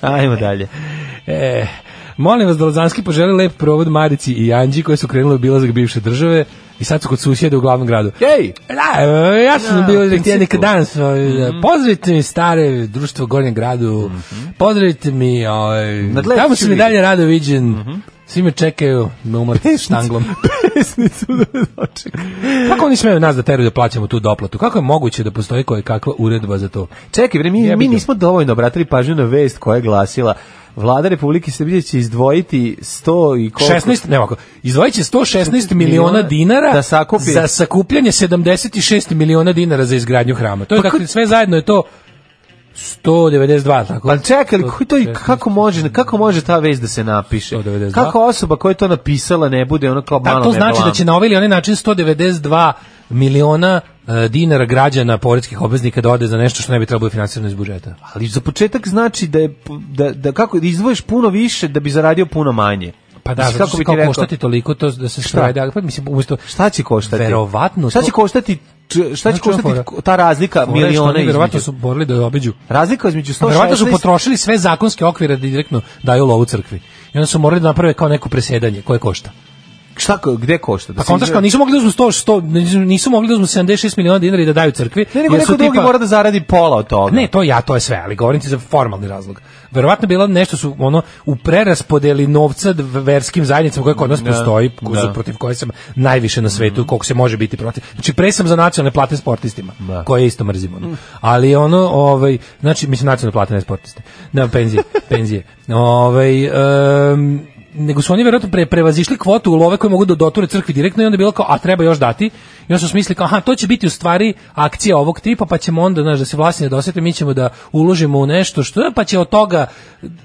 S6: Ajmo dalje.
S5: E, molim vas da Lazanski poželi lep provod Marici i Anđi koje su krenule u bilazak bivše države i sad su kod susjede u glavnom gradu.
S6: Ej!
S5: Da, e, ja sam
S6: Da, u
S5: bio
S6: principu. Mhm.
S5: htio neki dan, s- pozdravite mi stare društvo u Gornjem gradu, pozdravite mi, ovaj,
S6: Nadleću
S5: tamo sam
S6: Mhm.
S5: i
S6: ih. Mhm.
S5: dalje rado viđen, svi me čekaju na umor s štanglom.
S6: Pesnicu da dočekam.
S5: Kako oni smeju nas da teruju da plaćamo tu doplatu? Kako je moguće da postoji koje kakva uredba za to?
S6: Čekaj, bre, mi, mi
S5: Jebi ga.
S6: nismo dovoljno obratili pažnju na vest koja je glasila Vlada Republike Srbije će izdvojiti 100 i koliko...
S5: 16, ne ovako, izdvojit će 116 miliona dinara
S6: Da sakupi.
S5: za sakupljanje 76 miliona dinara za izgradnju hrama.
S6: Pa
S5: To je kako, sve zajedno je to 192, tako?
S6: Pa čekaj, ali koji to i kako može, kako može ta vest da se napiše?
S5: 192?
S6: Kako osoba koja je to napisala ne bude ono kao malo
S5: Da, to
S6: me
S5: znači da
S6: blam?
S5: će na ovaj ili onaj način 192 miliona e, dinara građana poreskih obveznika da ode za nešto što ne bi trebalo biti finansirano iz budžeta.
S6: Ali za početak znači da je da, da kako da izdvojiš puno više da bi zaradio puno manje.
S5: Pa da,
S6: Mislim,
S5: zato što
S6: bi ti
S5: kao
S6: rekao?
S5: koštati toliko to da se sprovede, pa mislim umjesto
S6: Šta će koštati?
S5: Verovatno
S6: Šta
S5: to-
S6: će koštati č- šta će
S5: Znaš čemu
S6: koštati
S5: fora?
S6: ko- ta razlika
S5: Fora je što
S6: miliona
S5: oni verovatno
S6: između?
S5: su borili da obiđu.
S6: Razlika između
S5: A Verovatno su
S6: 116
S5: potrošili sve zakonske okvire da direktno daju lovu crkvi. I onda su morali da naprave kao neko presedanje koje košta.
S6: šta ko- gde košta? Da
S5: Pa
S6: se
S5: kontaš kao
S6: izgleda-
S5: nisu mogli da uzmu 100, 100 nisu, nisu mogli da uzmu 76 miliona dinara i da daju crkvi.
S6: Ne, nego
S5: jer
S6: neko
S5: su
S6: drugi
S5: tipa-
S6: mora da zaradi pola od toga.
S5: pa- Ne, to ja, to je sve, ali govorim ti za formalni razlog. Verovatno je bilo nešto su ono u preraspodeli novca d- verskim zajednicama koje kod nas postoji, ko su
S6: da. Mhm.
S5: protiv koje sam najviše na svetu, koliko se može biti protiv. Znači pre sam za nacionalne plate sportistima, koje isto mrzimo. ono. Ali ono, ovaj, znači mislim nacionalne plate ne sportiste. Ne, penzije, penzije. Ovaj em, nego su oni verovatno pre, prevazišli kvotu u love koje mogu da doture crkvi direktno i onda je bilo kao, a treba još dati. I onda su smislili kao, aha, to će biti u stvari akcija ovog tipa, pa ćemo onda, znaš, da se vlasnije dosete, mi ćemo da uložimo u nešto što, pa će od toga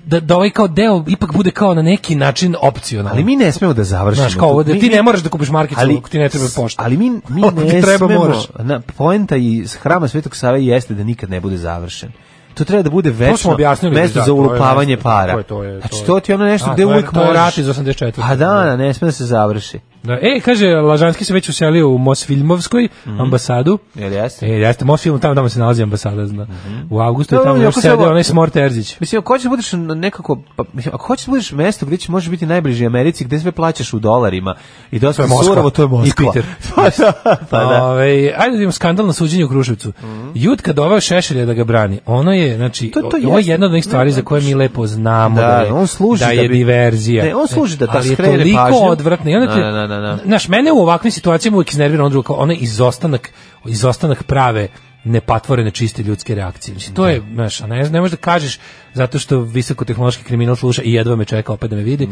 S5: da, da ovaj kao deo ipak bude kao na neki način opcionalan.
S6: Ali mi ne smemo da završimo.
S5: Znaš, kao ovo, da
S6: Mi-
S5: ti
S6: mi-
S5: ne moraš da kupiš markicu, ako ti ne treba pošta.
S6: Ali mi, mi
S5: Ako ti
S6: ne
S5: treba,
S6: smemo,
S5: moraš.
S6: na, poenta i hrama Svetog Save jeste da nikad ne bude završen. To treba da bude večno
S5: objasnili,
S6: mesto za
S5: da, to je
S6: ulupavanje
S5: mesto,
S6: para.
S5: to je- to je- to
S6: znači,
S5: je-
S6: to ti je ono nešto
S5: A,
S6: gde
S5: to je-
S6: uvijek
S5: to je
S6: možeš...
S5: rat iz 84..
S6: A da, da, ne sme da se završi.
S5: Da, e, kaže, Lažanski se već uselio u Mosfilmovskoj ambasadu.
S6: Mhm. Jel jeste?
S5: E, jeste, Mosfilm, tamo, tamo se nalazi ambasada, zna. U avgustu
S6: Da,
S5: je tamo
S6: ali
S5: još
S6: ako se
S5: sedeo
S6: ovo-
S5: onaj Smort Erzić.
S6: Mislim, ako hoćeš da budeš nekako, pa, mislim, ako hoćeš da budeš mesto gde će može biti najbliži Americi, gde sve plaćaš u dolarima i dosta
S5: To je Moskva.
S6: surovo, to je Moskva.
S5: I Peter.
S6: pa da, pa da. Mhm.
S5: Ovaj, ajde da vidimo skandal na suđenju u Kruševcu. Jutka doveo Šešelja da ga brani. Ono je, znači,
S6: To- to
S5: ovo je
S6: jeste.
S5: jedna od onih stvari za koje mi lepo znamo da,
S6: Da,
S5: je,
S6: on služi
S5: da
S6: da
S5: je
S6: bi-
S5: diverzija.
S6: Ne, on služi da- da
S5: Ali je
S6: skrene
S5: toliko
S6: pažnju.
S5: odvratno. I onda te,
S6: Da, da, da, da.
S5: Znaš, mene u ovakvim situacijama uvijek iznervira ono drugo, kao onaj izostanak, izostanak prave nepatvorene čiste ljudske reakcije. Mislim, to je, znaš, a ne, ne možeš da kažeš zato što visokotehnološki kriminal sluša i jedva me čeka opet da me vidi,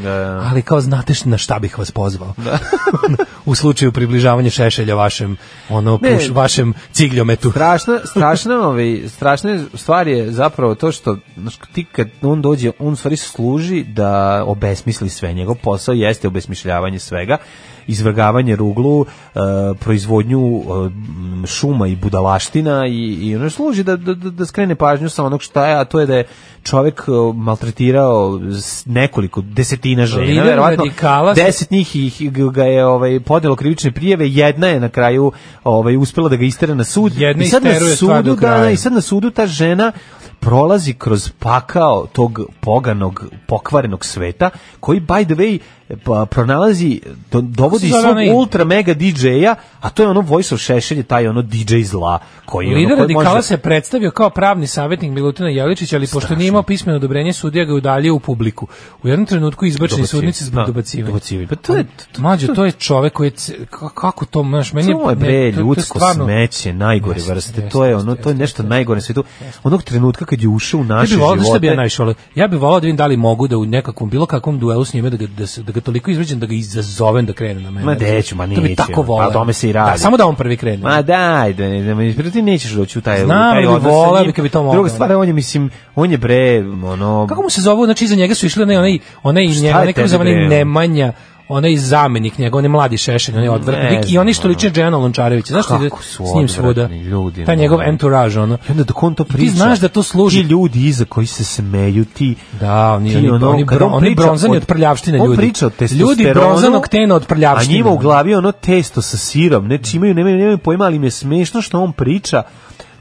S5: ali kao znate š- na šta bih vas pozvao. u slučaju približavanja šešelja vašem, ono,
S6: Ne.
S5: puš, vašem cigljometu.
S6: Strašna, strašna, ovaj, strašna stvar je zapravo to što znaš, ti kad on dođe, on u stvari služi da obesmisli sve. Njegov posao jeste obesmišljavanje svega, izvrgavanje ruglu, e, proizvodnju e, m, šuma i budalaština i, i ono služi da, da, da da skrene pažnju sa onog šta je, a to je da je čovek e, maltretirao s- nekoliko desetina žena,
S5: Lider
S6: verovatno
S5: radikala se-
S6: deset njih ih ga je ovaj podnelo krivične prijave, jedna je na kraju ovaj uspela da ga istera na sud.
S5: Jedna
S6: I sad na
S5: isteruje stvar do
S6: sudu da,
S5: kraja.
S6: da, i sad na sudu ta žena prolazi kroz pakao tog poganog, pokvarenog sveta koji by the way pa, pronalazi do, dovodi
S5: se zove
S6: svog
S5: onaj-
S6: ultra mega DJ-a, a to je ono Voice of Šešelj, je taj ono DJ zla koji je ono,
S5: Lider
S6: koji
S5: radikala
S6: može-
S5: se predstavio kao pravni savjetnik Milutina Jeličića, ali pošto nije imao pismeno odobrenje, sudija ga je udaljio u publiku. U jednom trenutku izbačen iz
S6: Dobacivanje.
S5: sudnice zbog
S6: Da,
S5: dobacivanja.
S6: dobacivanje. Pa to je- to-
S5: Mlađo, to je čovek koji je... ce- ka- Kako to, znaš, meni
S6: To je
S5: ne, to-
S6: bre
S5: to je
S6: ljudsko
S5: stvarno-
S6: smeće najgore
S5: Jeste,
S6: vrste.
S5: jeste,
S6: To je
S5: jeste,
S6: ono, to je
S5: jeste,
S6: nešto
S5: jeste.
S6: najgore na svetu. Onog trenutka kad je ušao u naše
S5: Ja bih volao, znaš šta bi ja
S6: živote.
S5: najviše volao? Ja bih volao da vidim da li mogu da u nekakvom, bilo kakvom duelu s njime, da ga, da, se- da ga toliko izvređam, da ga izazovem da krene na mene.
S6: Ma deću, ma
S5: To bi
S6: neću,
S5: tako
S6: pa
S5: volao.
S6: o tome se i radi.
S5: Da, samo da on prvi krene.
S6: Ma daj, da ne, ne, ne, ti nećeš doći u taj, u
S5: Znam,
S6: taj
S5: ali bi
S6: odnos sa
S5: voleo
S6: njim.
S5: bi kad bi to mogao,
S6: Druga
S5: da.
S6: stvar, on je, mislim, on je bre, ono...
S5: Kako mu se zove, znači iza njega su išli onaj onaj onaj
S6: Šta
S5: njega,
S6: je
S5: onaj kako
S6: tebi,
S5: se zove, onaj
S10: ono?
S6: bre?
S5: Nemanja, onaj zamenik njega, onaj mladi šešelj, onaj odvrtnik
S6: Ne
S5: lik i
S6: znam,
S5: oni
S10: ono.
S5: što liče Džena Lončarevića, znaš što ide
S6: Kako su
S5: s njim svuda.
S6: odvratni ljudi,
S5: Taj
S6: no.
S5: njegov entourage ono.
S6: I onda dok on to
S5: Ti
S6: priča...
S5: znaš da to služi-
S6: Ti ljudi iza koji se smeju, ti...
S5: Da, oni,
S6: ti
S5: oni,
S6: ono,
S5: oni,
S6: kad
S5: bron,
S6: on
S5: oni
S6: priča
S5: bronzani
S6: od-
S5: od prljavštine ljudi.
S6: On priča o
S5: Ljudi
S6: testosteronu,
S5: bronzanog tena od prljavštine.
S6: A njima u glavi je ono testo sa sirom, ne čimaju, nemaju, nemaju pojma, ali im je smešno što on priča.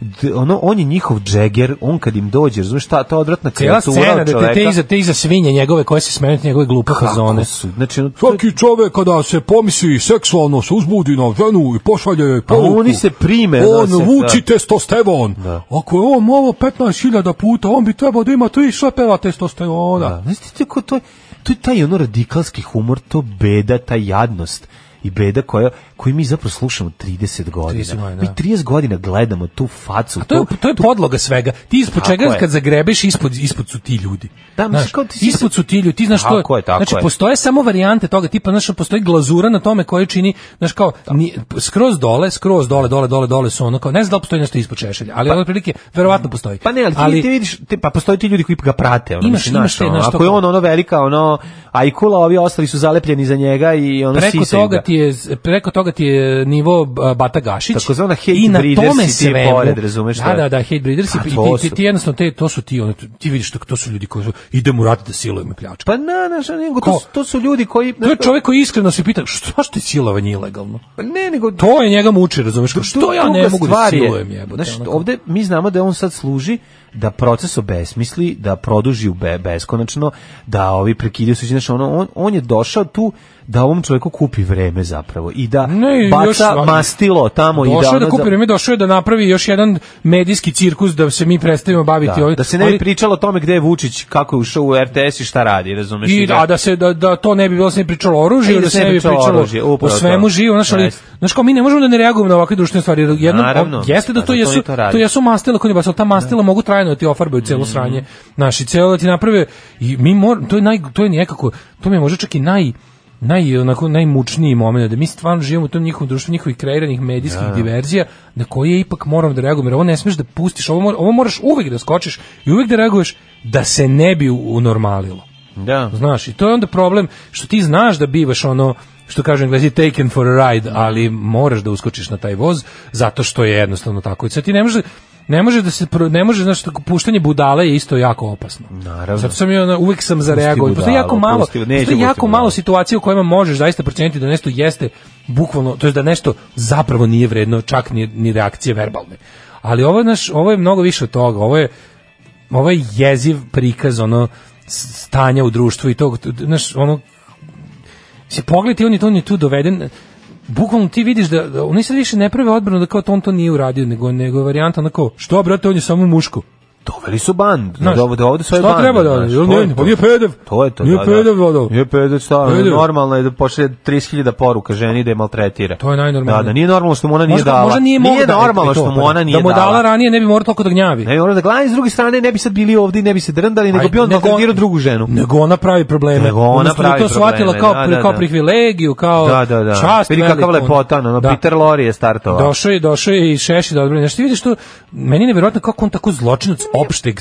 S6: D- ono, on je njihov džeger, on kad im dođe, razumiješ, ta, ta odvratna
S5: Cijela
S6: kreatura
S5: scena
S6: od
S5: da te,
S6: čoveka.
S5: te, iza, te iza svinje njegove koje se smeju na njegove glupe fazone.
S6: Kako su, znači, ono, to-
S10: Svaki čovek kada se pomisli seksualno se uzbudi na ženu i pošalje joj poruku.
S6: Pa oni se prime,
S10: On
S6: da se-
S10: vuči
S6: da.
S10: testosteron. Ako je on ovo 15.000 puta, on bi trebao da ima tri šlepera testosterona.
S6: Da. Znaš ti tako, to, je- to je taj ono radikalski humor, to beda, ta jadnost i beda koja, koju mi zapravo slušamo 30 godina.
S5: 30 godina,
S6: Mi
S5: da.
S6: 30 godina gledamo tu facu.
S5: A to je, to je podloga svega. Ti ispod
S6: Tako
S5: čega
S6: je.
S5: kad zagrebeš ispod ispod su ti ljudi.
S6: Da, mislim,
S5: Znaš,
S6: kao ti si-
S5: ispod su ti ljudi, ti znaš to.
S6: Tako je, tako
S5: znači
S6: je.
S5: postoje samo varijante toga, tipa znaš postoji glazura na tome koju čini, znaš kao ni, skroz dole, skroz dole, dole, dole, dole su ono kao ne znam da li postoji nešto ispod češelja, ali pa, otprilike verovatno postoji.
S6: Pa ne, ali ti, ti vidiš, te, pa postoje ti ljudi koji ga prate. Ono,
S5: Imaš-
S6: mislim,
S5: imaš
S6: znaš,
S5: te,
S6: ono,
S5: znaš,
S6: Ako
S5: to
S6: je
S5: kao-
S6: on ono velika, ono, a i kula, ovi ostali su zalepljeni za njega i ono
S5: preko
S6: sisaju
S5: toga
S6: ga.
S5: ti je preko toga ti je nivo a, Bata Gašić
S6: Takozvana hate
S5: i na
S6: breeders
S5: tome
S6: i ti
S5: svemu
S6: je pored, razumeš
S5: da
S6: šta?
S5: da da hate breeders i
S6: Pa
S5: ti,
S6: to
S5: ti, ti,
S6: su.
S5: jednostavno te to su ti ono, ti vidiš to, to su ljudi koji su, idemo u rat da silujemo i pljačkamo
S6: Pa na, znaš, ono, nego
S5: Ko?
S6: to, su- to su ljudi koji...
S5: To je čovjek koji iskreno se pita, što zašto je silovanje ilegalno?
S6: Pa Ne, nego...
S5: To je njega muči, razumeš? Kao, Što ja ne
S6: druga
S5: mogu da
S6: stvar je,
S5: silujem jebote?
S6: Znaš,
S5: ono kao-
S6: ovde mi znamo da on sad služi da proces obesmisli, da produži u be, beskonačno, da ovi prekidaju suđenje, znači ono, on, on je došao tu da ovom čovjeku kupi vreme zapravo i da
S5: Ne,
S6: baca
S5: još-
S6: mastilo tamo i da...
S5: Došao je
S6: ono
S5: da kupi
S6: za-
S5: vreme, došao je da napravi još jedan medijski cirkus da se mi predstavimo baviti
S6: Da,
S5: ovim.
S6: da se ne bi
S5: ali-
S6: pričalo o tome gde je Vučić, kako je ušao u RTS i šta radi, razumeš?
S5: I Znači, da, a da se da, da to ne bi bilo se ne pričalo o oružju,
S6: I
S5: da se ne bi pričalo
S6: oružje,
S5: o
S6: upravo
S5: svemu
S6: to.
S5: živom, znaš, ali
S6: Jeste.
S5: znaš kao mi ne možemo da ne reagujemo na ovakve društvene stvari. jer Jedno
S6: Naravno,
S5: jeste da
S6: pa
S5: to
S6: zato
S5: jesu
S6: oni to rade.
S5: to jesu mastila koji baš ta mastila mogu trajno da Mhm. ti ofarbaju celo sranje. Naši celo da ti naprave i mi mor, to je naj to je nekako to mi je možda čak i naj naj onako najmučniji momenat da mi stvarno živimo u tom njihovom društvu njihovih kreiranih medijskih diverzija na koje ipak moramo da reagujemo jer ovo ne smeš da pustiš ovo, mora- ovo moraš uvek da skočiš i uvek da reaguješ da se ne bi u- unormalilo
S6: Da.
S5: Znaš, i to je onda problem što ti znaš da bivaš ono što kažu englezi taken for a ride, ali moraš da uskočiš na taj voz zato što je jednostavno tako. I sad ti ne možeš ne može da se pro- ne može znaš tako, puštanje budale je isto jako opasno.
S6: Naravno.
S5: Zato sam ja uvek sam za reagovao. Postoji
S6: budalu,
S5: jako malo,
S6: pusti- neće
S5: postoji
S6: pusti
S5: jako
S6: budalu.
S5: malo situacija u kojima možeš zaista proceniti da nešto jeste bukvalno, to jest da nešto zapravo nije vredno čak ni, ni reakcije verbalne. Ali ovo je, naš, ovo je mnogo više od toga. Ovo je, ovo je jeziv prikaz ono s- stanja u društvu i tog, znaš, ono se pogledaj, on je, on je tu doveden bukvalno ti vidiš da, da oni sad više ne prave odbranu da kao to on to nije uradio nego nego je varijanta onako što brate on je samo muško
S6: Doveli su band,
S5: Znaš,
S6: do, do, ovde svoje
S5: šta
S6: bande.
S5: treba da
S6: znaš,
S5: radi? On
S6: to je
S5: nije-
S6: to.
S5: pa nije pedev.
S6: To je to,
S5: Nije
S6: da,
S5: pedev,
S6: da.
S5: da, da.
S6: Nije pedev, šta, ono,
S5: Pedev.
S6: normalno je da pošalje 30.000 poruka ženi da je maltretira.
S5: To je najnormalnije.
S6: Da, da, nije normalno što mu ona nije
S5: možda,
S6: dala.
S5: možda nije, mogao da-
S6: normalno
S5: e, to,
S6: što mu
S5: pa,
S6: ona nije
S5: da mu je dala
S6: dala.
S5: ranije ne bi morao toliko da gnjavi
S6: Ne, ono da glavni s druge strane ne bi sad bili ovdje, ne bi se drndali, nego
S5: Aj,
S6: bi on maltretirao drugu ženu.
S5: Nego ona pravi probleme.
S6: Nego ona
S5: Umjesto
S6: pravi
S5: da to shvatila
S6: probleme,
S5: kao,
S6: da,
S5: pri-
S6: da,
S5: kao
S6: da.
S5: privilegiju, kao
S6: Da, da, da.
S5: čast
S6: Vidi kakav
S5: veliku.
S6: lepotan, ono, Peter Lorre je startovao.
S5: Došao je, došao je i Šeši da odbrani. Znaš, ti vidiš to, meni je nevjerojatno kako on tako zločinac opšteg,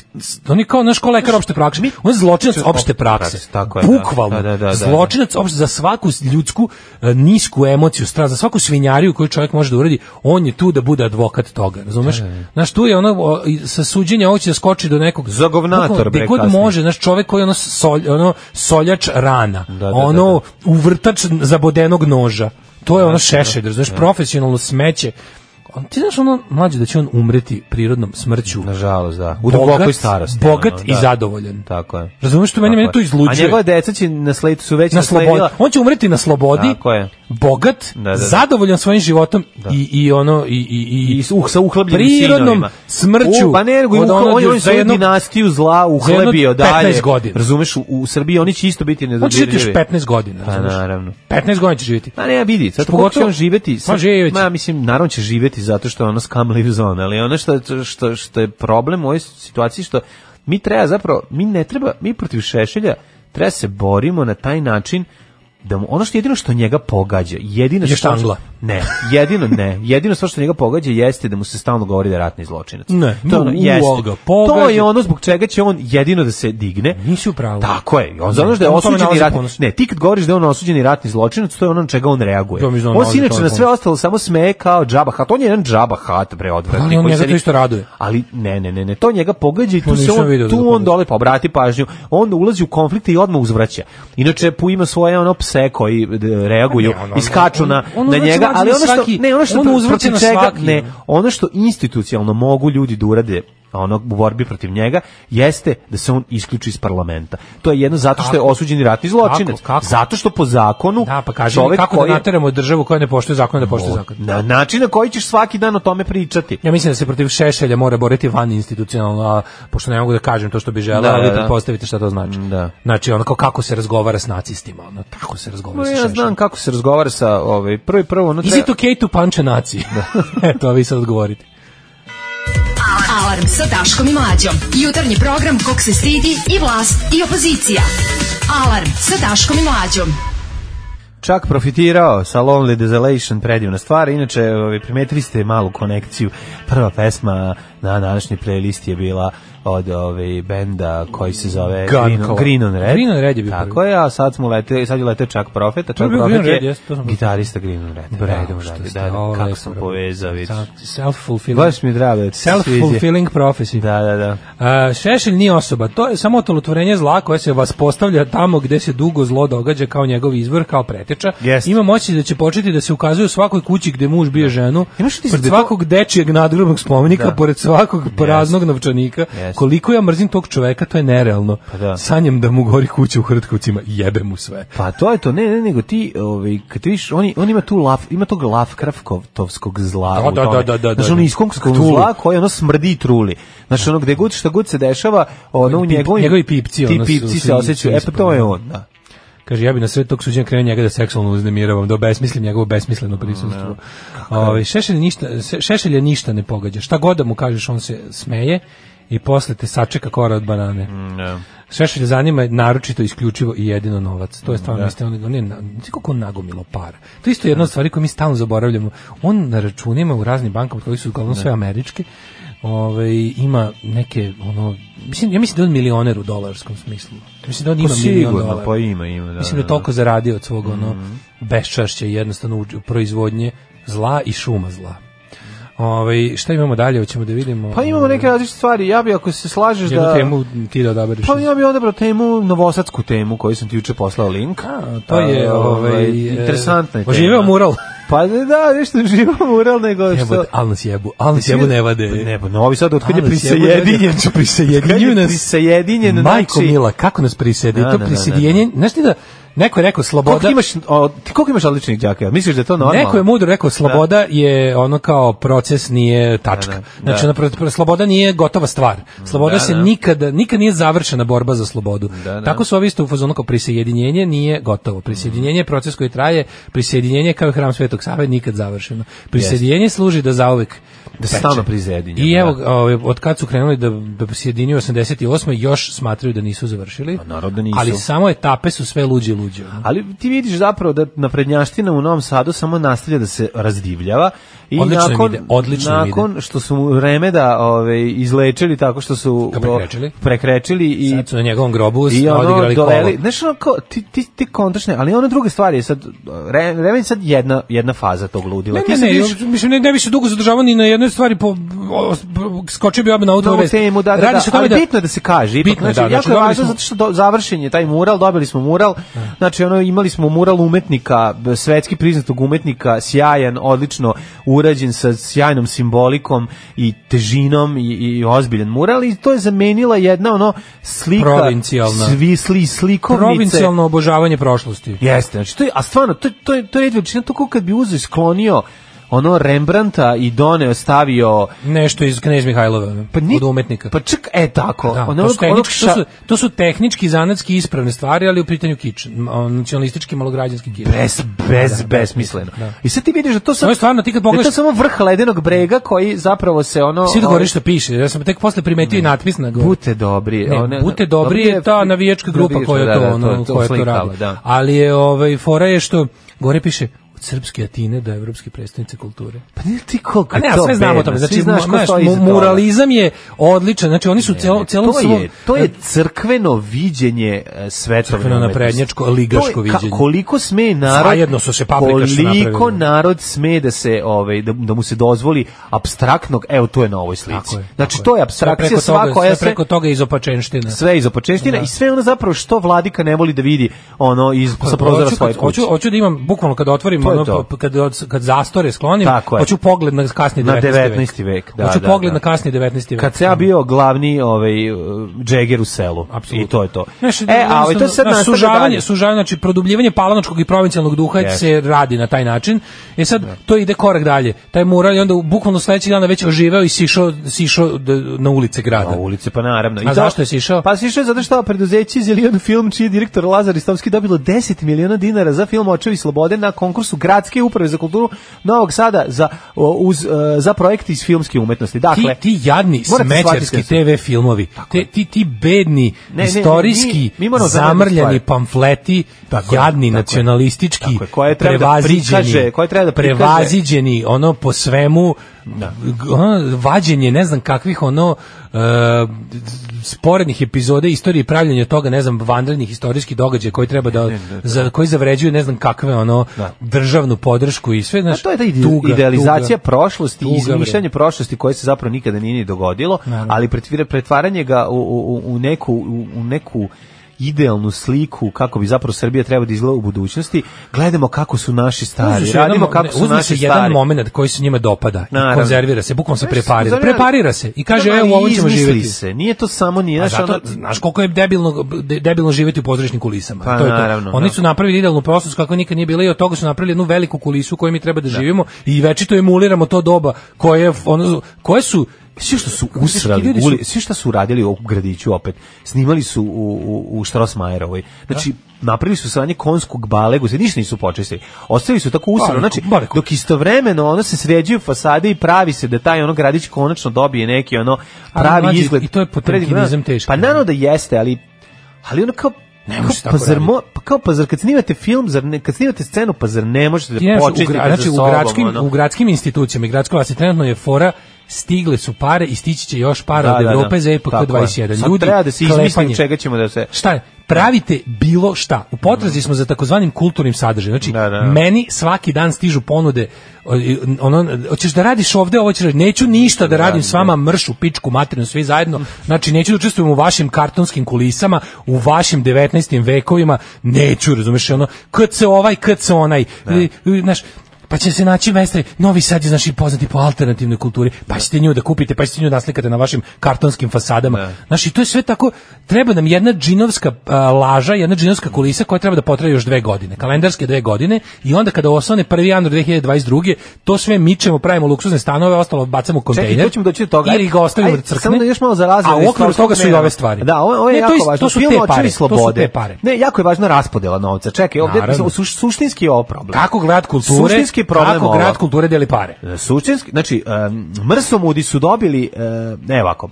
S5: on je kao, znaš, ko lekar opšte prakse. On je zločinac opšte prakse.
S6: prakse, tako je, da.
S5: Bukvalno.
S6: Da, da, da, da.
S5: Zločinac opšte, za svaku ljudsku e, nisku emociju, stra, za svaku svinjariju koju čovjek može da uradi, on je tu da bude advokat toga, razumeš? Znaš, tu je ono, o, i sa suđenja ovo će da skoči do nekog...
S6: Zagovnator,
S5: Bukvalno,
S6: bre,
S5: gde god
S6: kasnije.
S5: može, znaš, čovjek koji je ono, solj, ono soljač rana,
S6: da, da,
S5: ono uvrtač zabodenog noža. To je ono šešelj, razumeš, profesionalno smeće. On, ti znaš ono mlađe da će on umreti prirodnom smrću.
S6: Nažalost, da. U dubokoj starosti.
S5: Bogat
S6: ono,
S5: i
S6: da.
S5: zadovoljan.
S6: Tako je.
S5: Razumeš što meni,
S6: Tako
S5: meni to
S6: je. A
S5: izluđuje.
S6: njegova deca će na sletu su već
S5: Na slobodi.
S6: nasledila-
S5: On će umreti na slobodi,
S6: Tako je.
S5: bogat,
S6: Da, da, da.
S5: zadovoljan svojim životom i, i ono i, i, i,
S6: i s- uh, sa uhlebljenim
S5: prirodnom
S6: sinovima.
S5: smrću.
S6: U, pa ne, nego
S5: od
S6: uhle-
S5: ono
S6: on je
S5: za
S6: on svoju
S5: jednog-
S6: dinastiju zla
S5: za jedno
S6: uhlebio dalje.
S5: 15 godina.
S6: Razumeš, u, u Srbiji oni će isto biti
S5: On će
S6: nedodirljivi.
S5: živjeti još 15 godina,
S6: Pa,
S5: razumeš?
S6: naravno. Pa
S5: 15 godina će živjeti.
S6: A ne, vidi, sad
S5: Što
S6: pogotovo će
S5: pogotovo-
S6: on živeti. Sad,
S5: Ma, Pa živjet će.
S6: Ma, mislim, naravno će živeti zato što je ono scam lives on, ali ono što, što, što je problem u ovoj situaciji, što mi treba zapravo, mi ne treba, mi protiv Šešelja treba se borimo na taj način da mu, ono što jedino što njega pogađa, jedino što...
S5: Je štangla.
S6: Ne, jedino ne. Jedino stvar što njega pogađa jeste da mu se stalno govori da je ratni zločinac.
S5: Ne,
S6: to je ono,
S5: u-
S6: jeste.
S5: uoga,
S6: To
S5: pogađa.
S6: je ono zbog čega će on jedino da se digne.
S5: Nisi u pravu.
S6: Tako je. On za ono što je
S5: Ne, on tome
S6: osuđeni
S5: nalazi
S6: ratni...
S5: ponos.
S6: Ne, ti kad govoriš da je on osuđeni ratni zločinac, to je ono na čega on reaguje.
S5: To mi znam,
S6: On se
S5: nalazi
S6: inače
S5: tome
S6: na sve
S5: ponos.
S6: ostalo samo smeje kao džaba hat. On je jedan džaba hat, bre, odvratni.
S5: Ali on
S6: koji
S5: njega
S6: se
S5: to
S6: ni-
S5: isto raduje.
S6: Ali ne, ne, ne, ne, to njega pogađa i
S5: To
S6: tu se
S5: nisam
S6: on,
S5: video da ga
S6: tu on
S5: pogađa.
S6: dole pa obrati pažnju. On ulazi u konflikte i odmah uzvraća. Inače Pu ima svoje ono pse koji d- reaguju
S5: Ne, on- on-
S6: i skaču na,
S5: on- on
S6: na
S5: uzvraća
S6: njega,
S5: mlađe
S6: ali
S5: na
S6: ono što
S5: svaki-
S6: ne, ono što
S5: on
S6: pro-
S5: uzvraća
S6: protiv
S5: na
S6: čega-
S5: svaki.
S6: ne, ono što institucionalno mogu ljudi da urade ono u borbi protiv njega jeste da se on isključi iz parlamenta. To je jedno zato što je
S5: Kako?
S6: osuđeni ratni zločinac.
S5: Kako? Kako?
S6: Zato što po zakonu
S5: Da, pa kaži mi
S6: čovek
S5: kako
S6: koji
S5: da
S6: je-
S5: nateramo državu koja ne poštuje zakon, da poštuje zakon.
S6: na način na koji ćeš svaki dan o tome pričati.
S5: Ja mislim da se protiv Šešelja mora boriti van institucionalno, a pošto ne mogu da kažem to što bi želeo,
S6: Da,
S5: ali
S6: da,
S5: vi
S6: da.
S5: pretpostavite šta to znači.
S6: da.
S5: Znači, ono kao kako se razgovara s nacistima, ono, tako se razgovara
S6: Ma,
S5: sa
S6: ja
S5: Šešeljom.
S6: znam kako se razgovara sa ovaj prvi prvo ono
S5: Is
S6: treba-
S5: it okay to punch a nazi? Eto, a vi sad odgovorite.
S4: Alarm sa Daškom i Mlađom. Jutarnji program kog se stidi i vlast i opozicija. Alarm sa Daškom i Mlađom.
S6: čak profitirao sa Lonely Desolation, predivna stvar. Inače, ovaj, primetili ste malu konekciju. Prva pesma na današnji playlist je bila od ove benda koji se zove
S5: Gun
S6: Green, on-
S5: Club.
S6: Green on Red.
S5: Green on Red je bio
S6: Tako
S5: prvi.
S6: je, a sad smo leteli, sad je leteo Chuck Prophet, a
S5: je
S6: Chuck
S5: bio
S6: Prophet
S5: Green Red,
S6: je
S5: jeste, to sam-
S6: gitarista Green on Red. Bravo, idemo
S5: što
S6: dalje,
S5: ste,
S6: da, da,
S5: ovo
S6: kako
S5: je
S6: sam
S5: pravo.
S6: povezao, vidiš.
S5: Self-fulfilling.
S6: Baš mi je drago. da ti se sviđa.
S5: Self-fulfilling prophecy.
S6: Da, da, da.
S5: A, E, Šešelj nije osoba, to je samo otvorotvorenje zla koje se vas postavlja tamo gde se dugo zlo događa kao njegov izvor, kao preteča.
S6: Jeste.
S5: Ima moći da će početi da se ukazuje u svakoj kući gde muž bije ženu,
S6: Imaš ti
S5: pored
S6: da to-
S5: svakog dečijeg nadgrobnog spomenika,
S6: Da.
S5: pored svakog praznog novčanika.
S6: Jeste.
S5: Koliko ja mrzim tog čoveka, to je nerealno.
S6: Pa da.
S5: Sanjam da mu gori kuća u Hrtkovcima, jebe mu sve.
S6: Pa to je to, ne, ne, nego ti, ovaj, kad ti vidiš, on, on ima tu laf, ima tog lafkrafkovtovskog zla
S5: Da,
S6: u
S5: da,
S6: tome.
S5: da, da, da,
S6: Znaš,
S5: da.
S6: ono iskonskog
S5: Cthulhu.
S6: zla koje ono smrdi i truli. Znaš, ono gde god, šta god se dešava, ono u
S5: Pip-
S6: njegovim...
S5: njegovi pipci,
S6: Ti
S5: ono, su-
S6: pipci
S5: su-
S6: se osjećaju, e
S5: su
S6: pa to je on, da.
S5: Kaže, ja bi na sred tog suđenja krenuo njega da seksualno uznemiravam, da obesmislim njegovo besmisleno
S6: Mm,
S5: prisustvo. Ovaj šešelj, ništa, se- šešelja ništa ne pogađa. Šta god da mu kažeš, on se smeje i posle te sačeka kora od banane.
S6: Mm,
S5: Šešelj zanima naročito isključivo i jedino novac.
S6: Mm,
S5: To je stvarno isto on on je na- znaš koliko on nagomilo para. To je isto jedna od stvari koju mi stalno zaboravljamo. On na računima u raznim bankama koji su uglavnom sve američke ovaj, ima neke, ono, mislim, ja mislim da je on milioner u dolarskom smislu. Mislim da on ima milion
S6: sigurno,
S5: dolara.
S6: pa ima, ima. Da, Mhm.
S5: Mislim da je toliko zaradio od svog ono beščašća i jednostavno uđe u proizvodnje zla i šuma zla. Ovaj šta imamo dalje, hoćemo da vidimo. ono,
S6: Pa imamo neke različite stvari. Ja bi, ako se slažeš
S5: jednu
S6: da...
S5: temu ti da odabereš.
S6: Pa ja bih odabrao temu, novosadsku temu koju sam ti juče poslao link.
S5: A, to je
S6: A,
S5: ovaj
S6: interesantna je.
S5: Oživeo
S6: tema.
S5: mural.
S6: Pa da, nešto živeo mural nego što...
S5: Jebote, al nas jebu, al nas jebu ne vade.
S6: Ne, pa novi sad otkud je
S5: Ali se jebote,
S6: prisajedinjen, ću
S5: Prijedinjuju nas-
S6: prisajedinjen,
S5: Majko
S6: znači...
S5: Mila, kako nas prisedi?
S6: Da, da,
S5: to
S6: da,
S5: prisjedinjenje, znaš ti da neko je rekao sloboda.
S6: Koliko imaš, o, ti koliko imaš odličnih džaka? Misliš da je to normalno?
S5: Neko je mudro rekao sloboda je ono kao proces nije tačka.
S6: Da, da,
S5: znači
S6: da.
S5: ono, pro- pro- sloboda nije gotova stvar. Sloboda
S6: Da,
S5: se
S6: da.
S5: nikada nikad nije završena borba za slobodu.
S6: Da, da.
S5: Tako su ovi isto u fazonu kao prisjedinjenje nije gotovo. Prisjedinjenje je proces koji traje, prisjedinjenje je kao i hram Svetog Save nikad završeno. Prisjedinjenje služi da zauvek
S6: Da se
S5: peče.
S6: stalno prisjedinjamo,
S5: I evo,
S6: da.
S5: ovaj, od kad su krenuli da, da prisjedinjuju 88. još smatraju da nisu završili.
S6: Pa naravno da nisu.
S5: Ali samo etape su sve ono. luđe i luđe.
S6: Ali ti vidiš zapravo da naprednjaština u Novom Sadu samo nastavlja da se razdivljava i
S5: Odlično im
S6: nakon
S5: ide, odlično im
S6: nakon što su mu Remeda ovaj izlečili tako što su
S5: Ga prekrečili.
S6: o, prekrečili i
S5: Sad su na njegovom grobu
S6: i ono
S5: odigrali kolo.
S6: doleli, znaš ono kao, ti, ti, ti kontračne, ali ono druge stvari je sad, re, Remen je sad jedna, jedna faza tog ludila.
S5: Ne,
S6: Ti
S5: ne,
S6: sad
S5: ne,
S6: vidiš-
S5: još- mislim, ne, ne bi se dugo zadržavao ni na jednoj stvari, po, o, skočio bi obe na
S6: na
S5: autovu
S6: ovu
S5: vest.
S6: temu, da, da, da,
S5: Radi se o tome
S6: ali
S5: da,
S6: bitno je da se kaže, ipak,
S5: Bitno je,
S6: znači,
S5: da,
S6: jako
S5: znači,
S6: je
S5: dobili
S6: važno
S5: smo-
S6: zato što do, završen je taj mural, dobili smo mural, znači ono, imali smo mural umetnika, b- svetski priznatog umetnika, sjajan, odlično urađen sa sjajnom simbolikom i težinom i, i ozbiljan mural i to je zamenila jedna ono slika,
S5: Provincijalna.
S6: svisli, slikovnice,
S5: provincijalno obožavanje prošlosti.
S6: Jeste, znači to je, a stvarno, to, je- to, je- to je red veličina, to kao kad bi uzeo i sklonio ono Rembrandta i doneo, stavio
S5: Nešto iz Knez Mihajlova, ono,
S6: ni-
S5: od umetnika.
S6: Pa ček, e tako.
S5: Da,
S6: ono-
S5: to, su
S6: ono
S5: tehnički,
S6: ša-
S5: to, su, to su tehnički, zanatski ispravne stvari, ali u pitanju kič, m, o, nacionalistički, malograđanski kič.
S6: bez bez besmisleno.
S5: da.
S6: I sad ti vidiš da to
S5: Ovo
S6: samo
S5: je stvarno, ti kad
S6: da
S5: pogledaš-
S6: je to samo vrh ledenog brega koji zapravo se ono
S5: Svi da
S6: ovaj,
S5: govori što piše, ja sam tek posle primetio i natpis na gore.
S6: Bute dobri.
S5: Ne,
S6: one-
S5: Bute dobri je ta navijačka grupa koja
S6: da,
S5: to,
S6: da,
S5: ono, koja to
S6: slikava,
S5: radi.
S6: Da.
S5: Ali je, ovaj, fora je što, gore piše, od srpske Atine do evropske predstavnice kulture.
S6: Pa nije ti koliko
S5: A ne,
S6: je
S5: ali
S6: to
S5: sve znamo o
S6: bedno,
S5: tome.
S6: svi
S5: Znači,
S6: znaš ko
S5: znaš,
S6: stoji
S5: mu-
S6: iza toga.
S5: muralizam je odličan. Znači, oni su celo, celom
S6: to
S5: svom-
S6: je, to je crkveno viđenje e, svetovne
S5: Crkveno
S6: umetnosti.
S5: naprednjačko,
S6: To je
S5: ligaško
S6: ka-
S5: viđenje.
S6: koliko sme narod
S5: Zajedno su se paprikaši
S6: koliko
S5: napravili.
S6: narod sme da se ovaj da, da mu se dozvoli apstraktnog evo to je na ovoj slici
S5: Tako je,
S6: znači
S5: tako
S6: to je
S5: Sve
S6: apstrakcija
S5: preko
S6: sva
S5: toga-
S6: koja
S5: sve
S6: se
S5: preko toga iz opačenština.
S6: sve iz opočeština i sve ono zapravo što vladika ne voli da vidi ono iz sa prozora
S5: Pa, Hoću
S6: svoje
S5: kad-
S6: kuće.
S5: Hoću, hoću da imam, bukvalno kad otvorim,
S6: To je
S5: ono,
S6: to.
S5: pa- kad, od- kad zastore sklonim,
S6: Tako je.
S5: hoću pogled na kasni
S6: Na
S5: 19.
S6: 19. vek, da,
S5: hoću
S6: da,
S5: pogled
S6: da.
S5: na kasni 19. vek.
S6: Kad se ja bio glavni ovaj uh, džeger u selu
S5: Apsolutno.
S6: i to je to.
S5: Znaš,
S6: e, a ovaj to sad
S5: znaš,
S6: nastavlja
S5: sužavanje,
S6: dalje.
S5: sužavanje, znači produbljivanje palanačkog i provincijalnog duha
S6: Jeste.
S5: se radi na taj način. E sad to ide korak dalje. Taj mural je onda u- bukvalno sledećeg dana već oživeo i sišao sišao d- na ulice grada.
S6: Na ulici, pa naravno.
S5: A zašto je sišao?
S6: Pa sišao je zato što preduzeće Zelion film, čiji je direktor Lazar Istovski dobilo 10 miliona dinara za film Očevi slobode na konkursu Gradske uprave za kulturu Novog Sada za, o, uz, e, za projekte iz filmske umetnosti.
S5: ti,
S6: Dakle,
S5: ti jadni
S6: morate shvatiti
S5: smećarski
S6: da su-
S5: TV filmovi, te, ti, ti bedni,
S6: ne, ne,
S5: istorijski,
S6: mi- mi moramo zajedno
S5: zamrljani
S6: stvari.
S5: pamfleti,
S6: Tako je,
S5: jadni,
S6: tako je.
S5: nacionalistički,
S6: Tako je, koje treba da
S5: prevaziđeni,
S6: prikaže, koje treba da prikaže.
S5: prevaziđeni, ono po svemu, g- ono, vađenje ne znam kakvih ono e, sporednih epizode istorije i pravljanje toga, ne znam, vanrednih istorijskih događaja koji treba da, za, koji zavređuju ne znam kakve ono državnu podršku i sve,
S6: A
S5: znaš,
S6: to je ta ide-
S5: tuga,
S6: idealizacija
S5: tuga.
S6: prošlosti i
S5: Tuga, bre.
S6: izmišljanje prošlosti koje se zapravo nikada nije ni dogodilo,
S5: Naravno.
S6: ali pretvira- pretvaranje ga u, u, u- u neku u, u neku idealnu sliku kako bi zapravo Srbija trebala da izgleda u budućnosti. Gledamo kako su naši stari,
S5: Uzme se
S6: radimo
S5: jedan,
S6: kako
S5: ne,
S6: su
S5: uzme se
S6: naši
S5: jedan
S6: stari.
S5: moment koji se njima dopada i
S6: Naravno.
S5: konzervira se, bukvalno se
S6: Znaš,
S5: preparira.
S6: zapravo-
S5: Preparira se i kaže,
S6: Znam, ali
S5: evo, ovo ćemo
S6: izmisli
S5: živjeti.
S6: se. Nije to samo nije,
S5: A
S6: znaš,
S5: zato,
S6: ono-
S5: znaš koliko je debilno, de- debilno živjeti u pozorišnim kulisama.
S6: Pa,
S5: to je to.
S6: naravno,
S5: Oni
S6: da.
S5: su napravili idealnu prošlost kako nikad nije bila i od toga su napravili jednu veliku kulisu u kojoj mi treba da, živimo i večito emuliramo to doba koje, je, ono, koje su
S6: Svi što su
S5: Ti
S6: usrali,
S5: ljudi su-
S6: guli, svi što su radili u gradiću opet, snimali su u, u, u Štrosmajerovoj. Znači, napravili su sranje konskog balegu, se ništa nisu počestili. Ostavili su tako usrano,
S5: Baleku,
S6: znači,
S5: baleku.
S6: dok istovremeno ono se sređuju fasade i pravi se da taj ono gradić konačno dobije neki ono
S5: Ali,
S6: pravi
S5: mlađe,
S6: izgled.
S5: i to je potemkinizam
S6: Predivno.
S5: teški.
S6: Pa naravno da jeste, ali, ali ono kao
S5: Ne
S6: kao,
S5: može se
S6: pa
S5: tako
S6: zar
S5: raditi.
S6: mo- pa kao pa zar kad snimate film, zar ne, kad snimate scenu, pa zar ne možete da
S5: Ti nemaš u
S6: počistite
S5: gra-
S6: za
S5: znači, u
S6: sobom,
S5: gradskim,
S6: ono?
S5: u gradskim institucijama i gradskoj vlasti znači, trenutno je fora stigle su pare i stići će još para
S6: Da,
S5: od
S6: da, da.
S5: Evrope za EPK
S6: Tako je.
S5: 21.
S6: Sad
S5: Ljudi,
S6: treba da se izmisli
S5: klepanje.
S6: od čega ćemo da se...
S5: Dakle, Šta je? Pravite bilo šta. U potrazi smo za takozvanim kulturnim sadržajem. Znači,
S6: Da, da, da.
S5: meni svaki dan stižu ponude o, i, ono, hoćeš da radiš ovde, ovo ćeš raditi. neću ništa da radim s vama, mršu, pičku, materinu, svi zajedno, znači neću da učestvujem u vašim kartonskim kulisama, u vašim 19. vekovima, neću, razumeš, ono, kad se ovaj, kad se onaj, I, i, znaš, pa će se naći mestre, Novi Sad je znaš i poznati po alternativnoj kulturi, pa ćete nju da kupite, pa ćete nju da naslikate na vašim kartonskim fasadama. Znaš, i to je sve tako, treba nam jedna džinovska a, laža, jedna džinovska kulisa koja treba da potraje još dve godine, kalendarske dve godine, i onda kada osvane 1. januar 2022. to sve mičemo, pravimo luksuzne stanove, ostalo bacamo u kontejner.
S6: Čekaj, to ćemo doći do toga.
S5: Ili ga ostavimo
S6: Ajde,
S5: da crkne.
S6: Samo da još malo za razvoj.
S5: A u okviru toga su i ove stvari.
S6: Da, ovo, ovo je
S5: Ne, to
S6: jako
S5: is-
S6: važno.
S5: To su
S6: Film
S5: te
S6: Očevi
S5: pare. To su
S6: slobode.
S5: te pare.
S6: Ne, jako je važna raspodela novca. Čekaj, ovde
S5: Naravno.
S6: su, suštinski je ovo problem.
S5: Kako grad kulture,
S6: Suštinski je problem
S5: kako
S6: ovo.
S5: grad kulture deli pare.
S6: Suštinski, znači, um, mrsomudi su dobili, um, ne ovako,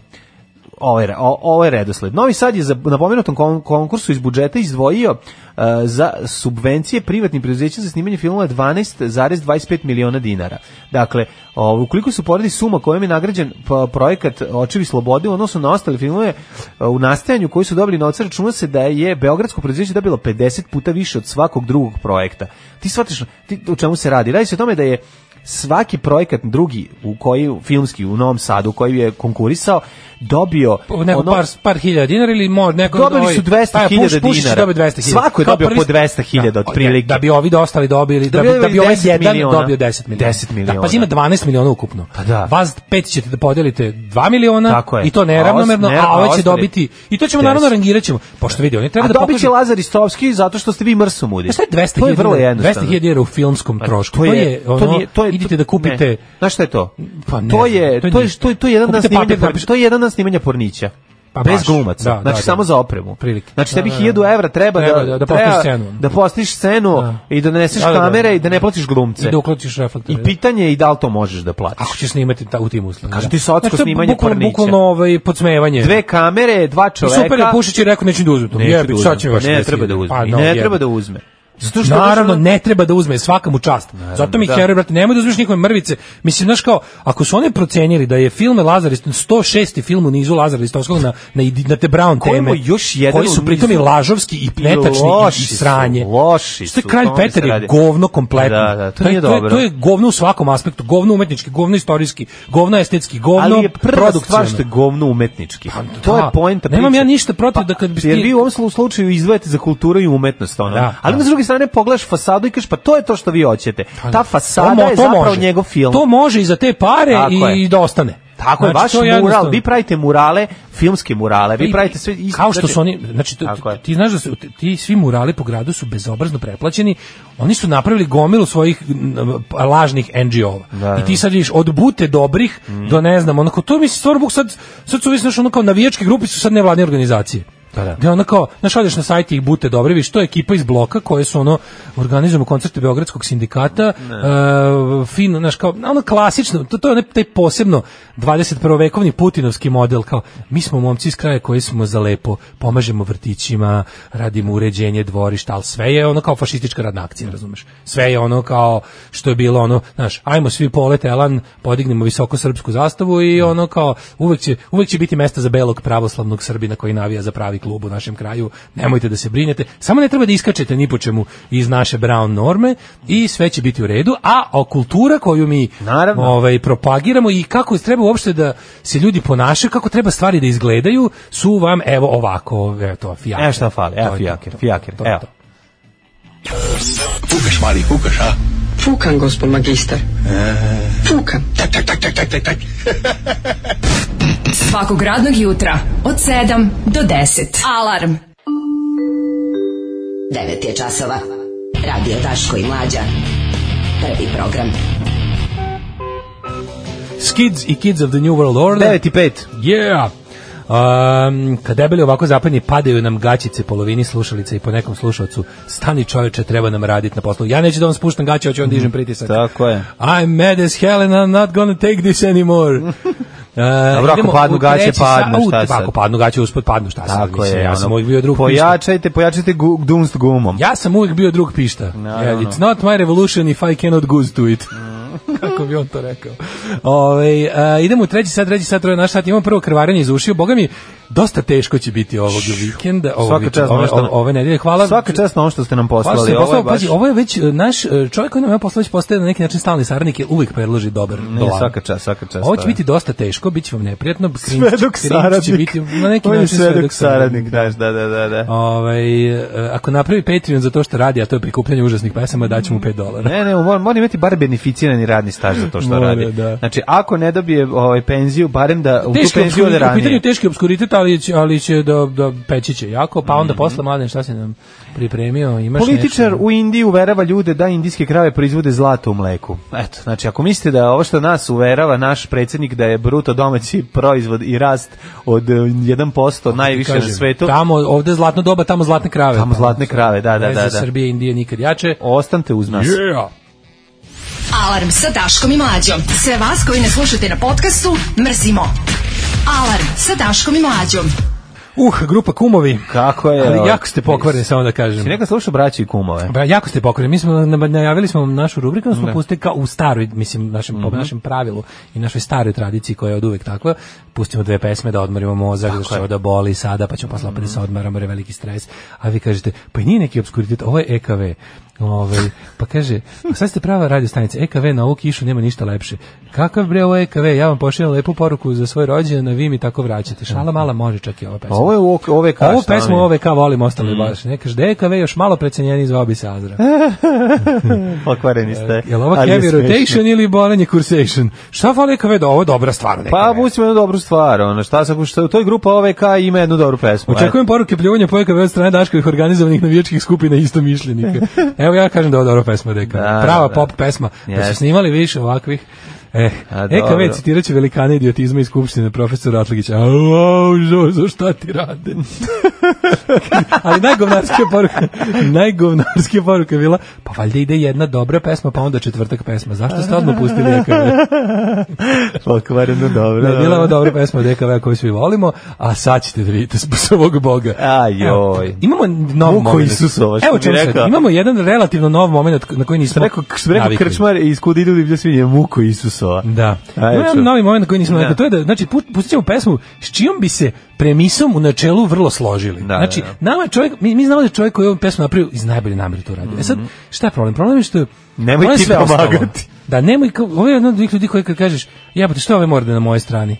S6: ovaj, re- o- ovaj redosled. Novi Sad je za, na pomenutom kon- konkursu iz budžeta izdvojio uh, za subvencije privatnim preduzećima za snimanje filmova 12,25 miliona dinara. Dakle, ovo, ukoliko su poredi suma kojom je nagrađen pa, projekat Očevi slobode u odnosu na ostale filmove uh, u nastajanju koji su dobili novca, računa se da je Beogradsko preduzeće dobilo 50 puta više od svakog drugog projekta. Ti shvatiš ti, o čemu se radi? Radi se o tome da je svaki projekat drugi u koji filmski u Novom Sadu koji je konkurisao dobio
S5: neko par, par hiljada dinara ili mo, neko...
S6: Ono- dobili
S5: ovaj,
S6: su
S5: pa,
S6: 200.000
S5: Puš- Pušić
S6: dinara.
S5: je dobio 200 hiljada.
S6: Svako je
S5: Kao
S6: dobio
S5: prvi-
S6: po 200.000
S5: Da,
S6: otprilike.
S5: Da bi ovi da ostali dobili, da, bi,
S6: Dobio
S5: da bi ovaj
S6: bi 10
S5: jedan
S6: miliona.
S5: dobio 10 miliona.
S6: 10 miliona.
S5: Da, pa ima 12 miliona ukupno.
S6: Pa da.
S5: Vas pet ćete da podelite 2 miliona
S6: Tako je.
S5: i to
S6: A
S5: neravnomerno,
S6: os- ne-
S5: a ovaj
S6: a
S5: će
S6: ostali-
S5: dobiti... I to ćemo naravno
S6: 10.
S5: rangirat ćemo. Pošto vidi, oni treba
S6: A
S5: da
S6: dobit će
S5: pokažu...
S6: Lazar Istovski zato što ste vi mrsomudi.
S5: Pa šta je 200
S6: To je vrlo
S5: hiljada-
S6: jednostavno.
S5: 200 hiljada dinara u filmskom
S6: Pa
S5: trošku? To je, ono,
S6: nije-
S5: idite da kupite-
S6: ne. Znaš šta je to?
S5: Pa ne
S6: to
S5: znam,
S6: je
S5: to je
S6: to je
S5: ništa.
S6: to je, to je jedan dan
S5: Kupite
S6: snimanja
S5: papir,
S6: por-
S5: napiš-
S6: to je jedan dan snimanja pornića.
S5: Pa
S6: bez
S5: baš,
S6: glumaca.
S5: da, da,
S6: znači
S5: da.
S6: samo za opremu.
S5: Prilike.
S6: Znači tebi
S5: Da, da,
S6: 1000
S5: da.
S6: evra treba,
S5: Treba
S6: da
S5: da- da postiš scenu.
S6: Da postiš scenu
S5: Da.
S6: i doneseš
S5: Da, da, da.
S6: kamere i da ne platiš glumce.
S5: I da uključiš reflektore.
S6: I
S5: da.
S6: pitanje je i da li to možeš da platiš.
S5: Ako će snimati ta, u tim uslovima.
S6: Kažem
S5: da.
S6: ti, socsko
S5: Znači, to je
S6: snimanje
S5: bukvalno-
S6: Pornića.
S5: Bukvalno ovaj, podsmevanje.
S6: Dve kamere, dva
S5: I
S6: čoveka.
S5: super je Pušić je rekao neću da uzmem to.
S6: Neću
S5: Jebi,
S6: da uzmem.
S5: šta će mi vaš
S6: Ne
S5: 10.000?
S6: treba da uzme.
S5: Pa,
S6: I
S5: no,
S6: ne
S5: jebi.
S6: treba da uzme. Zato što
S5: Naravno,
S6: znaš,
S5: ne treba da uzme, svaka mu čast. Zato mi
S6: da.
S5: heroj, brate, nemoj da uzmeš nikome mrvice. Mislim, znaš kao, ako su oni procenili da je film Lazar, Ist- 106. film u nizu Lazar Istovskog na, na, Idi- na te Brown
S6: Kojemu
S5: teme,
S6: još jedan
S5: koji
S6: u
S5: su pritom i
S6: nizu.
S5: netačni i netačni
S6: loši
S5: i, i
S6: su,
S5: sranje.
S6: loši
S5: Što je
S6: su,
S5: Kralj
S6: o tome se
S5: Peter je
S6: radi.
S5: govno kompletno.
S6: Da, da, to
S5: je-
S6: nije
S5: je-
S6: dobro.
S5: To je govno u svakom aspektu, govno umetnički, govno istorijski, govno estetski, govno
S6: ali je prva stvar
S5: produkcionalno.
S6: što je govno umetnički. to
S5: da.
S6: je poenta priče.
S5: Pa Nemam ja ništa protiv da kad bi
S6: Jer
S5: ti-
S6: vi u ovom slu- slučaju izdvajate za kulturu i umetnost. Ono.
S5: Da,
S6: ali
S5: da.
S6: s druge strane pogledaš fasadu i kažeš pa to je to što vi hoćete.
S5: Pa
S6: Ta
S5: da.
S6: fasada
S5: mo-
S6: je zapravo njegov film.
S5: To može i za te pare
S6: Tako
S5: i
S6: je.
S5: da ostane.
S6: Tako je,
S5: Znači,
S6: vaš
S5: to
S6: mural,
S5: jednostavno- Pa
S6: vi pravite murale, filmske murale, vi pravite sve... isto-
S5: Kao što
S6: znači-
S5: su oni, znači to-
S6: Tako je.
S5: ti znaš da su ti- ti svi murali po gradu su bezobrazno preplaćeni. Oni su napravili gomilu svojih m, lažnih NGO-ova. I ti sad vidiš od bute dobrih
S6: Mhm.
S5: do ne znam, onako to mi se stvarno buk sad sad su već znaš, ono kao navijačke grupe su sad nevladine organizacije.
S6: Pa da.
S5: Gde ono kao, znaš, odeš na sajt i bute dobri, viš, to je ekipa iz bloka koje su ono, organizujemo koncerte Beogradskog sindikata, uh, fin, znaš, kao, ono klasično, to, to je onaj taj posebno 21. vekovni putinovski model, kao, mi smo momci iz kraja koji smo za lepo, pomažemo vrtićima, radimo uređenje dvorišta, ali sve je ono kao fašistička radna akcija, razumeš? Sve je ono kao što je bilo ono, znaš, ajmo svi polet elan, podignemo visoko srpsku zastavu i ono kao uvek će, uvek će biti mesta za belog pravoslavnog Srbina koji navija za pravi klub u našem kraju. Nemojte da se brinete, samo ne treba da iskačete ni po čemu iz naše brown norme i sve će biti u redu, a o kultura koju mi
S6: Naravno.
S5: ovaj propagiramo i kako treba uopšte da se ljudi ponašaju, kako treba stvari da izgledaju, su vam evo ovako, evo to fijaker.
S6: Evo E, šta fali, evo
S5: To je to,
S6: fijaker,
S5: to,
S6: fijaker,
S5: to je
S6: evo.
S5: to.
S11: Fukan, gospod magister. Fukan.
S4: Svakog radnog jutra od 7 do 10. Alarm. 9 je časova. Radio Daško i Mlađa. Prvi program.
S5: Skids i Kids of the New World Order.
S6: 9 i 5.
S5: Yeah! Um, kad debeli ovako zapadni padaju nam gaćice polovini slušalice i po nekom slušalcu stani čoveče treba nam raditi na poslu ja neću da vam spuštam gaće hoću vam dižem pritisak
S6: Mhm. Tako je.
S5: I'm mad as hell and I'm not gonna take this anymore uh,
S6: ako
S5: idemo
S6: padnu
S5: u
S6: gaće,
S5: treći
S6: padnu,
S5: sa- u, pa,
S6: šta sad?
S5: ako padnu gaće uspod padnu šta sad
S6: Tako
S5: mislim,
S6: je.
S5: ja sam
S6: ono,
S5: uvijek bio drug pišta
S6: Pojačajte, pojačajte gu, dunst gumom.
S5: ja sam uvijek bio drug pišta
S6: Naravno. Mm.
S5: it's not my revolution if I cannot goose to it Kako bi on to rekao? Ove, a, idemo u treći sat, treći sat, troje naš sat. Imamo prvo krvarenje iz ušiju. Boga mi, dosta teško će biti ovog vikenda, ovog
S6: Svaka
S5: vikenda,
S6: čast na
S5: ove,
S6: ono što-
S5: ove, ove nedelje. Hvala.
S6: Svaka čast na ono što ste nam
S5: Hvala
S6: poslali.
S5: što ste
S6: ovo je
S5: poslali,
S6: baš-
S5: Pa, pazi, ovo je već e, naš e, čovjek koji nam je poslao, već postaje na neki način stalni saradnik, je uvek predloži dobar
S6: Ne,
S5: dolar.
S6: svaka čast, svaka čast.
S5: Ovo će
S6: to je.
S5: biti dosta teško, bit će vam neprijatno. cringe-
S6: Svedok
S5: cringe
S6: saradnik.
S5: Će biti na neki
S6: On je
S5: način
S6: svedok saradnik, znaš, da, da, da, da.
S5: Ovaj, e, ako napravi Patreon za to što radi, a to je prikupljanje užasnih pesama, daću mu 5 dolara.
S6: Ne, ne, mora, mora imati bar beneficirani radni staž za to što
S5: Mora,
S6: radi.
S5: da.
S6: Znači, ako ne dobije ovaj penziju, barem da u tu
S5: Teški
S6: penziju ode
S5: obskuritet, u pitanju
S6: ranije.
S5: je teški obskuritet, ali će, ali će da, da peći će jako, pa onda posle mladen šta si nam pripremio, imaš
S6: Mhm. Političar
S5: nešto.
S6: u Indiji uverava ljude da indijske krave proizvode zlato u mleku. Eto, znači ako mislite da ovo što nas uverava naš predsjednik da je bruto domaći proizvod i rast od e, 1% najviše na
S5: Kažem,
S6: svetu,
S5: Tamo, ovde je zlatno doba, tamo zlatne krave.
S6: tamo zlatne krave, da, da,
S5: Veze
S6: da, da.
S5: Srbije i Indije nikad jače.
S6: Ostanite uz nas.
S5: Yeah.
S4: Alarm sa Daškom i Mlađom. Sve vas koji ne slušate na podcastu, mrzimo. Alarm sa Daškom i Mlađom.
S5: Uh, grupa kumovi.
S6: Kako je?
S5: Ali
S6: ovaj,
S5: jako ste pokvareni, samo da kažem.
S6: Si Znači, neka slušao braći i kumove?
S5: Ba, Pa jako ste pokvareni. Mi smo na- najavili smo vam našu rubriku, onda smo pustili kao u staroj, mislim, našem,
S6: Mhm.
S5: po našem pravilu i našoj staroj tradiciji koja je od uvek takva, pustimo dve pesme da odmorimo mozak, da će da boli sada, pa ćemo posle opet da
S6: Mhm.
S5: se odmaramo, jer je veliki stres. A vi kažete, pa i nije neki obskuritet, ovo je EKV. Ovaj, pa kaže, "Pa sad ste prava radio stanica, EKV na ovu kišu nema ništa lepše. Kakav bre ovo EKV, ja vam pošaljem lepu poruku za svoj rođendan, a vi mi tako vraćate. Šala mala može čak i ova pesma.
S6: Pa Ovo je u ok- ove kaštane.
S5: Ovu pesmu OVK volim
S6: Mm.
S5: ostali baš. Ne kaže DKV još malo precenjeni zvao bi se Azra.
S6: Pokvareni ste.
S5: E, Jel ovo
S6: E, ali je
S5: heavy
S6: smešno.
S5: rotation ili bolanje kursation? Šta fali EKV da ovo je dobra stvar neka.
S6: Pa, pustimo jednu dobru stvar, ono, šta se, što u toj grupa OVK ima jednu dobru pesmu.
S5: Očekujem poruke pljuvanja po EKV od strane Daškovih organizovanih navijačkih skupina isto mišljenika. Evo ja kažem da ovo je dobra pesma DKV.
S6: Da,
S5: Prava
S6: da.
S5: pop pesma. Da
S6: Jeste.
S5: su snimali više ovakvih Eh,
S6: A, dobro.
S5: EKV citiraće velikane idiotizma iz Skupštine, profesor Atlagić. Au, au, žo, za šta ti rade? Ali najgovnarska poruka, najgovnarska poruka je bila, pa valjda ide jedna dobra pesma, pa onda četvrtak pesma. Zašto ste odmah pustili EKV?
S6: Pokvareno dobro.
S5: Da je bila ovo dobra pesma od EKV koju svi volimo, a sad ćete da vidite s ovog boga.
S6: Ajoj.
S5: Evo, Imamo nov
S6: Muko
S5: moment.
S6: Isusova, što
S5: Evo
S6: bi
S5: čemu sad,
S6: rekao.
S5: Imamo jedan relativno nov moment na koji
S6: Što
S5: nismo
S6: bi rekao, što bi rekao
S5: navikli. Mm.
S6: krčmar iz kud idu divlje svinje, muko Isusova.
S5: Da.
S6: Ajde,
S5: Imamo
S6: čuj.
S5: jedan novi moment na koji nismo
S6: Da.
S5: navikli. To je da, znači, put- pustit ćemo pesmu s čijom bi se premisom u načelu vrlo složili.
S6: Da,
S5: znači,
S6: da, da.
S5: nama je čovjek, mi, mi znamo da je čovjek koji je ovu pesmu napravio iz najbolje namere to radi. E sad, šta je problem? Problem je što...
S6: Mhm. Nemoj
S5: problem je
S6: ti
S5: sve ostalo.
S6: pomagati.
S5: Da, nemoj, kao- ovo je jedan od onih ljudi koji kad kažeš, jebote, što ove mora da je na moje strani?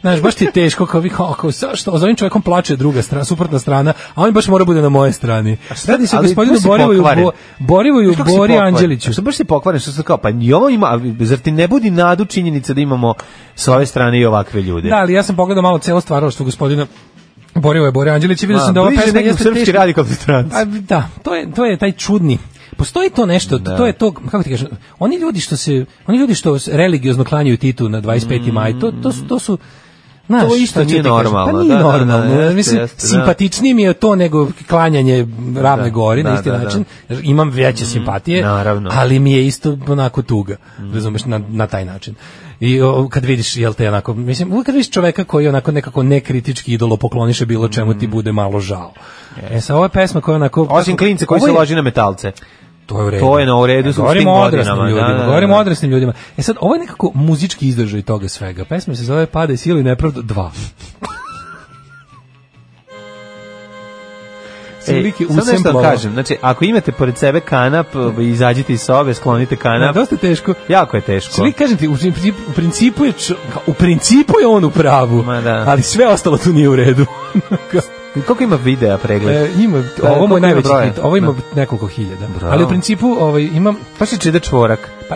S5: Znaš, baš ti je teško, kao vi, kao, kao, zašto? Za ovim čovjekom plače druga strana, suprotna strana, a on baš mora da bude na moje strani.
S6: šta-
S5: Radi se o
S6: ali
S5: gospodinu
S6: tu si
S5: Borivoju,
S6: pokvaren.
S5: Bo, Borivoju,
S6: Znaš kako si
S5: Bori
S6: pokvaren?
S5: Anđeliću.
S6: Što baš si pokvaren, što se kao, pa i ovo ima, a zar ti ne budi nadu činjenica da imamo s ove strane i ovakve ljude?
S5: Da, ali ja sam pogledao malo celo stvaralaštvo gospodina Borivoja Bore Anđelića i vidio sam da ova pesma jeste
S6: srpski
S5: teška.
S6: radikalni stranci.
S5: A, da, to je, to je taj čudni Postoji to nešto, to je to, kako ti kažem, oni ljudi što se, oni ljudi što se religiozno klanjaju Titu na 25. maj, to, to, su, to su Znaš,
S6: Mm. To isto
S5: šta ću
S6: nije
S5: ti kažem,
S6: normalno,
S5: Pa nije
S6: da, da, da,
S5: normalno.
S6: jeste,
S5: Mislim,
S6: jeste, da.
S5: simpatičnije mi je to nego klanjanje ravne
S6: Da,
S5: gori na
S6: da,
S5: isti
S6: da, Mm. da.
S5: način. jer Imam veće simpatije,
S6: naravno.
S5: E, ali mi je isto onako tuga, razumeš, na, na taj način. I o, kad vidiš, jel te, onako, mislim, uvijek kad vidiš čoveka koji onako nekako nekritički idolo pokloniše bilo čemu ti bude malo žao. E sad, ovo je pesma koja je onako...
S6: Mm. Osim klince koji
S5: Ovo
S6: se
S5: je-
S6: loži na metalce.
S5: To je u redu.
S6: To je na u redu,
S5: E,
S6: su s
S5: govorimo
S6: tim
S5: o odraslim
S6: godinama,
S5: ljudima,
S6: da, da, da.
S5: govorimo o odraslim ljudima. E sad, ovo je nekako muzički izdržaj toga svega. Pesma se zove Pada i sila i nepravda 2.
S6: E, sad nešto da kažem, znači, ako imate pored sebe kanap, ovaj, izađite iz sobe, sklonite
S5: Na,
S6: kanap,
S5: E, dosta teško.
S6: jako je teško.
S5: Svi kažem ti, u principu, u principu je čo- u principu je on u pravu,
S6: Ma da.
S5: ali sve ostalo tu nije u redu.
S6: Koliko ima videa pregled?
S5: e, ima,
S6: Da,
S5: ovo mu
S6: Pa, koliko
S5: je
S6: ima
S5: najveći
S6: broja?
S5: hit, ovo ima nekoliko hiljada. Ali u principu ovaj, imam,
S6: Pa se čeda čvorak.
S5: pa,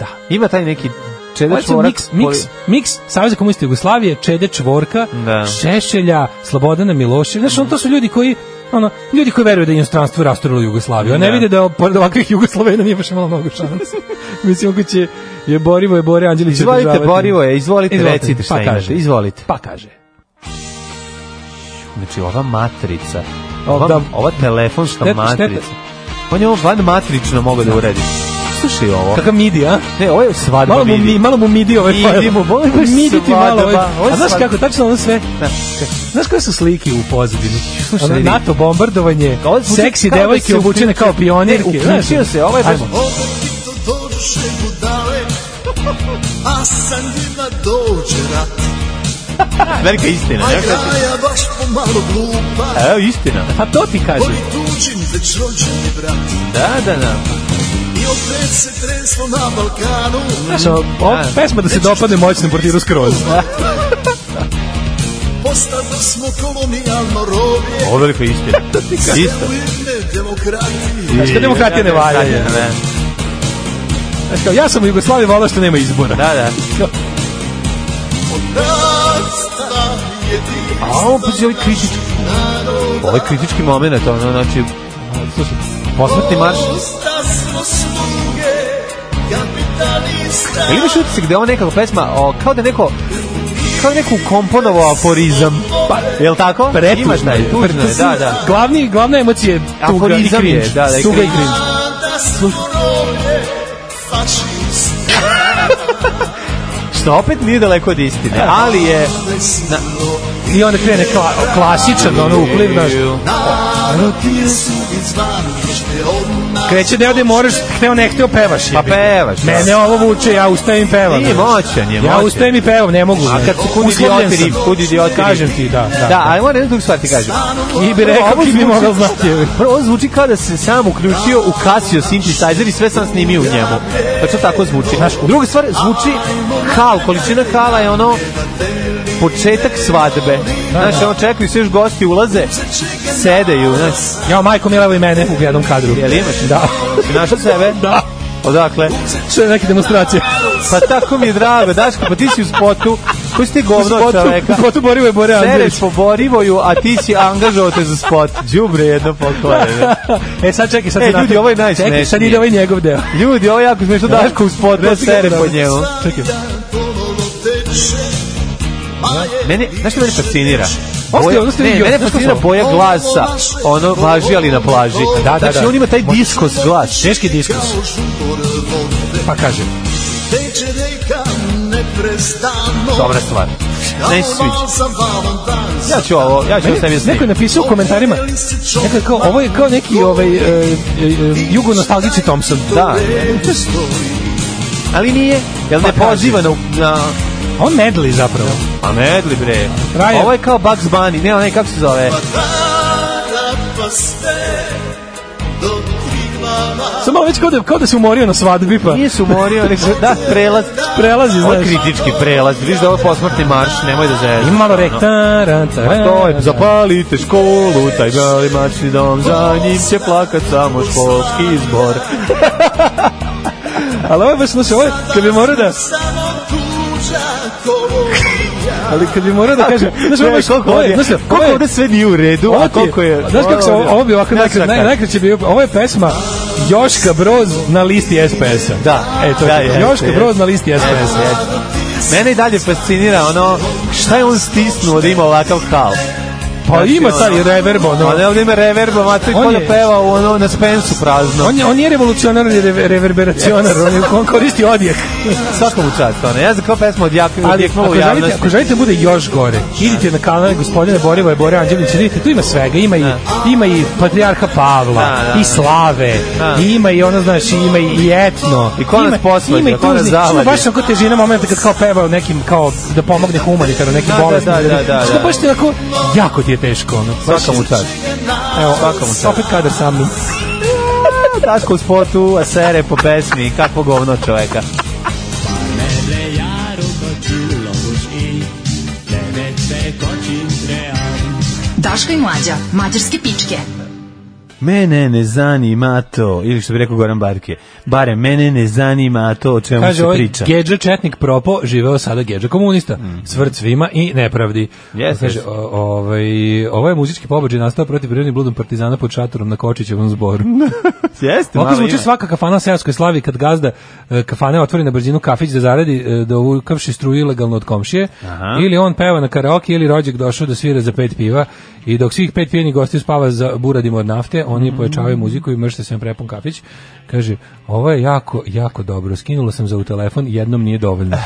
S5: da,
S6: Ima taj neki
S5: Ovo
S6: čeda
S5: je sad
S6: čvorak.
S5: miks, miks, miks Saveza komunista Jugoslavije, Čede Čvorka,
S6: Da.
S5: Šešelja, Slobodana Miloševića. Znaš, on, to su ljudi koji ono, ljudi koji veruju da je inostranstvo rasturilo Jugoslaviju, a ne
S6: Da.
S5: vide da pored ovakvih Jugoslovena nije baš imalo mnogo šanse. Mislim, ako će je Borivo, je Bore Anđelić
S6: Izvolite,
S5: održavati.
S6: Borivo je, izvolite, recite šta
S5: pa
S6: imate,
S5: kaže.
S6: izvolite.
S5: Pa kaže.
S6: Znači, ova matrica,
S5: O,
S6: ova,
S5: da.
S6: ova telefonska
S5: Šteta-
S6: matrica.
S5: šteta.
S6: On je ovo van matrično mogao da uredi. Slušaj ovo.
S5: Kakav midi, a?
S6: Ne, ovo je svadba
S5: Malo mu,
S6: vidi.
S5: mi, malo mu midi ovaj
S6: Midi
S5: fajl.
S6: mu, ovo je baš
S5: Midi ti malo ovaj.
S6: svadba, ovo je
S5: A znaš
S6: svadba.
S5: kako, tačno ono sve.
S6: Da.
S5: Znaš koje su slike u pozadini?
S6: Slušaj,
S5: Ono,
S6: vidi.
S5: NATO bombardovanje,
S6: Kao da zvuči-
S5: seksi
S6: kao da
S5: devojke
S6: se
S5: obučene kao ono,
S6: uključio-
S5: pionirke.
S6: Ne, uključio
S5: znaš.
S6: se, ovo je baš-
S5: Ajmo.
S6: ovo-
S12: A sa njima dođe rat
S6: Velika istina,
S12: A
S6: ne šta ti?
S12: kraja baš pomalo glupa
S6: Evo, istina.
S5: Pa to ti
S12: Boli
S5: kažem.
S12: tuđim, već rođeni brat
S6: Da, da, da.
S12: I opet se treslo na Balkanu
S5: Znaš, o, o, pesma da se dopadne moćnom portiru skroz.
S12: Postado smo kolonijalno robije
S6: Ovo je velika istina. Isto.
S12: U ime demokratije
S5: Znaš, kad demokratija ne valja. je.
S6: Ne.
S5: Znaš, kao, ja sam u Jugoslaviji volao što nema izbora.
S6: Da, da.
S12: Rasta jedinstva
S6: A ovo pazi ovaj kritički. Ovo je kritički moment, ono, znači, slušaj, posmrtni marš.
S12: Dosta smo sluge kapitalista
S6: Ili imaš utisak da je ovo nekako pesma, o, kao da je neko, kao da je neko ukomponovao aforizam. Pa, je li tako? Ima
S5: Pretužno
S6: taj,
S5: je.
S6: tužno je, da, da.
S5: Glavni, glavna emocija je tuga i
S6: Aforizam je,
S5: cringe.
S6: da, da, i
S5: tuga i
S6: cringe.
S5: cringe.
S12: Da smo roblje fašista
S6: Što opet nije daleko od istine, ali je...
S5: I onda krene kla, klasičan, ono, upliv, znaš.
S12: Narodi su izvaniŠte odmah
S5: Kreće deo gde moraš, hteo ne hteo pevaš.
S6: Pa
S5: jebi ga.
S6: pevaš, da.
S5: Mene ovo vuče, ja ustajem i pevam.
S6: Nije moćan, je moćan.
S5: Ja ustajem i pevam, ne mogu.
S6: A
S5: ne.
S6: kad su kud
S5: Uslovljen
S6: idioti,
S5: sam.
S6: kud idioti.
S5: Kažem ti, da, da.
S6: Da, ali moram jednu drugu stvar ti kažem.
S5: I bi rekao,
S6: Ovo
S5: ki bi
S6: zvuči-
S5: mogao znati. jebi.
S6: Prvo ovo zvuči kao da se sam uključio u Casio synthesizer i sve sam snimio u njemu. Pa to tako zvuči. Znaš, druga stvar, zvuči hal, količina hala je ono početak svadbe. Znaš, ono čekaju se još gosti ulaze, sedeju, znaš,
S5: Ja, majko mila, evo i mene u jednom kadru.
S6: jel imaš?
S5: Da.
S6: Si našao sebe?
S5: Da.
S6: Odakle?
S5: Sve neke demonstracije.
S6: Pa tako mi je drago, Daško, pa ti si u spotu, koji si ti govno od čoveka?
S5: U spotu Borivo je Bore Andrević.
S6: Sereš po Borivoju, a ti si angažovao te za spot. Đubre jedno pokvareno.
S5: E, sad čekaj, sad
S6: E,
S5: se napravi-
S6: ljudi, ovo je najsmešnije.
S5: Čekaj, sad ide ovaj njegov deo.
S6: Ljudi, ovo je jako smešno Daško u spotu,
S5: Ne,
S6: da sere po
S5: sigurno.
S6: njemu.
S5: Čekaj.
S6: Mene, znaš što mene fascinira?
S5: Ovo ste-
S6: Boja,
S5: ovo ste
S6: ne,
S5: vidio,
S6: mene
S5: znaš što
S6: fascinira
S5: sam-
S6: boja glasa, ono važi ali na plaži.
S5: Da, da,
S6: Znači,
S5: da.
S6: on ima taj diskos glas.
S5: Teški diskus. Pa kaže.
S12: Teče reka neprestano
S6: Dobra stvar. Ne se sviđa. Ja ću ovo, ja ću ovo sebi
S5: Neko je
S6: snimiti.
S5: napisao u komentarima. Neko je kao, ovo je kao neki ovaj, e, e, jugo nostalgici Thompson.
S6: Da. Ali nije, jel ne
S5: Pa kaže.
S6: poziva na... na
S5: On medli zapravo.
S6: a Pa medli bre.
S5: Ryan.
S6: Ovo je kao Bugs Bunny, ne, onaj kako se zove.
S5: Samo već kao da, kao da se umorio na svadbi, pa
S6: Nije se umorio, nego da, prelaz.
S5: prelazi,
S6: Ovo je
S5: znaš.
S6: kritički prelaz, vidiš da ovo je posmrtni marš, nemoj da zezati.
S5: Ima malo rek. Taran, taran,
S6: To je, zapalite školu, taj mali mačni dom, za njim će plakat samo školski izbor.
S5: Ali ovo je baš, znaš, ovo je, kad bi morao da, ali kad bi morao da kaže, znaš, ovo je baš, ovo je, znaš, šta, ovo
S6: koliko
S5: je,
S6: ovde sve nije u redu,
S5: Ovo
S6: a
S5: ti je-
S6: koliko je...
S5: Znaš kako se ovo, ovo bi ovako
S6: Ne,
S5: najkraće,
S6: čekaj.
S5: naj, najkraće bi, ovo je pesma Joška Broz na listi SPS-a.
S6: Da,
S5: E, to
S6: da,
S5: je, to.
S6: jeste,
S5: Joška
S6: jeste.
S5: Broz na listi SPS-a.
S6: Mene i dalje fascinira ono, šta je on stisnuo da ima ovakav hal?
S5: Pa
S6: Znači,
S5: ima
S6: ono-
S5: sad i reverb,
S6: No,
S5: ono.
S6: ne, ovdje ima reverba, mater,
S5: On
S6: ko da
S5: je-
S6: peva u ono, na spensu prazno.
S5: On je, on je revolucionar ili re, reverberacionar, on, je, on koristi odjek.
S6: Svakom u čast, ono. Ja znam kao pesma od Jakve, od
S5: Ali
S6: Jakve
S5: ako
S6: u
S5: želite,
S6: javnosti.
S5: ako želite da bude još gore, idite na kanal gospodine Borivoje Bore Anđelića, vidite, tu ima svega, ima i, ima i Patrijarha Pavla,
S6: Da, da.
S5: i Slave,
S6: Da.
S5: i ima i ono, znaš, ima i etno.
S6: I ko nas
S5: ima-
S6: posvađa,
S5: ima i
S6: ko nas
S5: tužnih- ima
S6: zavadi.
S5: Baš onako težina momenta kad kao peva o nekim, kao da pomogne humanitarno, nekim
S6: Da, da,
S5: bolestima.
S6: da, da, da,
S5: Što
S6: da.
S5: baš ti onako, jako ti je teško, ono. Baš
S6: Svaka mu čast.
S5: Evo, opet kadar sa mnom.
S6: Daško u spotu, a sere po pesmi, kakvo govno čoveka.
S4: Daško i Mlađa, mađarske pičke.
S6: Mene ne zanima to, ili što bi rekao Goran Barke, bare mene ne zanima to o čemu
S5: Kaže
S6: se
S5: ovaj
S6: priča. Mhm.
S5: Gedža Četnik propo, živeo sada Gedža komunista. Svrt svima i nepravdi.
S6: Jes,
S5: Kaže,
S6: jes.
S5: o- ovaj, ovo je muzički pobađaj nastao protiv prirodnim bludom partizana pod šatorom na Kočićevom zboru.
S6: Jeste,
S5: Ovako
S6: malo
S5: zvuči
S6: ima.
S5: svaka kafana u seoskoj slavi kad gazda e, kafane otvori na brzinu kafić da zaradi e, da uvukavši struju ilegalno od komšije
S6: Aha.
S5: ili on peva na karaoke ili rođak došao da svira za pet piva i dok svih pet pijenih gostiju spava za buradimo od nafte oni pojačavaju muziku i mršte se na prepun kafić kaže ovo je jako jako dobro skinula sam za u telefon jednom nije dovoljno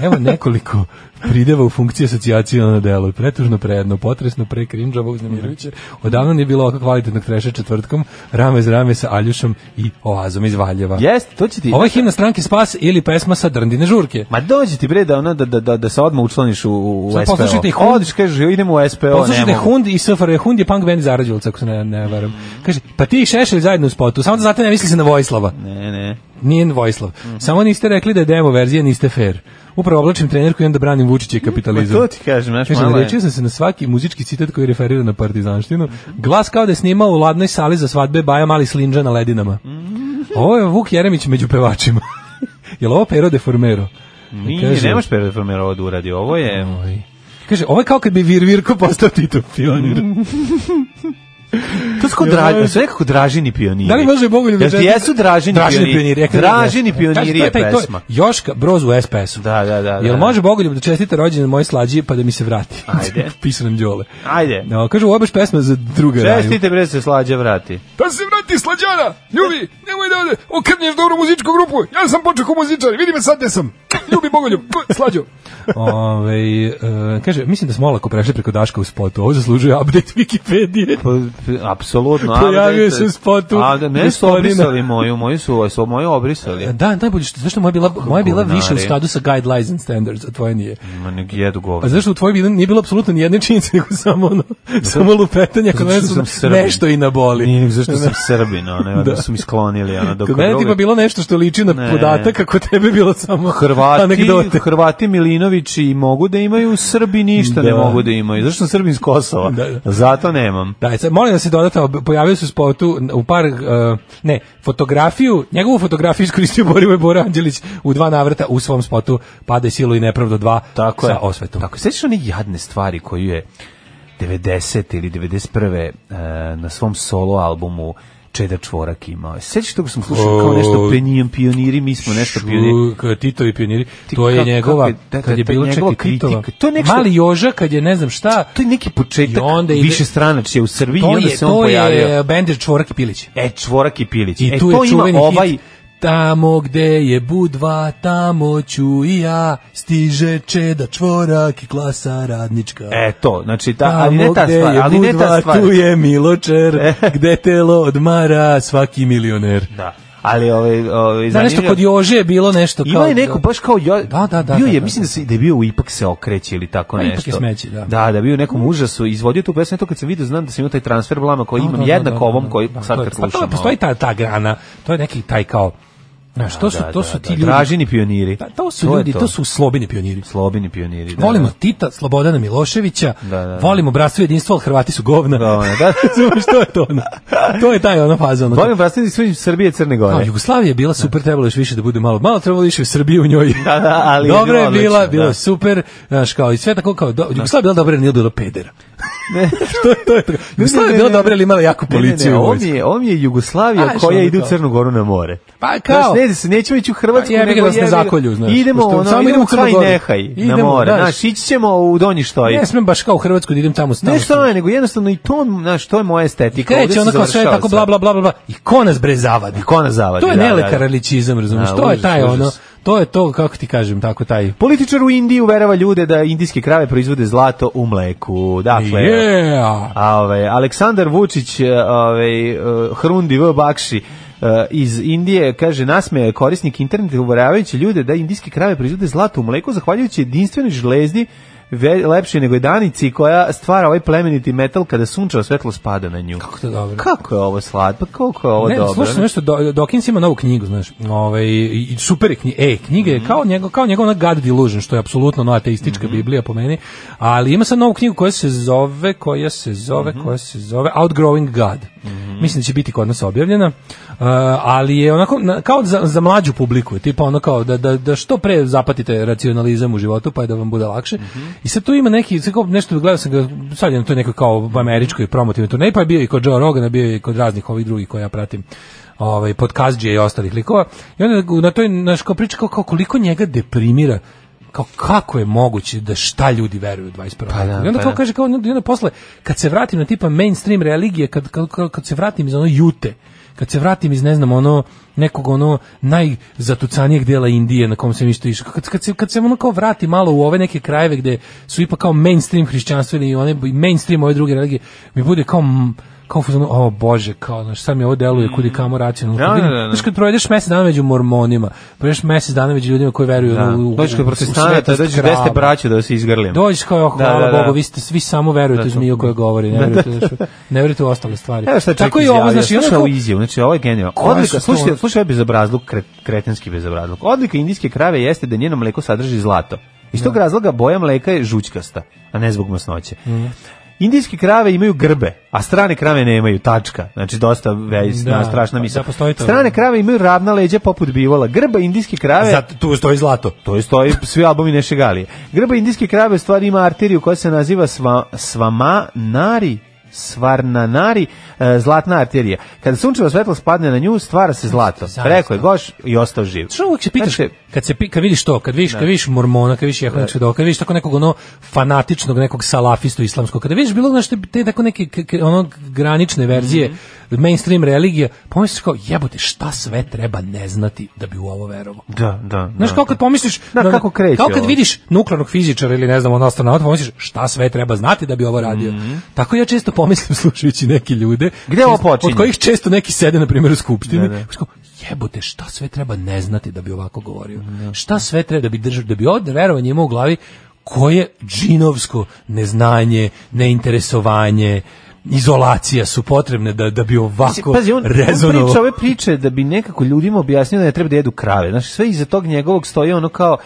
S5: evo nekoliko prideva u funkciji asocijacije na delu. Pretužno, prejedno, potresno, prekrinđavo, uznemirujuće. Odavno nije bilo ovako kvalitetnog treša četvrtkom, rame z rame sa Aljušom i Oazom iz Valjeva.
S6: Jest, to će ti...
S5: Ovo je himna stranke Spas ili pesma sa Drndine žurke.
S6: Ma dođi ti bre da ona da da da, da se odmah učlaniš u, u
S5: Sad
S6: SPO.
S5: poslušajte ih.
S6: Odiš kaže idemo u SPO,
S5: Poslušajte
S6: ne mogu.
S5: Hund i SFRJ. Hund je punk band iz Arađelca, ako se ne, ne varam. Kaže, pa ti i Šešelj zajedno u spotu, samo da znate ne misli se na Vojislava.
S6: Ne, ne.
S5: Nije Vojislav. Samo niste rekli da je demo verzija, niste fair. Upravo oblačim trenerku i onda branim Vučića i kapitalizam.
S6: Ma Pa to ti kažem, znaš,
S5: Kaže,
S6: malo je.
S5: nalječio sam se na svaki muzički citat koji referira na partizanštinu. Glas kao da je snimao u ladnoj sali za svadbe Baja Mali Slinđa na ledinama. Ovo je Vuk Jeremić među pevačima. Jel ovo Pero de Formero?
S6: Nije,
S5: Kaže-
S6: nemaš performer ovo da uradi, ovo je...
S5: Kaže, ovo je kao kad bi Vir Virko postao Tito pionir.
S6: Mm. To su kao dražini, su nekako dražini pioniri.
S5: Da li može Bogoljub
S6: Jel ti
S5: Večernjak-
S6: jesu dražini,
S5: Dražini
S6: pioniri?
S5: pioniri.
S6: Dražini pioniri je
S5: pesma.
S6: pesma.
S5: Joška Broz u SPS-u.
S6: Da, da, da. da.
S5: Jel može Bogoljub da čestite rođendan moje slađi pa da mi se vrati?
S6: Ajde.
S5: Piše nam Đole.
S6: Ajde.
S5: No, kaže, ovo je baš pesma za druga raju.
S6: Čestite bre se slađa vrati.
S10: Da se vrati slađana, ljubi, nemoj da ode, okrnješ dobru muzičku grupu, ja sam počeo ko muzičar, vidi me sad gde sam, ljubi bogoljub, slađo.
S5: Ove, e, kaže, mislim da smo olako prešli preko Daška u spotu. Ovo zaslužuje update Wikipedije.
S6: Pa, p- apsolutno. a,
S5: Pojavio
S6: da,
S5: se u spotu
S6: A, da, ne su
S5: gospodina.
S6: obrisali moju, moju su, su moju obrisali.
S5: Da, najbolje što, zašto moja bila, moja je bila
S6: govnari.
S5: više u skladu sa guidelines and standards, a tvoja nije.
S6: Ma nek jedu govor.
S5: A zašto u tvojoj bila- nije bilo apsolutno nijedne činjenice, nego samo ono, samo lupetanje, ako
S6: Zato što sam
S5: nešto,
S6: Srbin.
S5: nešto i naboli.
S6: Nije, nego zašto sam srbin, ono, da. su mi sklonili, ono, dok
S5: Kod mene tipa bilo nešto što liči na
S6: Ne.
S5: podatak, ako tebe je bilo samo
S6: Hrvati,
S5: anegdote.
S6: Hrvati Milinović i mogu da imaju, Srbi ništa ne
S5: Da.
S6: mogu da imaju. Zašto sam srbin s Kosova?
S5: Da, da.
S6: Zato nemam.
S5: Da, i sad, molim da se dodata, ob- pojavio se u spotu u par, e, ne, fotografiju, njegovu fotografiju iskoristio Borivoj Bora Anđelić u dva navrata u svom spotu Pada silu i nepravdo 2
S6: Tako
S5: sa
S6: je.
S5: osvetom.
S6: Tako, sećaš one jadne stvari koju je 90. ili 91. e, na svom solo albumu Čeda Čvorak imao. Sećaš toga sam slušao kao nešto
S5: O,
S6: penijem pioniri, mi smo nešto pioniri.
S5: Šu- Titovi pioniri,
S6: Ti
S5: to je
S6: kako-
S5: njegova,
S6: kako je- da, da,
S5: kad je
S6: to je
S5: bilo
S6: njegova
S5: čekaj Titova.
S6: kritika. To je nešto-
S5: Mali Joža, kad je ne znam šta,
S6: To je neki
S5: I
S6: početak
S5: onda ide-
S6: više stranačje u Srbiji i
S5: to
S6: onda
S5: je,
S6: se on
S5: to
S6: pojavio.
S5: je Bender Čvorak i Pilić.
S6: E, Čvorak i Pilić.
S5: I
S6: e,
S5: tu
S6: to
S5: je
S6: ima
S5: čuveni
S6: ovaj...
S5: hit. Tamo gde je budva, tamo ću i ja, stiže čeda čvorak i klasa radnička.
S6: E, to, znači, ta,
S5: Tamo
S6: ali ne ta
S5: gde
S6: stvar,
S5: je
S6: ali ne
S5: budva,
S6: ta stvar.
S5: tu je miločer,
S6: E.
S5: gde telo odmara svaki milioner.
S6: Da. Ali ovaj ovaj
S5: Da, nešto kod Jože je bilo nešto kao...
S6: Ima je neko baš kao jo,
S5: Da, da, da,
S6: bio
S5: da,
S6: je
S5: da.
S6: mislim da se da je bio u ipak se okreće ili tako
S5: A,
S6: nešto.
S5: Ipak je smeće, da.
S6: Da, da bio u nekom užasu, izvodio tu pesmu, to kad se video znam da sam imao taj transfer blama koji
S5: Da,
S6: imam
S5: da, da,
S6: jednako
S5: da,
S6: ovom
S5: da,
S6: koji
S5: da,
S6: sad ono.
S5: to je-
S6: kad
S5: pa to je-
S6: slušam.
S5: Postoji ta, ta grana, to je neki taj kao... Znaš, to su,
S6: Da,
S5: to
S6: da,
S5: su
S6: da,
S5: ti ljudi...
S6: Dražini pioniri.
S5: Da, to su
S6: je
S5: ljudi, to. su slobini pioniri.
S6: slobini pioniri. Da,
S5: Volimo
S6: da.
S5: Tita, Slobodana Miloševića,
S6: Da, da, da.
S5: volimo bratstvo i jedinstvo, ali Hrvati su govna.
S6: Da, ono, da.
S5: Razumeš, to je to ono. To je taj ono faza. Ono,
S6: Volimo vrastiti sve Srbije i Crne
S5: Kao,
S6: Gore.
S5: Jugoslavija je bila super, trebalo je još više da bude malo. Malo trebalo je više Srbije u njoj.
S6: Da, da, ali je
S5: Dobra je
S6: bilo
S5: bila,
S6: odlično,
S5: bilo
S6: da.
S5: je super, znaš, kao i sve tako kao, do, Jugoslavija je bila dobra, jer nije bilo pedera.
S6: Ne.
S5: to, je- to je tako. Jugoslavija je bila dobra, ali imala jaku
S6: Ne,
S5: policiju.
S6: ne,
S5: i
S6: ne, ovo mi
S5: vojsku.
S6: je, ovo mi je Jugoslavija
S5: A, što
S6: koja
S5: ono
S6: ide u
S5: kao?
S6: Crnu Goru na more.
S5: Pa
S6: Kao?
S5: kao,
S6: Znaš, ne, se nećemo ići u Hrvatsku,
S5: Pa jebi ga da
S6: nego
S5: nas ne
S6: jebi ga.
S5: zakolju, znaš.
S6: Idemo,
S5: Pošto
S6: ono,
S5: samo idemo
S6: idemo
S5: u Crnu
S6: kraj
S5: Goru.
S6: nehaj na
S5: Idemo,
S6: more.
S5: znaš.
S6: Znaš, ići ćemo u Donji Štoji.
S5: ne smem baš kao u Hrvatsku da idem tamo s
S6: Ne što je, nego jednostavno i to, znaš, to je moja estetika.
S5: Kreće onda kao sve tako bla bla bla bla bla i ko nas bre zavadi.
S6: I ko nas zavadi,
S5: To je
S6: Pa da, da, da.
S5: nelekaraličizam, razumiješ,
S6: Da,
S5: to je
S6: užas,
S5: taj
S6: užas.
S5: ono, to je to, kako ti kažem, tako taj
S6: Političar u Indiji uverava ljude da indijske krave proizvode zlato u mleku. Dakle,
S5: Yeah.
S6: a, ovaj, Aleksandar Vučić, eh, ovaj, eh, Hrundi V. Bakši, eh, iz Indije, kaže, nasmeja je korisnik interneta uveravajući ljude da indijske krave proizvode zlato u mleku, zahvaljujući jedinstvenoj žlezdi ve- lepše nego je danici koja stvara ovaj plemeniti metal kada sunčevo svetlo spada na nju.
S5: Kako to je dobro.
S6: Kako je ovo slatko, koliko je ovo
S5: ne,
S6: dobro.
S5: slušao sam nešto, Do- Dawkins ima novu knjigu, znaš, ovaj, i i super je knjiga, e, knjiga je kao njegov, kao njegov ona God Delusion, što je apsolutno ona ateistička Biblija po meni, ali ima sad novu knjigu koja se zove, koja se zove, koja se zove Outgrowing God. Mislim da će biti kod nas objavljena, uh, ali je onako, na- kao za, za mlađu publiku, je, tipa ono kao da, da, da što pre zapatite racionalizam u životu, pa je da vam bude lakše. I sad tu ima neki, sad kao nešto gledao sam ga, sad je na to neko kao američkoj promotivnoj turneji, pa je bio i kod Joe Rogana, bio je i kod raznih ovih drugih koje ja pratim ovaj podkazđe i ostalih likova. I onda na toj naš kao priča kao, kao koliko njega deprimira kao kako je moguće da šta ljudi veruju u 21. Pa,
S6: da,
S5: I
S6: pa
S5: onda kao
S6: da.
S5: kaže kao i onda posle kad se vratim na tipa mainstream religije kad kad, kad, kad se vratim iz ono jute kad se vratim iz ne znam ono nekog ono najzatucanijeg dela Indije na kom sam isto išao kad, kad, se, kad se ono kao vrati malo u ove neke krajeve gde su ipak kao mainstream hrišćanstvo ili one mainstream ove druge religije mi bude kao m, kao u fazonu, o bože, kao, znaš, sad mi ovo deluje kudi kamo racionalno.
S6: Mm. Da,
S5: Kad vidim-
S6: da, da, da.
S5: Znaš, kad provedeš mesec dana među mormonima, provedeš mesec dana među ljudima koji veruju
S6: Da.
S5: u, u,
S6: Dođeš kod
S5: u- u
S6: protestanata,
S5: svetost
S6: dođeš gde ste
S5: krava.
S6: braće da se izgrlim.
S5: Dođeš kao, oh, hvala
S6: Da, da, da.
S5: Bogu, vi, ste, vi samo verujete u zmiju koja govori, ne verujete, znaš, ne verujete u ostale stvari.
S6: Evo šta je
S5: Tako
S6: čovjek
S5: i ovo, ono
S6: izjavio,
S5: znaš, i onda
S6: slušaj
S5: kao-
S6: ovu izjavu, znači ovo je genijalno.
S5: Koja su
S6: Odlika,
S5: to-
S6: slušaj, slušaj ovaj bezobrazluk, kre, kretenski bezobrazluk. Odlika indijske krave jeste da njeno mleko sadrži zlato. Iz tog razloga boja mleka je žućkasta, a ne zbog masnoće.
S5: Mhm.
S6: Indijske krave imaju grbe, a strane krave nemaju, tačka. Znači, dosta vejsna,
S5: Da,
S6: strašna
S5: da,
S6: misla.
S5: da, postoji to.
S6: strane krave imaju ravna leđa poput bivola. Grba indijske krave...
S5: Zato tu stoji zlato.
S6: To je stoji svi albumi Neše Galije. Grba indijske krave u stvari ima arteriju koja se naziva sva, Svamanari, Svarnanari, e, zlatna arterija. Kada sunčevo svetlo spadne na nju, stvara se zlato.
S5: Zaista.
S6: Rekao je Goš i ostao živ.
S5: Što uvek se pitaš,
S6: Znači,
S5: kad, se, pi- kad vidiš to, kad vidiš, kad vidiš mormona, kad vidiš jehovnog svedoka, kad vidiš tako nekog ono fanatičnog, nekog salafistu islamskog, kada vidiš bilo znaš, te, te tako neke k- k- ono granične verzije,
S6: Mhm.
S5: mainstream religija, pomisliš kao, jebote, šta sve treba ne znati da bi u ovo verovao?
S6: Da, da.
S5: Znaš,
S6: da.
S5: kao kad pomisliš... ono,
S6: Da, kako kreće
S5: Kao kad
S6: ovo?
S5: vidiš nuklearnog fizičara ili ne znam, ono astronauta, pomisliš šta sve treba znati da bi ovo radio. Tako ja često pomislim slušajući neke ljude.
S6: Mhm. Gde ovo
S5: često-
S6: počinje?
S5: Od kojih često neki sede, na primjer, u skupštini.
S6: Da, da.
S5: Znaš, kao, jebote, šta sve treba ne znati da bi ovako govorio? Šta sve treba da bi držao, da bi ovde verovanje imao u glavi koje džinovsko neznanje, neinteresovanje, izolacija su potrebne da, da bi ovako
S6: Pazi, on, on
S5: rezonovao.
S6: priča ove priče da bi nekako ljudima objasnio da ne treba da jedu krave. Znaš, sve iza tog njegovog stoji ono kao,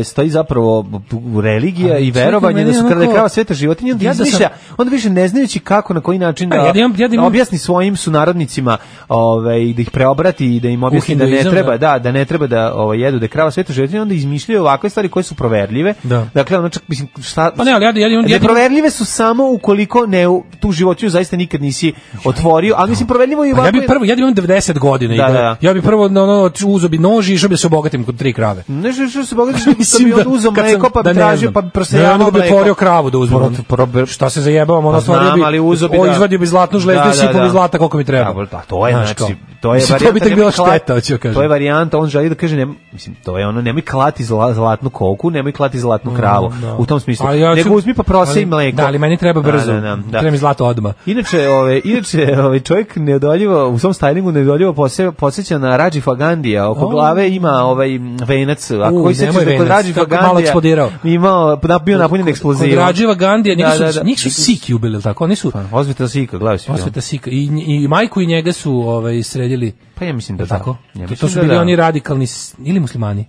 S6: e, stoji zapravo religija
S5: Ali
S6: i
S5: čekaj,
S6: verovanje
S5: meni
S6: da su
S5: je ono
S6: krave
S5: kao-
S6: krava sveta životinja, onda
S5: Ja da sam-
S6: izmišlja, onda više ne znajući kako, na koji način da,
S5: A, ja da imam- ja da imam-
S6: objasni svojim sunarodnicima ovaj, da ih preobrati i da im objasni da ne
S5: hinduizam,
S6: treba
S5: da.
S6: da, da, ne treba da ovaj, jedu da je krava sveta životinja, onda izmišljaju ovakve stvari koje su proverljive.
S5: Da.
S6: Dakle, ono čak, mislim, šta,
S5: Pa ne, ali ja- ja imam- ja imam-
S6: E, Neproverljive su samo ukoliko ne u- tu životinju zaista nikad nisi otvorio, ali mislim proverljivo je i
S5: Pa ja
S6: ovako
S5: bi prvo, ja bi imam 90 godina i
S6: Da,
S5: da,
S6: da, da.
S5: ja bi prvo na ono uzo bi nož i išao bi da se obogatim kod tri krave.
S6: Nešto što se bogatiš, što bi onda uzeo
S5: kad sam-
S6: mleko, pa bi
S5: ne
S6: tražio,
S5: znam.
S6: pa bi
S5: Ne,
S6: prosejavao
S5: onda bi
S6: mleko.
S5: otvorio kravu da uzmem.
S6: Pro- probe-
S5: Šta se zajebavam, ono
S6: Pa
S5: otvorio
S6: znam, ali uzeo bi
S5: o,
S6: da-
S5: izvadio bi zlatnu žlezdu
S6: Da,
S5: i
S6: da,
S5: sipao
S6: da.
S5: bi zlata koliko mi treba.
S6: Da, pa to je,
S5: Znaš
S6: znači,
S5: kao.
S6: to je
S5: Mislim, to bi tek
S6: nemoj
S5: bila
S6: kla-
S5: šteta, hoću da kažem.
S6: To je varijanta, on želi da kaže, nemoj- mislim, to je ono, nemoj klati zla- zlatnu koku, nemoj klati zlatnu kravu,
S5: Mm, Da.
S6: u tom smislu.
S5: Ali ja
S6: Nego
S5: ću-
S6: uzmi pa prosej
S5: ali-
S6: mleko.
S5: Da, ali meni treba
S6: Da,
S5: brzo.
S6: da, da, da.
S5: Treba mi zlato odmah.
S6: Inače, ove, inače ove, čovjek neodoljivo, u svom stylingu neodoljivo pose, posjeća na Rađi Fagandija. Oko
S5: O.
S6: glave ima ovaj venac. Ako
S5: Oh. U,
S6: koji sećaš
S5: nemoj
S6: da je kod
S5: venac,
S6: Rađi
S5: kako je malo
S6: Fagandija
S5: eksplodirao.
S6: imao, na, bio napunjen eksplozivom.
S5: Kod Rađiva Gandija, njega
S6: Da,
S5: su,
S6: da, Pa, da.
S5: njih su Siki ubili, ili tako? Oni su
S6: Ozvita Sika, gledaj si.
S5: Osveta Sika. I, I majku i njega su ovaj, sredili.
S6: Pa ja mislim da da.
S5: tako?
S6: Ja
S5: to,
S6: mislim
S5: to su
S6: da
S5: bili
S6: da.
S5: oni radikalni s- ili muslimani.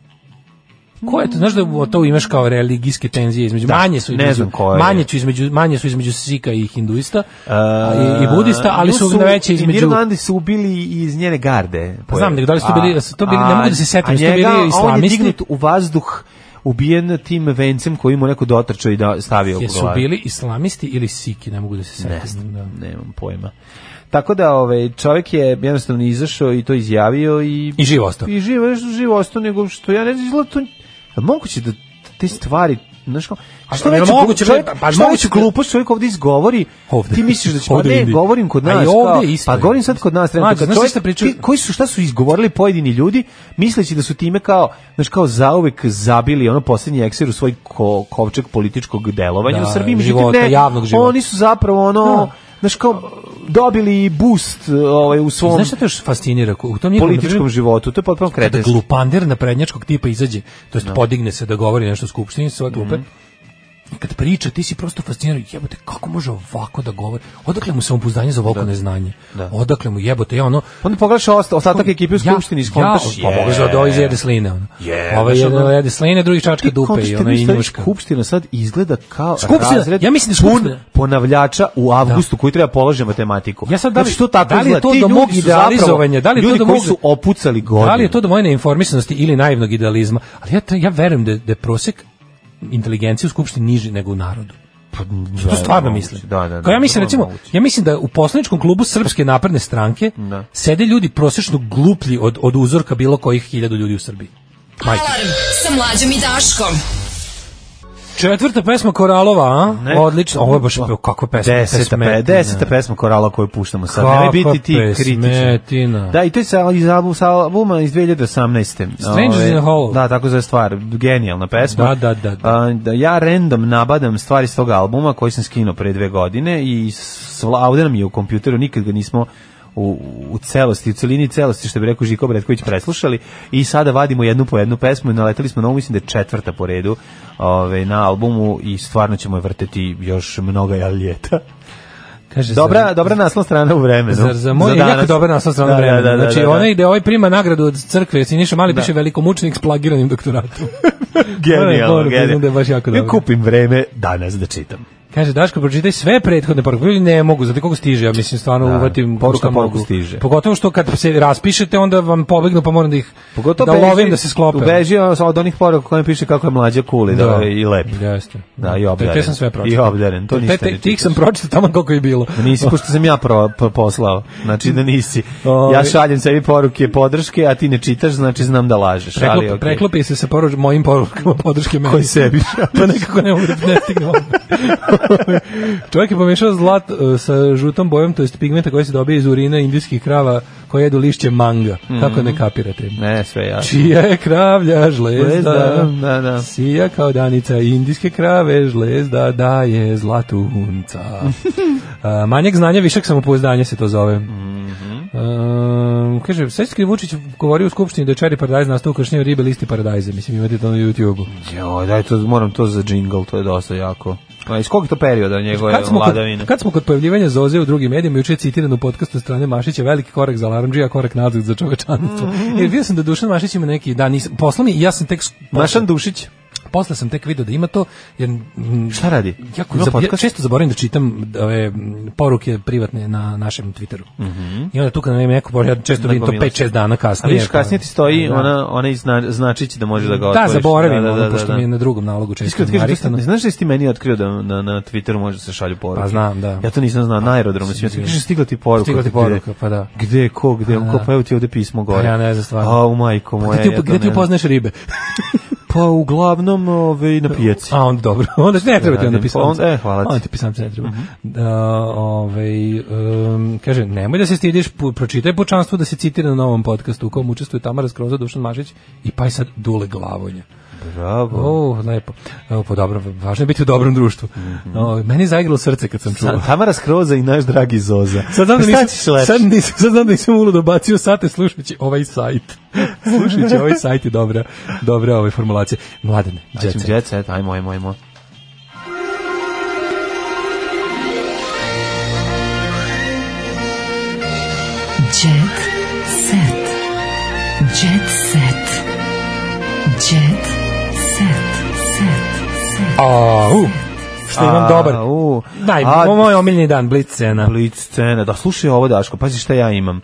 S5: Ko je to? Znaš da u- to imaš kao religijske tenzije između manje su
S6: ne
S5: između,
S6: znam ko je.
S5: manje su između manje su između Sika i hinduista
S6: E,
S5: a i, i budista, ali
S6: nju
S5: su, na veće između
S6: Indiru Gandhi su ubili iz njene garde.
S5: Pa znam, nego da li su to
S6: A-
S5: bili- su to bili- ne
S6: a-
S5: mogu da se setim,
S6: a
S5: su to bili
S6: njega- A on je
S5: islamisti?
S6: dignut u vazduh ubijen tim vencem koji mu neko dotrčao i da stavio u glavu.
S5: jesu bili islamisti ili Siki, ne mogu da se setim. Da.
S6: nemam pojma. Tako da ovaj čovjek je jednostavno izašao i to izjavio i
S5: I živ ostao.
S6: I živo, živo ostao nego što ja ne znam izgleda to. A moguće da te stvari znaš kao
S5: A
S6: što
S5: je
S6: veću glu-
S5: moguće,
S6: čovjek,
S5: pa- pa
S6: što
S5: moguće
S6: veću
S5: da-
S6: glupost čovjek ovdje izgovori,
S5: Ovde.
S6: ti misliš da će, pa
S5: Ovde u
S6: ne,
S5: Indiji.
S6: govorim kod
S5: A i
S6: nas,
S5: ovde
S6: kao,
S5: isto
S6: pa
S5: je.
S6: govorim sad kod nas, trenutno,
S5: Mlađe,
S6: kad
S5: znaš
S6: čovjek,
S5: šta pričaju?
S6: ti- koji su, šta su izgovorili pojedini ljudi, misleći da su time kao, znaš, kao zauvek zabili ono posljednji ekser u svoj ko, kovčeg političkog delovanja
S5: Da,
S6: u Srbiji, međutim,
S5: života,
S6: ne,
S5: javnog života.
S6: oni su zapravo ono,
S5: Da.
S6: znaš kao dobili boost ovaj u svom
S5: Znaš šta te još fascinira? U tom njihovom
S6: političkom životu, to je potpuno
S5: da
S6: kretenstvo.
S5: glupander na prednjačkog tipa izađe, to jest podigne se da govori nešto u skupštini svoje glupe.
S6: Mhm.
S5: I kad priča, ti si prosto fasciniran, jebote, kako može ovako da govori? Odakle mu samopouzdanje za ovako neznanje? Odakle mu jebote, ja ono...
S6: Onda pogledaš osta, ostatak ekipe u
S5: Ja-
S6: skupštini i skontaš.
S5: Ja, pa pogledaš da ovo izjede sline, ono.
S6: Je,
S5: Ovo
S6: znaš, ono-
S5: je jede sline, drugi čačka dupe i ono i njuška.
S6: Skupština sad izgleda kao
S5: Skupština,
S6: razred
S5: ja mislim da
S6: pun
S5: skupština-
S6: ponavljača u avgustu koji treba položiti matematiku.
S5: Ja sad da li-
S6: znači, to tako
S5: da li je
S6: izgleda.
S5: to
S6: Ti
S5: do
S6: ljudi
S5: mog
S6: su zapravo
S5: idealizovanja? Da li je to
S6: ljudi
S5: do
S6: koji
S5: mog-
S6: su opucali godine.
S5: Da li je to do moje neinformisanosti ili naivnog idealizma? Ali ja, ja verujem da, da je prosek inteligencije u skupštini niži nego u narodu.
S6: Pa, Da,
S5: To stvarno
S6: moguće.
S5: mislim.
S6: Da, da, da.
S5: Kao ja mislim
S6: to je
S5: recimo,
S6: moguće.
S5: ja mislim da u poslaničkom klubu Srpske napredne stranke
S6: Da.
S5: sede ljudi prosečno gluplji od od uzorka bilo kojih hiljadu ljudi u Srbiji. Majke.
S4: Alarm sa mlađom i Daškom.
S5: Četvrta pesma Koralova, a? Odlično. Ovo je baš kako pesma.
S6: Pa, Deseta, pe,
S5: pesmetina.
S6: deseta pesma korala koju puštamo sad.
S5: Kakva
S6: Nemoj biti ti kritičan.
S5: pesmetina.
S6: Da, i to je sa, iz album, sa albuma iz 2018.
S5: Strangers
S6: Ove,
S5: in a Hollow.
S6: Da, tako zove stvar. Genijalna pesma.
S5: Da, da, da, da.
S6: A, da ja random nabadam stvari s tog albuma koji sam skinuo pre dve godine i sla, ovde nam je u kompjuteru, nikad ga nismo u, u celosti, u celini celosti, što bi rekao Žiko Bretković, preslušali i sada vadimo jednu po jednu pesmu i naletali smo na ovu, mislim da je četvrta po redu ove, na albumu i stvarno ćemo je vrteti još mnoga ljeta.
S5: Kaže,
S6: Dobra, dobra naslovna strana u vremenu.
S5: Zar za moj je jako
S6: danas.
S5: dobar naslov strana
S6: Da, da,
S5: vremena.
S6: da, da,
S5: znači,
S6: da, da.
S5: onaj gde ovaj prima nagradu od crkve, Siniša Mali piše velikomučnik s plagiranim doktoratom.
S6: Genijalno,
S5: Moram da priznam
S6: genijalno.
S5: da je baš jako
S6: Ja
S5: dobro.
S6: kupim vreme danas da čitam.
S5: Kaže, Daško, pročitaj sve prethodne poruke. Ili ne mogu, znate koliko stiže, ja mislim, stvarno
S6: Da,
S5: uvatim
S6: poruka
S5: šta
S6: poruku
S5: mogu.
S6: stiže.
S5: Pogotovo što kad se raspišete, onda vam pobegnu, pa moram da ih da
S6: beži-
S5: lovim da se sklope.
S6: Beži ono od onih poruka koje piše kako je mlađa cool i, da. i lep.
S5: Jeste.
S6: Da, i obdaren.
S5: Te, te sam sve pročitao.
S6: I obdaren, to ništa
S5: Te- te-
S6: ne
S5: Tih sam pročitao tamo koliko je bilo.
S6: Da Nisi, pošto sam ja pro, pro- poslao. Znači da nisi.
S5: Ovi.
S6: Ja šaljem sebi poruke podrške, a ti ne čitaš, znači znam da lažeš.
S5: Preklop,
S6: ali, okej.
S5: Preklopi se sa poruč, mojim porukama podrške meni.
S6: Koji sebi
S5: pa nekako ne mogu da ne stignem. Čovjek je pomešao zlat e, sa žutom bojom, to jest pigmenta koji se dobije iz urina indijskih krava koje jedu lišće manga.
S6: Mhm.
S5: Kako ne kapirate?
S6: Ne, sve ja.
S5: Čija je kravlja žlezda,
S6: Žlezda, da, da.
S5: sija kao danica indijske krave, žlezda daje zlatunca. A, manjak znanja, višak samopouzdanja se to zove.
S6: Mhm.
S5: Um, kaže, sve Vučić govorio u skupštini da je Cherry Paradise nastao u kršnjenju ribe listi paradajza, mislim imate to na YouTube-u.
S6: Joj, daj to, moram to za jingle, to je dosta jako. A iz kog je to perioda njegove
S5: Kad smo, kod,
S6: vladavine?
S5: kad smo kod pojavljivanja Zoze u drugim medijima, juče je citiran u podcastu od strane Mašića, veliki korak za alarmđija, korak nazad za čovečanstvo.
S6: Mhm.
S5: Jer bio sam da Dušan Mašić ima neki, da, nisam, posla mi, ja sam tek, s-
S6: Mašan Dušić.
S5: posle sam tek video da ima to, jer mm,
S6: Šta radi?
S5: Jako,
S6: Ima
S5: zab- ja
S6: podcast?
S5: često zaboravim da čitam ove m, poruke privatne na našem Twitteru. I onda tu kad nam je neko, ja često vidim to
S6: Nagomila
S5: 5-6 dana
S6: Mhm. A
S5: kasnije. pa
S6: vidiš, kasnije ti stoji
S5: Da.
S6: ona, onaj zna, značić da možeš da ga
S5: Da,
S6: otvoriš.
S5: zaboravim, ono, pošto mi je na drugom nalogu često.
S6: Iskreno ti kažem, to sam-
S5: narisano.
S6: ne znaš da si ti meni otkrio da na, na Twitteru može da se šalju poruke?
S5: Pa znam, da.
S6: Ja to nisam znao, na aerodromu si mi otkrio. Kaže, stigla ti poruka.
S5: Stigla ti
S6: Gde?
S5: poruka, pa da.
S6: Gde, ko, gde,
S5: Pa
S6: ko,
S5: da.
S6: pa evo ti ovde pismo gore.
S5: Pa ja ne znam stvarno. Pa
S6: A, u majko moja.
S5: Gde ti,
S6: ja to
S5: gde ti
S6: ne znam.
S5: upoznaš ribe?
S6: Pa uglavnom ove, na pijaci.
S5: A onda dobro, onda ne treba ti onda
S6: radim.
S5: pisamca.
S6: Onda- e, hvala ti. Mhm.
S5: Onda ti pisamca ne treba. Da, ovaj, em, kaže, nemoj da se stidiš, pu- pročitaj pučanstvo da se citira na novom podcastu u kom učestvuje Tamara Skroza, Dušan Mašić i pa i sad Dule Glavonja.
S6: Bravo.
S5: O, lepo. Evo, po dobro, važno je biti u dobrom društvu.
S6: Mhm.
S5: O, meni je zaigralo srce kad sam čuo.
S6: Sa- Tamara Skroza i naš dragi Zoza.
S5: Sad znam da
S6: Šta
S5: nisam,
S6: ćeš leći?
S5: sad nisam, sad znam da nisam ulu dobacio sate slušajući ovaj sajt. slušajući ovaj sajt je dobra, dobra ova formulacija. Mladene,
S6: Jet
S5: djece.
S6: set. Jet set, ajmo, ajmo, ajmo.
S4: Jet set. Jet set. Jet set. Set.
S5: A, u, što imam dobar.
S6: A, u.
S5: Daj,
S6: A,
S5: ovo je moj omiljeni dan, Blitz cena.
S6: Blitz scena. Da, slušaj ovo, Daško, pazi šta ja imam.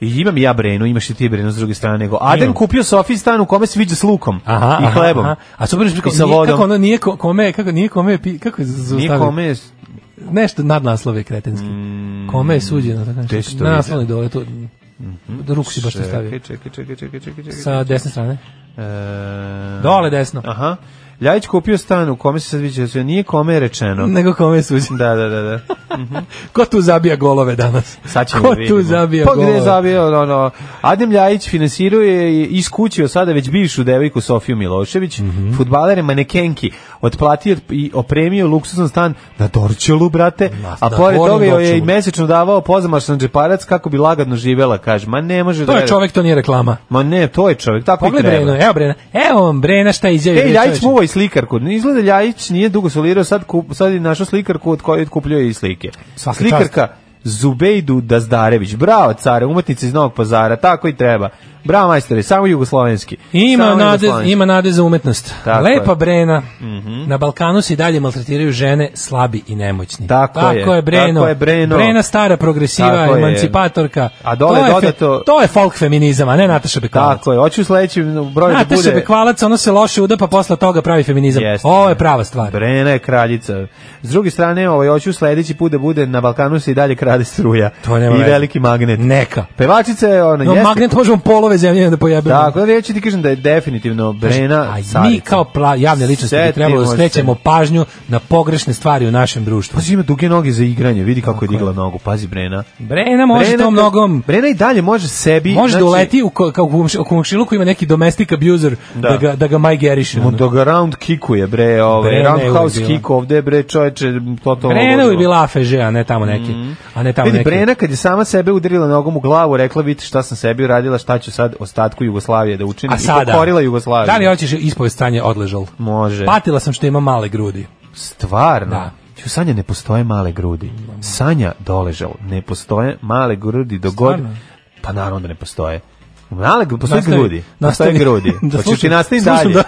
S6: I imam i ja Brenu, imaš i ti Brenu s druge strane. Nego. Adem
S5: Imam.
S6: kupio Sofi stan u kome se viđa s lukom i hlebom.
S5: A super je
S6: I sa vodom.
S5: Kako ono nije ko- kome, kako nije kome, pi- kako je z-
S6: Nije
S5: stavio?
S6: kome, Mm.
S5: Nešto nadnaslov je kretenski. Kome je suđeno? Tako
S6: gde si
S5: nešto.
S6: to
S5: Naslov je dole, to, da ruku si baš ne
S6: Mhm. čekaj,
S5: stavio.
S6: čekaj, čekaj, čekaj, čekaj, čekaj.
S5: Sa desne strane.
S6: E,
S5: Dole desno.
S6: Aha. Ljajić kupio stan u kome se sad viđa, sve nije kome je rečeno.
S5: Nego kome je suđeno.
S6: Da, da, da, da.
S5: Ko tu zabija golove danas?
S6: Sad ćemo
S5: Ko
S6: da vidimo.
S5: tu zabija
S6: pa
S5: golove?
S6: gde je zabio, ono, ono. Adem Ljajić finansiruje i iskućio sada već bivšu devojku Sofiju Milošević,
S5: Mhm.
S6: mm fudbalere manekenki, otplatio i opremio luksuzan stan na Dorčelu, brate, a
S5: na
S6: pored
S5: Gornjem
S6: toga joj je i
S5: Dorćolu.
S6: mesečno davao pozamašan džeparac kako bi lagadno živela, kaže, ma ne može da...
S5: To je
S6: veruje.
S5: čovek, to nije reklama.
S6: Ma ne, to je čovjek, tako i
S5: Pogledaj
S6: treba.
S5: Brenu, evo Brena. Evo vam Brena šta izjavi.
S6: Ej,
S5: bre,
S6: Ljajić
S5: čoveče.
S6: muva i slikarku. Izgleda Ljajić nije dugo solirao, sad, kup, sad je našao slikarku od koje otkupljuje i slike.
S5: Svaka
S6: Slikarka Zubejdu Dazdarević. Bravo, care, umetnica iz Novog pazara, tako i treba. Bravo, majstore, samo jugoslovenski.
S5: Ima
S6: Samo
S5: nade,
S6: jugoslovenski.
S5: ima nade za umetnost.
S6: Tako
S5: Lepa
S6: je. Mhm.
S5: Brena. Na Balkanu se i dalje maltretiraju žene slabi i nemoćni.
S6: Tako je,
S5: je Breno.
S6: tako je, Breno.
S5: Brena stara progresiva,
S6: Tako je.
S5: emancipatorka.
S6: A dole
S5: to je, fe-
S6: dodato-
S5: to je folk feminizam, a ne Nataša Bekvalac.
S6: Tako je, hoću u sledećem broju da
S5: Nataša
S6: bude...
S5: Bekvalac, ono se loše uda, pa posle toga pravi feminizam.
S6: Jeste.
S5: Ovo je prava stvar.
S6: Brena je kraljica. S druge strane, ovaj, hoću sledeći put da bude na Balkanu se i dalje krade struja.
S5: To nema
S6: I
S5: veze.
S6: veliki magnet.
S5: Neka.
S6: Pevačica je ona,
S5: No,
S6: jeste
S5: magnet možemo polove ove zemlje i onda pojebemo.
S6: Tako da ja ću ti kažem da je definitivno Brena
S5: A mi kao pla, javne ličnosti bi trebalo da
S6: Setimo
S5: skrećemo pažnju na pogrešne stvari u našem društvu.
S6: Pazi, ima duge noge za igranje, vidi kako je digla nogu, pazi Brena.
S5: Brena može
S6: Brena
S5: to
S6: kad-
S5: mnogom-
S6: Brena i dalje može sebi...
S5: Može
S6: znači,
S5: da uleti u, ko- kao u komš- u komšiluku ima neki domestic abuser da,
S6: Da.
S5: ga, da ga Mike Geriše. ono.
S6: mu Da ga round kikuje, bre,
S5: Brena
S6: ovaj,
S5: je
S6: roundhouse
S5: uvijek bila.
S6: kick ovde, bre, čoveče, totalno...
S5: Brena bi
S6: ludilo.
S5: bila afeže, a ne tamo neki. A ne tamo
S6: Mhm. Vidi,
S5: neki.
S6: Brena kad je sama sebe udarila nogom u glavu, rekla, vidite šta sam sebi uradila, šta ću sad ostatku Jugoslavije da učinim.
S5: A sada?
S6: I pokorila Jugoslaviju.
S5: Da li Pa hoćeš ispovest stanje odležal?
S6: Može.
S5: Patila sam što ima male grudi.
S6: Stvarno?
S5: Da.
S6: Ću, Sanja, ne postoje male grudi. Sanja doležal, ne postoje male grudi dok god...
S5: Stvarno?
S6: Pa naravno da ne postoje. Male grudi, postoje
S5: Nastavi,
S6: grudi. Postoje
S5: nastavi.
S6: grudi.
S5: Da
S6: Hoćeš ti
S5: slušam,
S6: nastavim
S5: slušam
S6: dalje.
S5: da-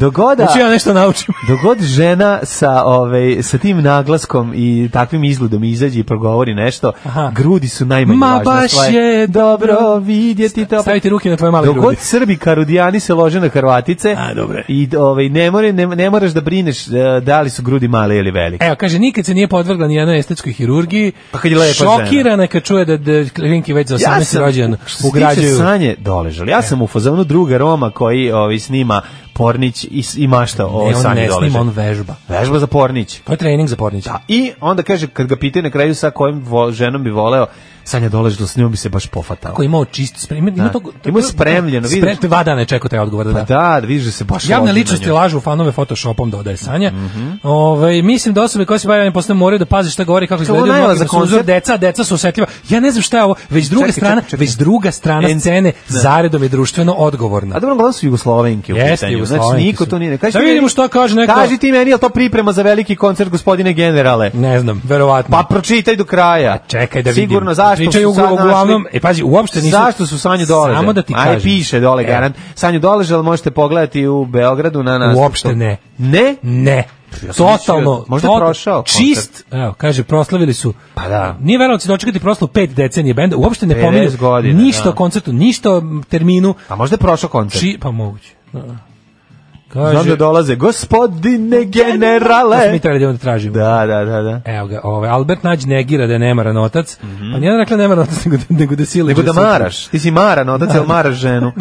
S6: Dok god,
S5: Znači ja nešto naučim.
S6: dok god žena sa, ovaj, sa tim naglaskom i takvim izgledom izađe i progovori nešto,
S5: Aha.
S6: grudi su najmanje
S5: Ma
S6: važna
S5: baš
S6: stvar.
S5: je dobro
S6: Dobro vidjeti to.
S5: Stavite ruke na tvoje male
S6: Dok
S5: grudi.
S6: god Srbi karudijani se lože na Hrvatice
S5: A, dobro.
S6: i ovaj, ne, more, ne, ne moraš da brineš e, da li su grudi male ili velike.
S5: Evo, kaže, nikad se nije podvrgla ni jednoj estetskoj hirurgiji.
S6: Pa kad je lepa žena.
S5: Šokirana je kad čuje da, da Klinki već za 18 rođen
S6: što se tiče
S5: ugrađuju. E.
S6: Sanje doležali. Ja sam u fazonu druga Roma koji ovaj, snima Pornić i, s- i mašta o
S5: Ne, E, on
S6: Sanji
S5: ne snima,
S6: doležali.
S5: on vežba.
S6: Vežba za Pornić.
S5: To je trening za pornića.
S6: Da. I onda kaže, kad ga pitaju na kraju sa kojim vo, ženom bi voleo, Sanja doležala, s njom bi se baš pofatao.
S5: Ako je imao čist spremljen, ima
S6: Da.
S5: to... to-
S6: Imao je spremljeno,
S5: Spre-
S6: vidiš.
S5: Dva dana je čekao taj odgovor, da.
S6: Pa
S5: da.
S6: da, da vidiš da se baš
S5: Javne
S6: loži na
S5: ličnosti
S6: nju.
S5: lažu fanove photoshopom dodaje Sanja.
S6: Mhm.
S5: Ovaj, mislim da osobe koje se bave ovim poslom moraju da paze šta govori kako izgledaju.
S6: najava
S5: Mnogi
S6: za
S5: nas uzor,
S6: koncert.
S5: deca, deca su osetljiva. Ja ne znam šta je ovo, već druga
S6: Čekaj,
S5: strana,
S6: čekaj, čekaj.
S5: već druga strana
S6: En-
S5: scene
S6: da.
S5: zaredom je društveno odgovorna.
S6: A dobro, uglavnom su Jugoslovenke u
S5: Jeste,
S6: pitanju. Znači,
S5: Jugoslovenke
S6: niko
S5: su.
S6: to nije.
S5: Da
S6: ti
S5: vidimo
S6: meni-
S5: šta kaže neko.
S6: Kaži ti meni, je li to priprema za veliki koncert gospodine generale?
S5: Ne znam, verovatno.
S6: Pa pročitaj do kraja.
S5: Čekaj da vidim.
S6: Sigurno, zašto
S5: Pričaju
S6: su sad našli-
S5: uglavnom, e pazi, uopšte nisu...
S6: Zašto su Sanju dole?
S5: Samo da ti kažem.
S6: Aj, piše dole,
S5: E,
S6: garant. Sanju doleže, ali možete pogledati u Beogradu na nas.
S5: Uopšte ne.
S6: Ne?
S5: Ne.
S6: Pa Ja sam
S5: Totalno.
S6: mislio, možda je prošao koncert.
S5: Čist. Evo, kaže, proslavili su.
S6: Pa da.
S5: Nije verovalo da će dočekati proslavu pet decenije benda. Uopšte ne
S6: 50
S5: pominju
S6: godina,
S5: ništa
S6: da.
S5: o koncertu, ništa o m, terminu.
S6: A možda je prošao koncert.
S5: Či, pa moguće. Da.
S6: Znam
S5: Kaže,
S6: da dolaze. Gospodine
S5: to smo mi
S6: generale!
S5: trebali da idemo da tražimo.
S6: Da, da, da, da.
S5: Evo ga, ovaj, Albert Nađ negira da je nemaran otac, pa nije ona rekla nemaran otac, nego, da- nego da sile.
S6: Mhm. Nego da maraš. Ti si maran, otac, jel maraš ženu?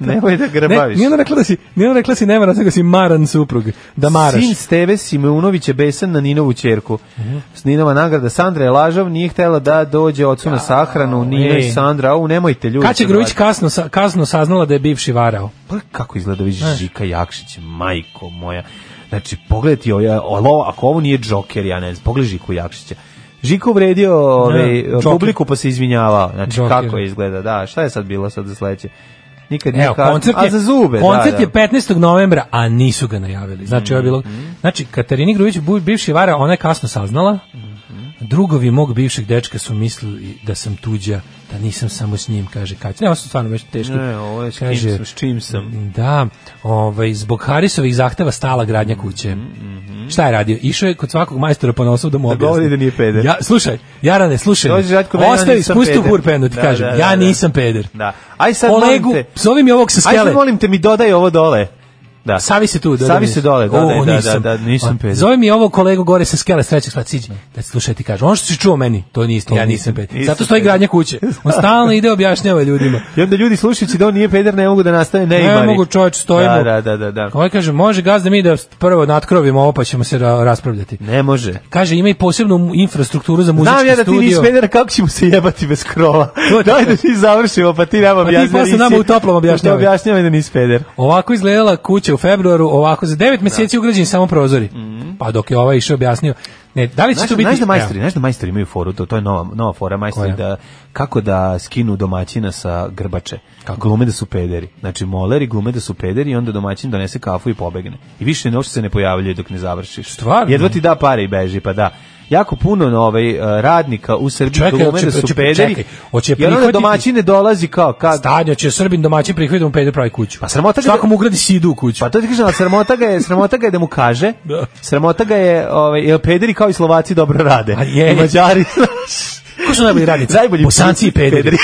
S6: Nemoj da
S5: Ne,
S6: grbaviš.
S5: nije ona rekla da si, nije ona rekla da si nemaran, nego si maran suprug. Da maraš. Mhm.
S6: Sin Steve Simeunović je besan na Ninovu čerku. S Ninova nagrada Sandra je lažav, nije htela da dođe ocu na sahranu, Nina
S5: ej.
S6: i Sandra, au, nemojte ljudi.
S5: Kaća
S6: se
S5: Grujić
S6: vratiti.
S5: kasno, sa- kasno saznala da je bivši varao.
S6: Pa kako izgleda viš Žika Jakšić, majko moja. Znači, pogledaj ti ovo, ja- ovo, ako ovo nije Joker, ja ne znam, pogledaj Žiku Jakšića. Žiko uvredio ovaj,
S5: Joker.
S6: publiku pa se izvinjavao. Znači,
S5: Joker.
S6: kako je izgleda, da, šta je sad bilo sad za sledeće? Nikad nije
S5: Evo,
S6: kasno.
S5: koncert je,
S6: a za zube,
S5: koncert
S6: da, da.
S5: je 15. novembra, a nisu ga najavili. Znači, ovo je bilo,
S6: Mhm.
S5: znači Katarini Grujić, bu- bivši vara, ona je kasno saznala.
S6: Mhm.
S5: Drugovi mog bivšeg dečka su mislili da sam tuđa, da nisam samo s njim, kaže Kaća. Ne, ovo su stvarno već teški.
S6: Ne, ovo je s kim
S5: Kaže,
S6: sam, s čim sam.
S5: Da, ovaj, zbog Harisovih zahteva stala gradnja kuće. Šta je radio? Išao je kod svakog majstora po nosu da mu objasni.
S6: govori Mm, mm-hmm. da nije peder.
S5: Ja, slušaj, Jarane, slušaj.
S6: Dođe Žatko, meni, ja
S5: Ostavi,
S6: nisam
S5: spusti u
S6: peder.
S5: hurpenu, ti
S6: Da,
S5: kažem.
S6: da,
S5: ja
S6: da, da.
S5: nisam peder.
S6: Da. Aj sad, molim
S5: Olegu,
S6: te.
S5: zove mi ovog sa
S6: Ajde,
S5: skele.
S6: molim te, mi dodaj ovo dole. Da.
S5: Savi se tu, da.
S6: Savi
S5: da,
S6: se dole,
S5: O,
S6: dodaj, da,
S5: nisam.
S6: da, da, nisam peder.
S5: Zove mi ovo kolegu gore sa skele, s trećeg sprat, siđi. Da slušaj ti kaže. Ono što si čuo meni, to nije isto, ja nisam peder.
S6: nisam
S5: Zato stoji
S6: peder.
S5: gradnja kuće. On stalno ide objašnjava ljudima.
S6: I onda ljudi slušajući da on nije peder ne mogu da nastave ne
S5: Ne mogu, čoveč, stojimo.
S6: Da, da, da, da, da.
S5: Ovaj kaže, može gazda mi da prvo natkrovimo ovo pa ćemo se ra- raspravljati.
S6: Ne može.
S5: Kaže, ima i posebnu mu- infrastrukturu za muzički
S6: Znam ja da ti
S5: studio.
S6: nisi peder, kako ćemo se jebati bez krova?
S5: To-
S6: Daj da ti završimo, pa ti nam objašnjavaj.
S5: posle nama u toplom objašnjavaj.
S6: Objašnjavaj da nisi peder.
S5: Ovako izgledala kuća u februaru, ovako za 9 meseci ugrađeni samo prozori. Pa dok je ovaj išao objasnio. Ne, da li
S6: Mhm.
S5: će
S6: Znaš,
S5: to biti...
S6: znaš da majstori,
S5: Evo,
S6: znaš da majstori imaju foru, to, to je nova, nova fora majstori,
S5: Koja?
S6: da, kako da skinu domaćina sa grbače. Kako? Glume da su pederi. Znači, moleri glume da su pederi i onda domaćin donese kafu i pobegne. I više ne uopšte se ne pojavljaju dok ne završiš.
S5: Stvarno?
S6: Jedva ti da pare i beži, pa da. Jako puno ovaj, eh, radnika u Srbiji
S5: Čekaj,
S6: glume
S5: hoće-
S6: da su
S5: hoće-
S6: pederi.
S5: čekaj, hoće
S6: I onda
S5: prihvatiti-
S6: domaćine dolazi kao... Kad,
S5: Stanjo će Srbin domaćin prihvatiti da mu peder pravi kuću.
S6: Pa sramota ga da-
S5: Svakom ugradi sidu u kuću.
S6: Pa to ti kažem, ali sramota ga je, sramota ga je da mu kaže.
S5: Da.
S6: Sramota ga je, ovaj, jer pederi kao i Slovaci dobro rade.
S5: A je.
S6: I Mađari, znaš.
S5: Ko su najbolji radnici?
S6: Najbolji
S5: Bosanci i pederi.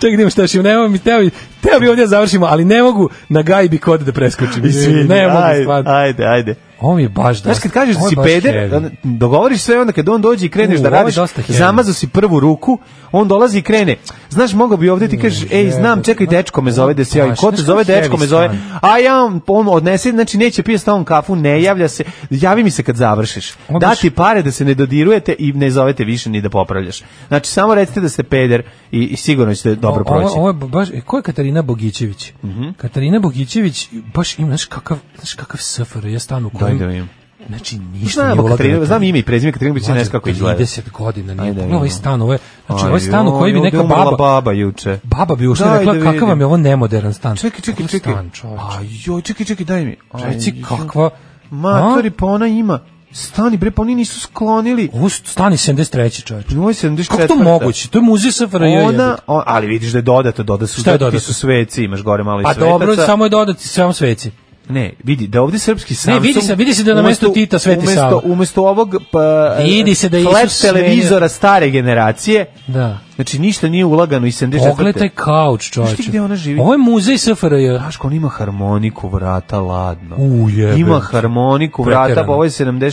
S5: Čekaj, idemo šta još imamo, nemam mi teo, bi- teo bi ovdje da završimo, ali ne mogu na gajbi kod da preskočim.
S6: Izvini,
S5: ne mogu,
S6: ajde,
S5: stvarno.
S6: ajde, ajde.
S5: Ovo mi je baš dosta.
S6: Znaš, kad kažeš da
S5: Ovo je
S6: si
S5: baš
S6: peder,
S5: heavy.
S6: onda dogovoriš sve, onda kad on dođe i kreneš
S5: U,
S6: da
S5: ovo je
S6: radiš,
S5: dosta heavy.
S6: zamazo si prvu ruku, on dolazi i krene. Znaš, mogao bi
S5: Mm,
S6: ovdje ti kažeš, ej, znam, čekaj, dečko me zove da se javim.
S5: Baš,
S6: Ko te
S5: znaš
S6: zove,
S5: koji je
S6: dečko
S5: pa heavy
S6: me zove.
S5: stan?
S6: A ja, on- on odnese, znači, neće pije s tobom kafu, ne javlja se, javi mi se kad završiš.
S5: Ovo
S6: Da
S5: baš-
S6: ti pare da se ne dodirujete i ne zovete više ni da popravljaš. Znači, samo recite da ste peder i, i sigurno ćete dobro
S5: Ovo-
S6: proći. Mhm.
S5: Ovo, je baš, e, ko je Katarina Bogićević? Katarina Bogićević baš ima, znaš kakav, znaš kakav sfr, ja stan u kojem...
S6: da vidim.
S5: Znači, ništa
S6: Znam,
S5: nije
S6: evo, Katarina-
S5: ulagano.
S6: znam ime i prezime, Katarina Bogićević, ne
S5: Mlađe,
S6: znam kako izgleda.
S5: 30 godina nije.
S6: Ajde,
S5: Pogledaj ovaj
S6: vidimo.
S5: stan, ovo je, znači, ovo
S6: Aj,
S5: je stan u kojem bi
S6: joj,
S5: neka
S6: ovdje umrla
S5: baba...
S6: baba juče.
S5: Baba bi ušla i
S6: Daj
S5: rekla,
S6: da
S5: kakav vam
S6: vidim."
S5: je ovo nemoderan stan.
S6: Čekaj, čekaj,
S5: Kakav
S6: čekaj.
S5: Stan, čoveče.
S6: A joj, čekaj, čekaj, daj mi. Aj,
S5: Reci
S6: joj.
S5: kakva...
S6: Matori,
S5: A?
S6: pa ona ima. Stani, bre, pa oni nisu sklonili.
S5: Ovo su stani 73. čoveč.
S6: Ovo je 74.
S5: Kako to moguće? To je muzej SFRJ.
S6: Ona,
S5: jebote.
S6: o, ali vidiš da je dodato, dodato su,
S5: Šta je
S6: dodati
S5: dodato?
S6: su sveci, imaš gore malo i
S5: Pa
S6: svetaca.
S5: dobro, samo je dodati samo sveci.
S6: Ne, vidi, da ovdje srpski Samsung...
S5: vidi se- vidi se da na mesto
S6: umesto-
S5: Tita Sveti
S6: umesto-
S5: Sava.
S6: Umesto ovog pa,
S5: Vidi se da je
S6: flat
S5: Isus
S6: televizora stare generacije,
S5: Da.
S6: znači ništa nije ulagano i 74.
S5: Pogledaj kauč, čoveče.
S6: Znaš ti gde ona živi?
S5: Ovo je muzej SFRJ.
S6: Znaš, on ima harmoniku vrata ladno.
S5: U, jebe.
S6: Ima harmoniku vrata,
S5: Preterano.
S6: pa ovo je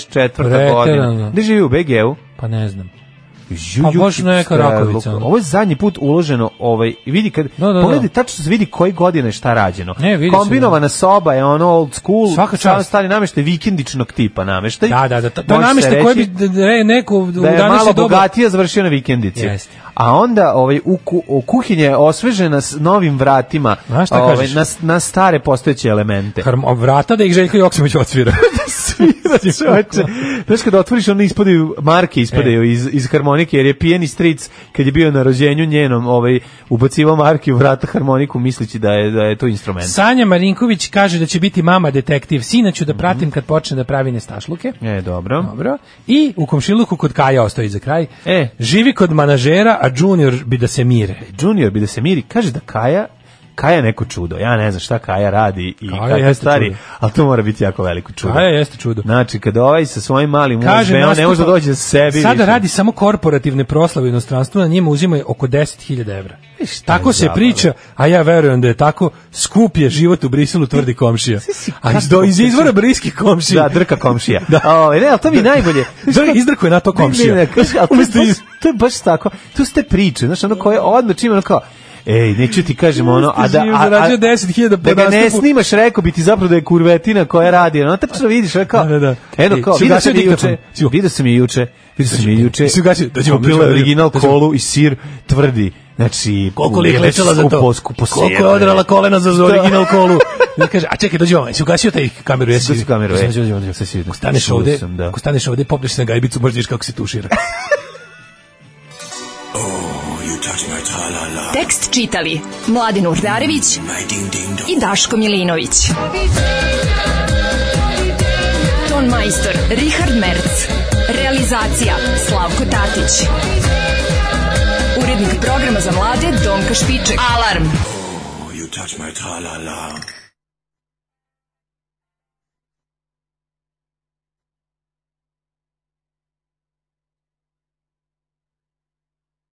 S6: 74.
S5: Preterano.
S6: godina. Gde živi u BG-u?
S5: Pa ne znam.
S6: Ju,
S5: Pa
S6: ju,
S5: baš neka
S6: stra-
S5: rakovica, ono.
S6: Ovo je zadnji put uloženo, ovaj, vidi kad,
S5: Da, da, da.
S6: pogledaj tačno se vidi koje godine je šta rađeno.
S5: Ne, vidi se,
S6: Kombinovana soba je ono old school,
S5: Svaka
S6: samo
S5: čast.
S6: stari nameštaj, vikendičnog tipa nameštaj.
S5: Da, da, da. To to je
S6: Može se
S5: namještaj koji bi
S6: reći
S5: d- d- re- neko
S6: da
S5: u
S6: je malo
S5: današnje doba...
S6: bogatije završio na vikendici.
S5: Jeste.
S6: A onda ovaj u, ku, u kuhinje je osvežena s novim vratima,
S5: Znaš šta
S6: ovaj,
S5: kažeš?
S6: na, na stare postojeće elemente.
S5: Harmo- vrata da ih Željko Joksimović odsvira. Znači,
S6: Čoveče, Znači, znaš kada otvoriš, ono ispadaju, marke
S5: E.
S6: ispadaju iz, iz harmonike, jer je pijeni stric, kad je bio na rođenju njenom, ovaj, ubacivao marke u vrata harmoniku, misleći da je, da je to instrument.
S5: Sanja Marinković kaže da će biti mama detektiv. Sina ću da pratim kad počne da pravi nestašluke.
S6: E, dobro.
S5: Dobro. I u komšiluku kod Kaja ostaje za kraj.
S6: E.
S5: Živi kod manažera, a junior bi da se mire.
S6: Junior bi da se miri, kaže da Kaja Kaja je neko čudo. Ja ne znam šta Kaja radi i
S5: Kaja
S6: kakve
S5: jeste
S6: stvari,
S5: čudo.
S6: ali to mora biti jako veliko čudo.
S5: Kaja e, jeste čudo.
S6: Znači, kad ovaj sa svojim malim
S5: Kaže,
S6: uzbeom ne može da
S5: nastupa-
S6: dođe za sebi.
S5: Sada
S6: više.
S5: radi samo korporativne proslave u inostranstvu, na njima uzima oko 10.000 evra. tako se
S6: zabava.
S5: priča, a ja verujem da je tako skup je život u Briselu, tvrdi komšija.
S6: si
S5: A iz,
S6: kako
S5: do, iz
S6: priča.
S5: izvora briski komšija.
S6: Da, drka komšija.
S5: Da. Znači,
S6: Ovaj, ne, ali to mi je najbolje.
S5: Dr- izdrko je na to komšija.
S6: Ne, ne, kaže, ali to,
S5: Umesto
S6: je baš-
S5: iz-
S6: to je baš tako. Tu ste priče, znaš, ono koje odmah čim ono kao, Ej, neću ti kažem ono, a da,
S5: Živ,
S6: a, a,
S5: zarađuje 10.000 po
S6: da ga ne
S5: nastupu.
S6: snimaš, rekao bi ti zapravo da je kurvetina koja radi, ono, tačno vidiš, ono kao,
S5: Da, da, da.
S6: eno
S5: Ej,
S6: kao,
S5: si
S6: vidio
S5: ugasio
S6: sam je
S5: diktafon?
S6: juče,
S5: Si u-
S6: vidio sam je juče, vidio sam je juče,
S5: si ugasio? Da ćemo- da
S6: kupila je
S5: ćemo-
S6: original
S5: da ćemo-
S6: kolu i sir tvrdi, znači,
S5: Koliko li je
S6: ujebe,
S5: klečala za
S6: skupo,
S5: to?
S6: skupo
S5: Koliko
S6: sir,
S5: je odrala
S6: bre.
S5: kolena za za original kolu? I kaže, a čekaj, dođi vam, jesi ugasio taj kameru? Jesi
S6: Ugasio kameru,
S5: Dođi,
S6: e.
S5: dođi, dođi, dođi.
S6: Sad si vidio.
S5: Ako staneš
S6: Čuo
S5: ovde,
S6: sam, da.
S5: ako staneš ovde, popneš se na gajbicu, možeš da vidiš kako se tušira.
S4: Tekst čitali Mladin Urdarević i Daško Milinović. Ton majstor Richard Merc. Realizacija Slavko Tatić. Urednik programa za mlade Donka Špiček. Alarm!
S3: You touch my tra-la-la.